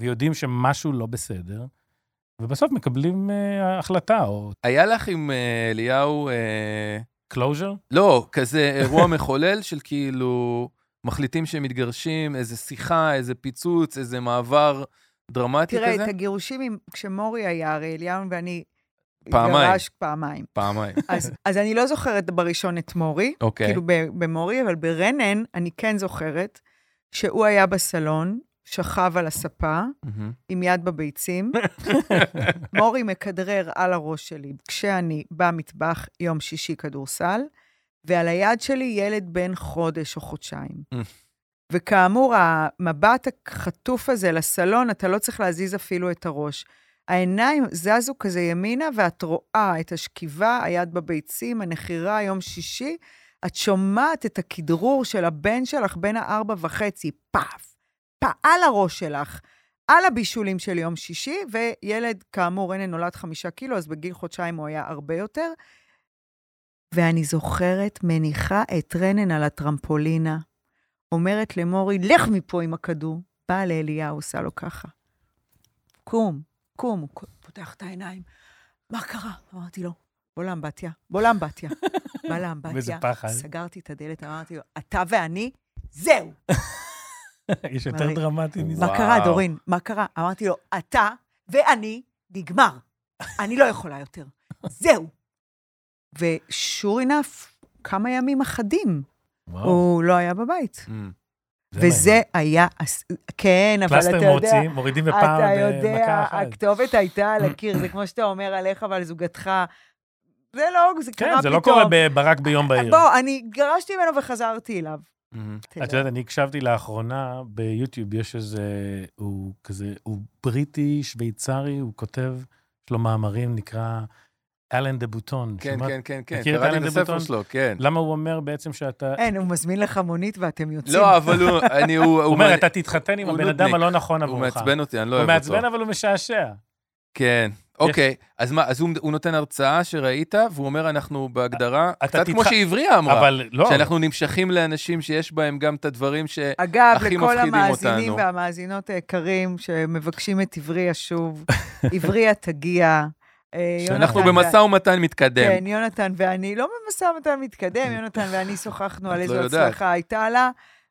Speaker 3: ויודעים שמשהו לא בסדר, ובסוף מקבלים אה, החלטה, או
Speaker 2: היה לך עם אה, אליהו... אה,
Speaker 3: closure.
Speaker 2: לא, כזה אירוע מחולל של כאילו, מחליטים שהם מתגרשים, איזה שיחה, איזה פיצוץ, איזה מעבר דרמטי
Speaker 1: תראה,
Speaker 2: כזה?
Speaker 1: את הגירושים, עם- כשמורי היה, הרי אליהו ואני...
Speaker 2: פעמיים.
Speaker 1: גרש פעמיים.
Speaker 2: פעמיים.
Speaker 1: אז, אז אני לא זוכרת בראשון את מורי,
Speaker 2: אוקיי.
Speaker 1: כאילו ב- במורי, אבל ברנן אני כן זוכרת שהוא היה בסלון, שכב על הספה,
Speaker 2: מהמם.
Speaker 1: עם יד בביצים. מורי מכדרר על הראש שלי כשאני במטבח יום שישי כדורסל, ועל היד שלי ילד בן חודש או חודשיים.
Speaker 2: Mm.
Speaker 1: וכאמור, המבט החטוף הזה לסלון, אתה לא צריך להזיז אפילו את הראש. העיניים זזו כזה ימינה, ואת רואה את השכיבה, היד בביצים, הנחירה, יום שישי. את שומעת את הכדרור של הבן שלך, בן הארבע וחצי, פאף, פא, על הראש שלך. על הבישולים של יום שישי, וילד, כאמור, הנה נולד חמישה קילו, אז בגיל חודשיים הוא היה הרבה יותר. ואני זוכרת מניחה את רנן על הטרמפולינה, אומרת למורי, לך מפה עם הכדור. באה לאליהו, עושה לו ככה. קום, קום, הוא פותח את העיניים. מה קרה? אמרתי לו, בוא לאמבטיה, בוא לאמבטיה. בא
Speaker 3: וזה
Speaker 1: לאמבטיה,
Speaker 3: פחד.
Speaker 1: סגרתי את הדלת, אמרתי לו, אתה ואני, זהו. מרי.
Speaker 3: יש יותר דרמטי מזה.
Speaker 1: מה קרה,
Speaker 2: וואו.
Speaker 1: דורין? מה קרה? אמרתי לו, אתה ואני נגמר. אני לא יכולה יותר. זהו. ושור אינף, כמה ימים אחדים,
Speaker 3: וואו,
Speaker 1: הוא לא היה בבית.
Speaker 2: Mm.
Speaker 3: זה
Speaker 1: וזה היה... הס- כן, אבל אתה
Speaker 3: פלסטר
Speaker 1: יודע...
Speaker 3: מוציאים, מורידים בפעם
Speaker 1: אתה
Speaker 3: במכה
Speaker 1: יודע,
Speaker 3: אה, אחת.
Speaker 1: הכתובת הייתה על הקיר, זה כמו שאתה אומר עליך ועל זוגתך. זה לא, זה קרה
Speaker 3: כן,
Speaker 1: פתאום. אה,
Speaker 3: זה לא קורה ב- ברק ביום בהיר.
Speaker 1: בוא, אני גרשתי ממנו וחזרתי אליו.
Speaker 2: מהמם.
Speaker 3: את יודעת, אני הקשבתי לאחרונה ביוטיוב, יש איזה, הוא כזה, הוא בריטי, שוויצרי, הוא כותב, יש לו מאמרים, נקרא אלן דה בוטון.
Speaker 2: כן,
Speaker 3: שמעת?
Speaker 2: כן, כן, כן,
Speaker 3: מכיר את
Speaker 2: קראתי את
Speaker 3: אלן
Speaker 2: הספר
Speaker 3: דבוטון? לא,
Speaker 2: שלו, כן.
Speaker 3: למה הוא אומר בעצם
Speaker 2: אה,
Speaker 3: שאתה...
Speaker 1: אין, כן, הוא מזמין לך מונית ואתם יוצאים.
Speaker 2: לא, אבל הוא, אני, הוא,
Speaker 3: הוא
Speaker 2: הוא,
Speaker 3: אומר,
Speaker 2: מע-
Speaker 3: אתה תתחתן עם
Speaker 2: הוא
Speaker 3: הבן
Speaker 2: נודניק.
Speaker 3: אדם הלא נכון
Speaker 2: הוא
Speaker 3: עבורך.
Speaker 2: מעצבן אותי, אני לא
Speaker 3: הוא
Speaker 2: אוהב אותו.
Speaker 3: מעצבן, אבל הוא משעשע.
Speaker 2: כן, אוקיי. אז מה, אז הוא, הוא נותן הרצאה שראית, והוא אומר, אנחנו בהגדרה,
Speaker 3: אתה
Speaker 2: קצת כמו
Speaker 3: תתח-
Speaker 2: שעברייה אמרה,
Speaker 3: אבל לא,
Speaker 2: שאנחנו נמשכים לאנשים שיש בהם גם את הדברים ש...
Speaker 1: אגב,
Speaker 2: הכי
Speaker 1: לכל
Speaker 2: מפחידים
Speaker 1: המאזינים
Speaker 2: אותנו.
Speaker 1: והמאזינות היקרים שמבקשים את עברי ישוב, עברי תגיע, אה,
Speaker 2: אנחנו
Speaker 1: יונתן
Speaker 2: במשא ומתן מתקדם.
Speaker 1: כן, יונתן ואני, לא במשא ומתן מתקדם, יונתן ואני שוחחנו על
Speaker 2: את
Speaker 1: איזו
Speaker 2: לא יודעת.
Speaker 1: הצלחה הייתה לה,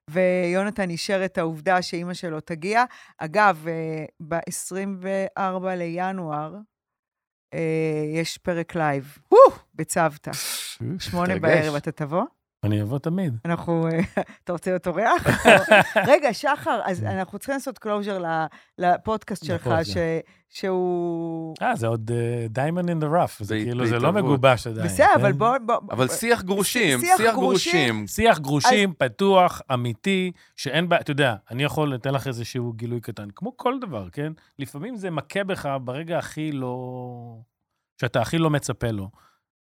Speaker 1: ויונתן אישר את העובדה שאימא שלו תגיע. אגב, אה, ב-24 לינואר אה, יש פרק לייב בצוותא, שמונה
Speaker 2: מתרגש.
Speaker 1: בערב, אתה תבוא?
Speaker 3: אני אבוא תמיד.
Speaker 1: אנחנו, אה, אתה רוצה להיות אורח? רגע, שחר, אז אנחנו צריכים לעשות קלוז'ר לפודקאסט שלך,
Speaker 3: לפודקאסט.
Speaker 1: ש- שהוא...
Speaker 3: אה, זה עוד דיימנד אין דה רף, זה
Speaker 2: בהת-
Speaker 3: כאילו, זה לא
Speaker 2: בהתערבות.
Speaker 3: מגובש עדיין.
Speaker 1: בסדר, אבל
Speaker 3: כן?
Speaker 1: בוא... בוא-
Speaker 2: אבל שיח גרושים,
Speaker 1: שיח
Speaker 2: שיח
Speaker 1: גרושים.
Speaker 2: גרושים.
Speaker 3: שיח גרושים, פתוח, אמיתי, שאין בעיה, אתה יודע, אני יכול לתת לך איזשהו גילוי קטן, כמו כל דבר, כן? לפעמים זה מכה בך ברגע הכי לא... שאתה הכי לא מצפה לו.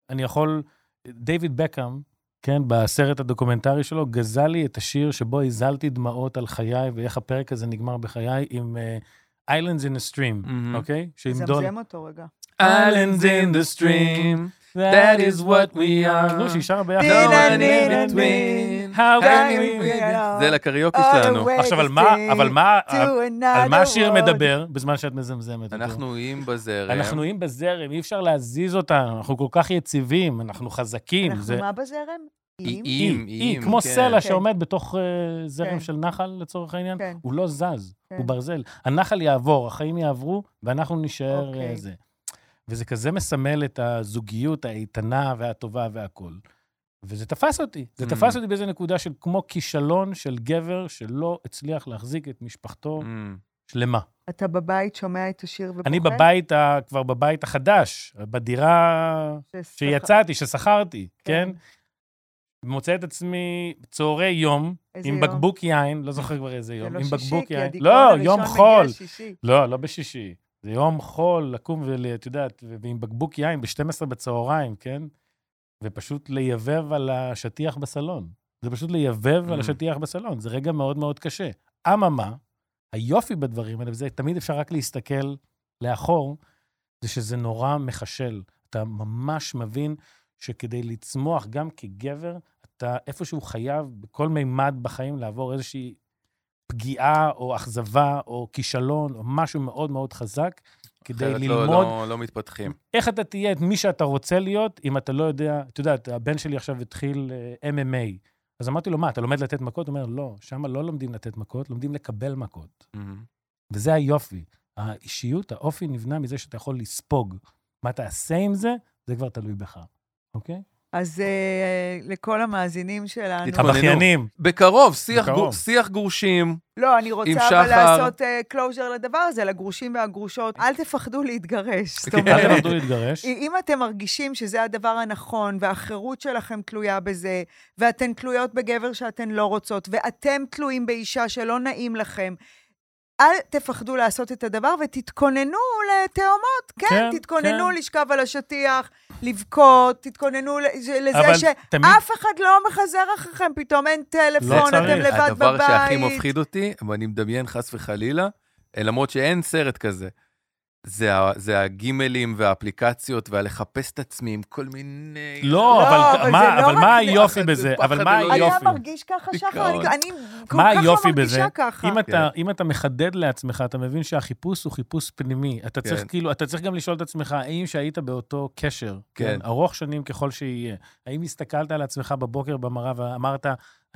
Speaker 3: אני יכול... דיוויד בקאם, כן, בסרט הדוקומנטרי שלו, גזל לי את השיר שבו הזלתי דמעות על חיי, ואיך הפרק הזה נגמר בחיי, עם uh, Islands in a Stream,
Speaker 2: מהמם.
Speaker 3: אוקיי? שעם דול...
Speaker 1: זמזם אותו רגע.
Speaker 2: Islands in the stream, that is what we are.
Speaker 3: נו, שהיא שרה ביחד.
Speaker 2: no one
Speaker 1: דינה,
Speaker 2: in
Speaker 1: דינה,
Speaker 2: between.
Speaker 3: How
Speaker 2: Can
Speaker 3: can
Speaker 2: we
Speaker 3: we
Speaker 2: be-
Speaker 1: be-
Speaker 2: זה לקריוקי
Speaker 1: All the
Speaker 2: שלנו.
Speaker 1: way
Speaker 3: עכשיו,
Speaker 1: to
Speaker 3: על מה, אבל מה,
Speaker 1: Oh, sing to
Speaker 3: על
Speaker 1: another
Speaker 3: מה השיר
Speaker 1: world.
Speaker 3: מדבר בזמן שאת מזמזמת אותו?
Speaker 2: אנחנו איים בזרם.
Speaker 3: אנחנו עם בזרם, אי אפשר להזיז אותנו, אנחנו כל כך יציבים, אנחנו חזקים.
Speaker 1: אנחנו
Speaker 3: זה
Speaker 1: מה בזרם? איים?
Speaker 2: איים, איים,
Speaker 3: אי,
Speaker 2: איים.
Speaker 3: כמו
Speaker 2: כן.
Speaker 1: כן.
Speaker 3: סלע שעומד בתוך אה,
Speaker 1: כן.
Speaker 3: זרם של נחל, לצורך העניין,
Speaker 1: כן.
Speaker 3: הוא לא זז,
Speaker 1: כן.
Speaker 3: הוא ברזל. הנחל יעבור, החיים יעברו, ואנחנו נישאר
Speaker 1: אוקיי.
Speaker 3: אה, זה. וזה כזה מסמל את הזוגיות האיתנה והטובה והכול. וזה תפס אותי. זה תפס
Speaker 2: Mm.
Speaker 3: אותי באיזו נקודה של כמו כישלון של גבר שלא הצליח להחזיק את משפחתו
Speaker 2: אמ,
Speaker 3: שלמה.
Speaker 1: אתה בבית שומע את השיר ובוחר?
Speaker 3: אני בבית, ה- כבר בבית החדש, בדירה
Speaker 1: ששכח-
Speaker 3: שיצאתי, ששכרתי,
Speaker 1: כן.
Speaker 3: כן? מוצא את עצמי צהרי יום,
Speaker 1: איזה
Speaker 3: עם
Speaker 1: יום?
Speaker 3: בקבוק יין, לא זוכר כבר איזה
Speaker 1: זה
Speaker 3: יום,
Speaker 1: לא
Speaker 3: עם
Speaker 1: שישי,
Speaker 3: בקבוק
Speaker 1: כי
Speaker 3: יין.
Speaker 1: הדיכאון
Speaker 3: לא, יום
Speaker 1: הראשון
Speaker 3: חול.
Speaker 1: מגיע שישי.
Speaker 3: לא, לא בשישי. זה יום חול, לקום ול... את יודעת, ו- ועם בקבוק יין ב-12 בצהריים, כן? ופשוט לייבב על השטיח בסלון. זה פשוט לייבב על
Speaker 2: Mm.
Speaker 3: השטיח בסלון. זה רגע מאוד מאוד קשה. אממה, היופי בדברים האלה, וזה תמיד אפשר רק להסתכל לאחור, זה שזה נורא מחשל. אתה ממש מבין שכדי לצמוח, גם כגבר, אתה איפשהו חייב בכל מימד בחיים לעבור איזושהי פגיעה או אכזבה או כישלון או משהו מאוד מאוד חזק, כדי
Speaker 2: אחרת לא-
Speaker 3: ללמוד
Speaker 2: לא- לא מתפתחים.
Speaker 3: איך אתה תהיה את מי שאתה רוצה להיות, אם אתה לא יודע, את יודעת, הבן שלי עכשיו התחיל אה, MMA. אז אמרתי לו, מה, אתה לומד לתת מכות? הוא אומר, לא, שם לא לומדים לתת מכות, לומדים לקבל מכות.
Speaker 2: אמ.
Speaker 3: וזה היופי. האישיות, האופי נבנה מזה שאתה יכול לספוג. מה תעשה עם זה, זה כבר תלוי בך, אוקיי?
Speaker 1: אז אה, לכל המאזינים שלנו...
Speaker 2: תתכונן.
Speaker 3: הבכיינים.
Speaker 2: בקרוב, שיח
Speaker 3: בקרוב.
Speaker 2: גור- שיח גרושים.
Speaker 1: לא, אני
Speaker 2: עם
Speaker 1: רוצה אבל
Speaker 2: שחר.
Speaker 1: לעשות קלוז'ר לדבר הזה, לגרושים והגרושות. אל תפחדו להתגרש. זאת
Speaker 2: כן.
Speaker 3: אל
Speaker 1: אומרת,
Speaker 3: תמרדו להתגרש.
Speaker 1: אם אתם מרגישים שזה הדבר הנכון, והחירות שלכם תלויה בזה, ואתן תלויות בגבר שאתן לא רוצות, ואתם תלויים באישה שלא נעים לכם, אל תפחדו לעשות את הדבר ותתכוננו לתאומות. כן,
Speaker 3: כן,
Speaker 1: תתכוננו
Speaker 3: כן.
Speaker 1: לשכב על השטיח, לבכות, תתכוננו לזה
Speaker 3: אבל תמיד-
Speaker 1: שאף אחד לא מחזר אחריכם, פתאום אין טלפון,
Speaker 3: לא צריך.
Speaker 1: אתם לבד בבית.
Speaker 2: הדבר שהכי מפחיד אותי, ואני מדמיין חס וחלילה, אה, למרות שאין סרט כזה, זה ה- זה הגימלים והאפליקציות והלחפש את עצמי עם כל מיני...
Speaker 3: לא,
Speaker 1: לא, אבל
Speaker 3: אבל
Speaker 1: זה
Speaker 3: מה-
Speaker 1: לא
Speaker 3: אבל
Speaker 1: רק
Speaker 3: מה
Speaker 2: זה.
Speaker 3: היופי
Speaker 2: פחד, זה
Speaker 3: בזה?
Speaker 2: פחד,
Speaker 3: אבל מה
Speaker 2: אלוהים.
Speaker 3: היופי?
Speaker 1: אתה מרגיש ככה, שחר?
Speaker 2: דיכאון.
Speaker 1: אני- אני כל
Speaker 3: מה
Speaker 1: כך לא
Speaker 3: היופי בזה?
Speaker 1: מרגישה ככה.
Speaker 3: אם אתה, אם אתה מחדד לעצמך, אתה מבין שהחיפוש הוא חיפוש פנימי. אתה צריך
Speaker 2: כן.
Speaker 3: כאילו, אתה צריך גם לשאול את עצמך, האם שהיית באותו קשר, כן.
Speaker 2: כן.
Speaker 3: ארוך שנים ככל שיהיה, האם הסתכלת על עצמך בבוקר במראה ואמרת,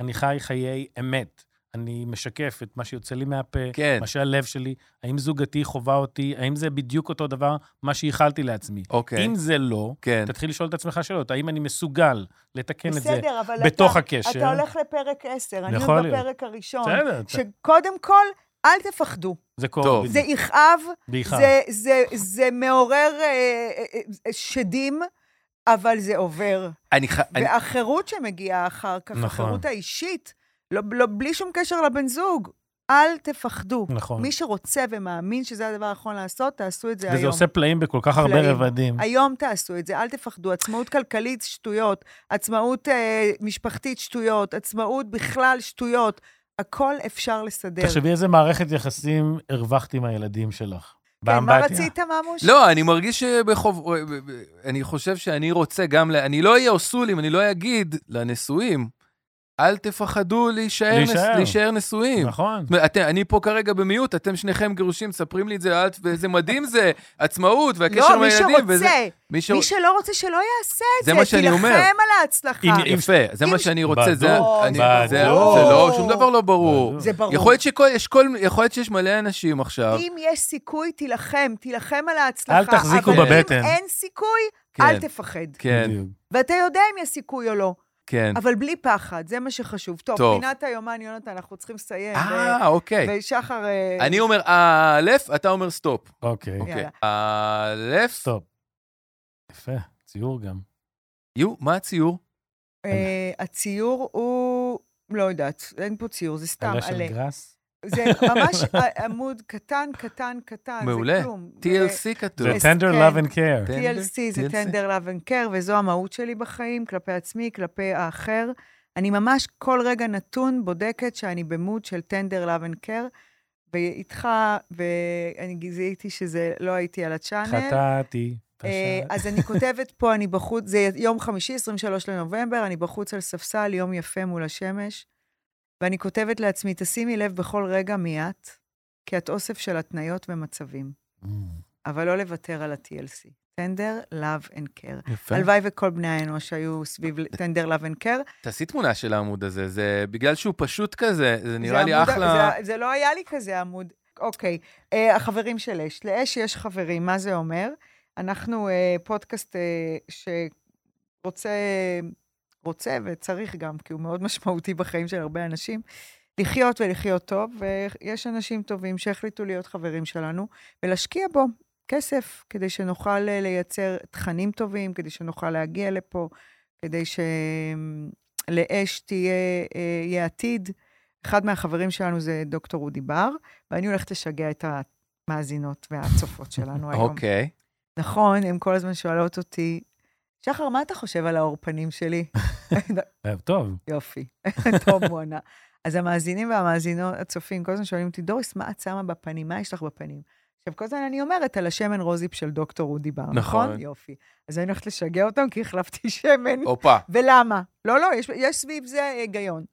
Speaker 3: אני חי חיי אמת, אני משקף את מה שיוצא לי מהפה,
Speaker 2: כן.
Speaker 3: מה שהלב שלי, האם זוגתי חווה אותי, האם זה בדיוק אותו דבר, מה שייחלתי לעצמי.
Speaker 2: אוקיי.
Speaker 3: אם זה לא,
Speaker 2: כן.
Speaker 3: תתחיל לשאול את עצמך שאלות, האם אני מסוגל לתקן כן את זה
Speaker 1: בסדר, אבל
Speaker 3: בתוך
Speaker 1: אתה,
Speaker 3: הקשר?
Speaker 1: אתה הולך לפרק 10, אני
Speaker 3: יכול
Speaker 1: עוד
Speaker 3: להיות.
Speaker 1: בפרק הראשון.
Speaker 3: בסדר,
Speaker 1: שקודם כל, אל תפחדו.
Speaker 3: זה קורה.
Speaker 2: טוב.
Speaker 1: זה יכאב,
Speaker 3: בעיקר.
Speaker 1: זה, זה, זה מעורר אה, אה, אה, שדים, אבל זה עובר.
Speaker 2: אני ח- אני-
Speaker 1: והחירות שמגיעה אחר כך,
Speaker 3: נכון.
Speaker 1: החירות האישית, לא, לא, בלי שום קשר לבן זוג, אל תפחדו.
Speaker 3: נכון.
Speaker 1: מי שרוצה ומאמין שזה הדבר הנכון לעשות, תעשו את זה היום.
Speaker 3: וזה עושה פלאים בכל כך הרבה
Speaker 1: פלאים.
Speaker 3: רבדים.
Speaker 1: היום תעשו את זה, אל תפחדו. עצמאות כלכלית, שטויות. עצמאות אה, משפחתית, שטויות. עצמאות בכלל, שטויות. הכל אפשר לסדר.
Speaker 3: תחשבי איזה מערכת יחסים הרווחת עם הילדים שלך.
Speaker 1: כן, מה
Speaker 3: באמבטיה.
Speaker 1: רצית, ממוש?
Speaker 2: לא, אני מרגיש שבחוב... אה, אני חושב שאני רוצה גם... ל- אני לא אהיה אוסולים, אני לא אגיד לנשואים, אל תפחדו להישאר, להישאר.
Speaker 3: להישאר.
Speaker 2: נס, להישאר נשואים.
Speaker 3: נכון.
Speaker 2: זאת אומרת, אתם, אני פה כרגע במיעוט, אתם שניכם גרושים, מספרים לי את זה, את- ואיזה מדהים זה, עצמאות והקשר
Speaker 1: לא,
Speaker 2: עם
Speaker 1: מי
Speaker 2: הילדים. וזה-
Speaker 1: שרוצה.
Speaker 2: מי ש...
Speaker 1: מי שלא רוצה, שלא יעשה את
Speaker 2: זה
Speaker 1: זה.
Speaker 2: מה שאני אומר.
Speaker 1: תילחם על ההצלחה.
Speaker 3: אם- אם-
Speaker 2: יפה, זה
Speaker 1: אם-
Speaker 2: מה שאני רוצה, זה
Speaker 1: בדוק,
Speaker 2: אני- זה- זה
Speaker 1: בדוק.
Speaker 2: לא, שום דבר לא ברור.
Speaker 3: בדוק.
Speaker 1: זה ברור.
Speaker 2: יכול להיות שכל, יש כל, יכול להיות שיש מלא אנשים עכשיו.
Speaker 1: אם יש סיכוי, תילחם, תילחם על ההצלחה.
Speaker 3: אל תחזיקו
Speaker 1: אבל
Speaker 3: בבטן.
Speaker 1: אם אין סיכוי,
Speaker 2: כן.
Speaker 1: אל תפחד.
Speaker 2: כן,
Speaker 3: בדיוק.
Speaker 1: ואתה יודע אם יש סיכוי או לא,
Speaker 2: כן.
Speaker 1: אבל בלי פחד, זה מה שחשוב. טוב,
Speaker 2: טוב.
Speaker 1: פינת היומן, יונתן, אנחנו צריכים לסיים.
Speaker 2: אה, אוקיי.
Speaker 1: ו- ושחר... אה,
Speaker 2: אני אומר א', אתה אומר סטופ.
Speaker 3: אוקיי.
Speaker 2: אוקיי.
Speaker 1: כן. יאללה.
Speaker 2: א',
Speaker 3: סטופ. יפה, ציור גם.
Speaker 2: יו, מה הציור?
Speaker 1: אה, הציור הוא... לא יודעת, אין פה ציור, זה סתם
Speaker 3: עלה
Speaker 1: עלה.
Speaker 3: של גראס.
Speaker 1: זה ממש ע- עמוד קטן, קטן, קטן,
Speaker 2: מעולה.
Speaker 1: זה כלום. זה-
Speaker 2: TLC כתוב.
Speaker 3: זה
Speaker 1: זה- כן.
Speaker 3: tender love and care.
Speaker 1: TLC זה
Speaker 2: TLC.
Speaker 1: tender love and care, וזו המהות שלי בחיים, כלפי עצמי, כלפי האחר. אני ממש כל רגע נתון בודקת שאני במוד של tender love and care, ואיתך, ואני זיהיתי שזה לא הייתי על הצ'אנל.
Speaker 3: חטאתי.
Speaker 1: אה,
Speaker 3: פשעתי.
Speaker 1: אז אני כותבת פה, אני בחוץ, זה יום חמישי, 23 לנובמבר, אני בחוץ על ספסל, יום יפה מול השמש, ואני כותבת לעצמי, תשימי לב בכל רגע מי את, כי את אוסף של התניות ומצבים,
Speaker 3: Mm.
Speaker 1: אבל לא לוותר על ה-TLC. tender, love and care.
Speaker 2: יפה.
Speaker 1: הלוואי וכל בני האנוש היו סביב tender, love and care.
Speaker 2: תעשי תמונה של העמוד הזה, זה בגלל שהוא פשוט כזה, זה נראה
Speaker 1: זה
Speaker 2: לי
Speaker 1: עמוד-
Speaker 2: אחלה.
Speaker 1: זה, זה לא היה לי כזה עמוד. אוקיי, אה, החברים של אש. לאש יש חברים, מה זה אומר? אנחנו אה, פודקאסט אה, שרוצה, רוצה וצריך גם, כי הוא מאוד משמעותי בחיים של הרבה אנשים, לחיות ולחיות טוב, ויש אנשים טובים שהחליטו להיות חברים שלנו, ולהשקיע בו כסף, כדי שנוכל אה, לייצר תכנים טובים, כדי שנוכל להגיע לפה, כדי שלאש תהיה, אה, יהיה עתיד. אחד מהחברים שלנו זה דוקטור אודי בר, ואני הולכת לשגע את המאזינות והצופות שלנו היום.
Speaker 2: אוקיי.
Speaker 1: נכון, הן כל הזמן שואלות אותי, שחר, מה אתה חושב על האור פנים שלי?
Speaker 3: אה, טוב,
Speaker 1: יופי, טוב מונה. אז המאזינים והמאזינות, הצופים, כל הזמן שואלים אותי, דוריס, מה את שמה בפנים? מה יש לך בפנים? עכשיו, כל הזמן אני אומרת על השמן רוזיפ של דוקטור אודי בר, נכון?
Speaker 2: נכון.
Speaker 1: יופי. אז אני הולכת לשגע אותם כי החלפתי שמן.
Speaker 2: הופה.
Speaker 1: ולמה? לא, לא, יש, יש סביב זה היגיון.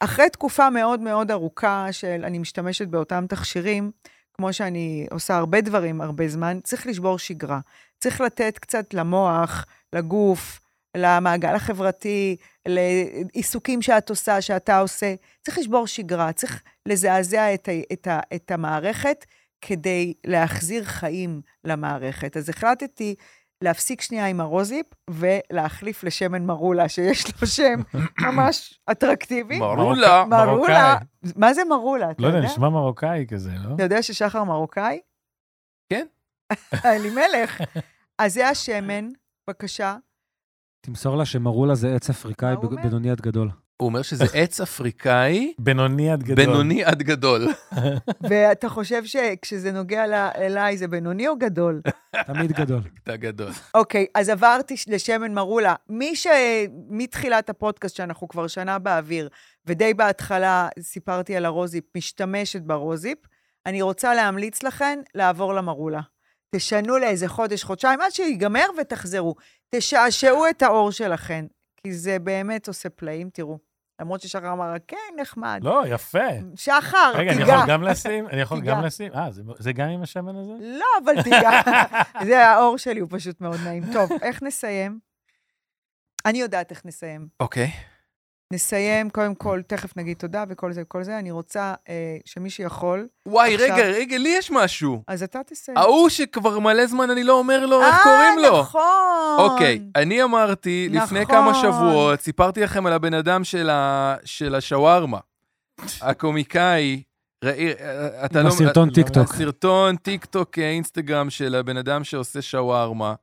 Speaker 1: אחרי תקופה מאוד מאוד ארוכה של אני משתמשת באותם תכשירים, כמו שאני עושה הרבה דברים הרבה זמן, צריך לשבור שגרה. צריך לתת קצת למוח, לגוף, למעגל החברתי, לעיסוקים שאת עושה, שאתה עושה. צריך לשבור שגרה, צריך לזעזע את, ה, את, ה, את המערכת כדי להחזיר חיים למערכת. אז החלטתי להפסיק שנייה עם הרוזיפ ולהחליף לשמן מרולה, שיש לו שם ממש אטרקטיבי.
Speaker 2: מרולה.
Speaker 3: מרוקאי.
Speaker 1: מרולה, מה זה מרולה? אתה
Speaker 3: לא יודע,
Speaker 1: יודע? כן.
Speaker 3: נשמע מרוקאי כזה, לא?
Speaker 1: אתה יודע ששחר מרוקאי?
Speaker 2: כן.
Speaker 1: אלימלך. אז זה השמן, בבקשה.
Speaker 5: תמסור לה שמרולה זה עץ אפריקאי
Speaker 1: מה הוא אומר?
Speaker 5: בינוני עד גדול.
Speaker 2: הוא אומר שזה עץ אפריקאי,
Speaker 3: בינוני עד גדול.
Speaker 2: בינוני עד גדול.
Speaker 1: ואתה חושב שכשזה נוגע ל- אליי זה בינוני או גדול?
Speaker 5: תמיד גדול.
Speaker 2: אתה גדול.
Speaker 1: אוקיי, אז עברתי ש- לשמן מרולה. מי ש... מתחילת הפודקאסט, שאנחנו כבר שנה באוויר, ודי בהתחלה סיפרתי על הרוזיפ, משתמשת ברוזיפ, אני רוצה להמליץ לכן לעבור למרולה. תשנו לאיזה חודש, חודשיים, עד שיגמר ותחזרו. תשעשעו את האור שלכן, כי זה באמת עושה פלאים, תראו. למרות ששחר אמר, כן, נחמד.
Speaker 3: לא, יפה.
Speaker 1: שחר,
Speaker 3: רגע, אני
Speaker 1: תיגע.
Speaker 3: יכול גם לשים? אני יכול
Speaker 1: תיגע.
Speaker 3: גם לשים? אה, זה- זה גם עם השמן הזה?
Speaker 1: לא, אבל תיגע. זה האור שלי, הוא פשוט מאוד נעים. טוב, איך נסיים? אני יודעת איך נסיים.
Speaker 2: אוקיי.
Speaker 1: נסיים, קודם כל, תכף נגיד תודה וכל זה וכל זה. אני רוצה אה, שמי שיכול,
Speaker 2: וואי,
Speaker 1: עכשיו-
Speaker 2: רגע, רגע, לי יש משהו.
Speaker 1: אז אתה תסיים.
Speaker 2: ההוא שכבר מלא זמן אני לא אומר לו איך קוראים לו.
Speaker 1: אה, נכון.
Speaker 2: אוקיי, אני אמרתי לפני
Speaker 1: נכון.
Speaker 2: כמה שבועות, סיפרתי לכם על הבן אדם של ה- של השווארמה, הקומיקאי, ראי- אה, אתה לא...
Speaker 5: הסרטון
Speaker 3: לא-
Speaker 5: טיק טוק.
Speaker 2: הסרטון טיק טוק אה, אינסטגרם של הבן אדם שעושה שווארמה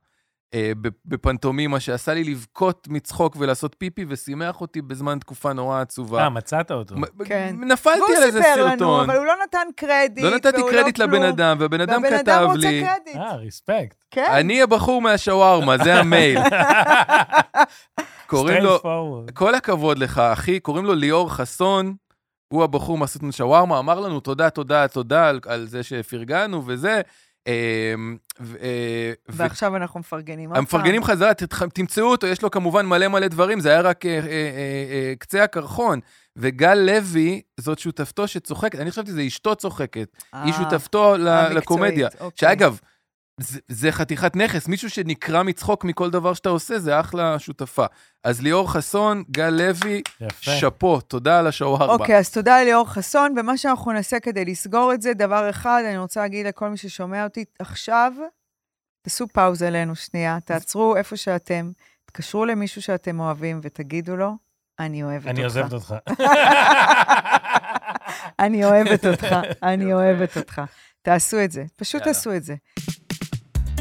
Speaker 2: אה, ב- בפנטומימה, שעשה לי לבכות מצחוק ולעשות פיפי, ושימח אותי בזמן תקופה נורא עצובה.
Speaker 3: אה, מצאת אותו.
Speaker 2: מ-
Speaker 1: כן.
Speaker 2: נפלתי
Speaker 1: והוא
Speaker 2: על איזה
Speaker 1: סיפר לנו,
Speaker 2: סרטון.
Speaker 1: אבל הוא לא נתן קרדיט,
Speaker 2: לא נתתי
Speaker 1: והוא
Speaker 2: קרדיט
Speaker 1: לא
Speaker 2: לבן
Speaker 1: כלום.
Speaker 2: אדם, והבן אדם
Speaker 1: והבן אדם
Speaker 2: כתב
Speaker 1: רוצה
Speaker 2: לי,
Speaker 1: קרדיט.
Speaker 3: אה, ריספקט.
Speaker 1: כן.
Speaker 2: אני הבחור מהשווארמה, זה המייל. קוראים לו,
Speaker 3: Straight forward.
Speaker 2: כל הכבוד לך, אחי, קוראים לו ליאור חסון, הוא הבחור מהסרטון שווארמה, אמר לנו תודה, תודה, תודה על, על זה שפרגנו וזה.
Speaker 6: אמ, ו- אה, ו-
Speaker 1: ועכשיו אנחנו מפרגנים עוד פעם.
Speaker 6: המפרגנים חזרה, ת- ת- תמצאו אותו, יש לו כמובן מלא מלא דברים, זה היה רק אה, אה, אה, אה, קצה הקרחון. וגל לוי, זאת שותפתו שצוחקת, אני חשבתי זה אשתו צוחקת,
Speaker 1: אה,
Speaker 6: היא שותפתו ל-
Speaker 1: המקצועית,
Speaker 6: לקומדיה.
Speaker 1: אוקיי.
Speaker 6: שאגב, זה, זה חתיכת נכס, מישהו שנקרע מצחוק מכל דבר שאתה עושה, זה אחלה שותפה. אז ליאור חסון, גל לוי,
Speaker 3: יפה.
Speaker 6: שאפו, תודה על השואו ארבע.
Speaker 1: אוקיי, אז תודה לליאור חסון, ומה שאנחנו נעשה כדי לסגור את זה, דבר אחד, אני רוצה להגיד לכל מי ששומע אותי עכשיו, תעשו פאוזה אלינו שנייה, תעצרו איפה שאתם, תתקשרו למישהו שאתם אוהבים ותגידו לו, אני אוהבת
Speaker 3: אני
Speaker 1: אותך.
Speaker 3: עוזבת אותך.
Speaker 1: אני אוהבת אותך, אני אוהבת אותך. תעשו את זה, פשוט תעשו את זה.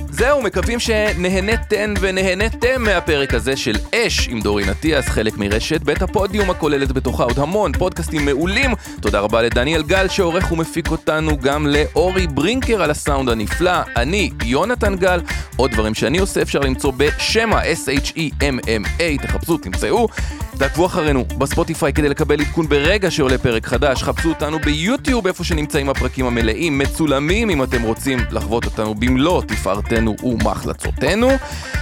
Speaker 2: זהו, מקווים שנהנתן ונהנתם מהפרק הזה של אש עם דורין אטיאס, חלק מרשת בית הפודיום הכוללת בתוכה עוד המון פודקאסטים מעולים. תודה רבה לדניאל גל שעורך ומפיק אותנו, גם לאורי ברינקר על הסאונד הנפלא, אני יונתן גל. עוד דברים שאני עושה אפשר למצוא בשמה, E S-H-E-M-M-A, תחפשו, תמצאו. תעקבו אחרינו בספוטיפיי כדי לקבל עדכון ברגע שעולה פרק חדש, חפשו אותנו ביוטיוב איפה שנמצאים הפרקים המלאים, מצולמים אם אתם רוצים לחוות אותנו במלוא תפארתנו ומחלצותינו.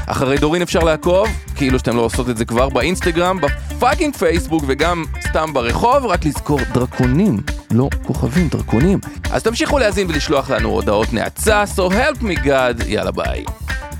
Speaker 2: אחרי דורין אפשר לעקוב, כאילו שאתם לא עושות את זה כבר, באינסטגרם, בפאקינג פייסבוק וגם סתם ברחוב, רק לזכור דרקונים, לא כוכבים, דרקונים. אז תמשיכו להאזין ולשלוח לנו הודעות נאצה, so help me God, יאללה ביי.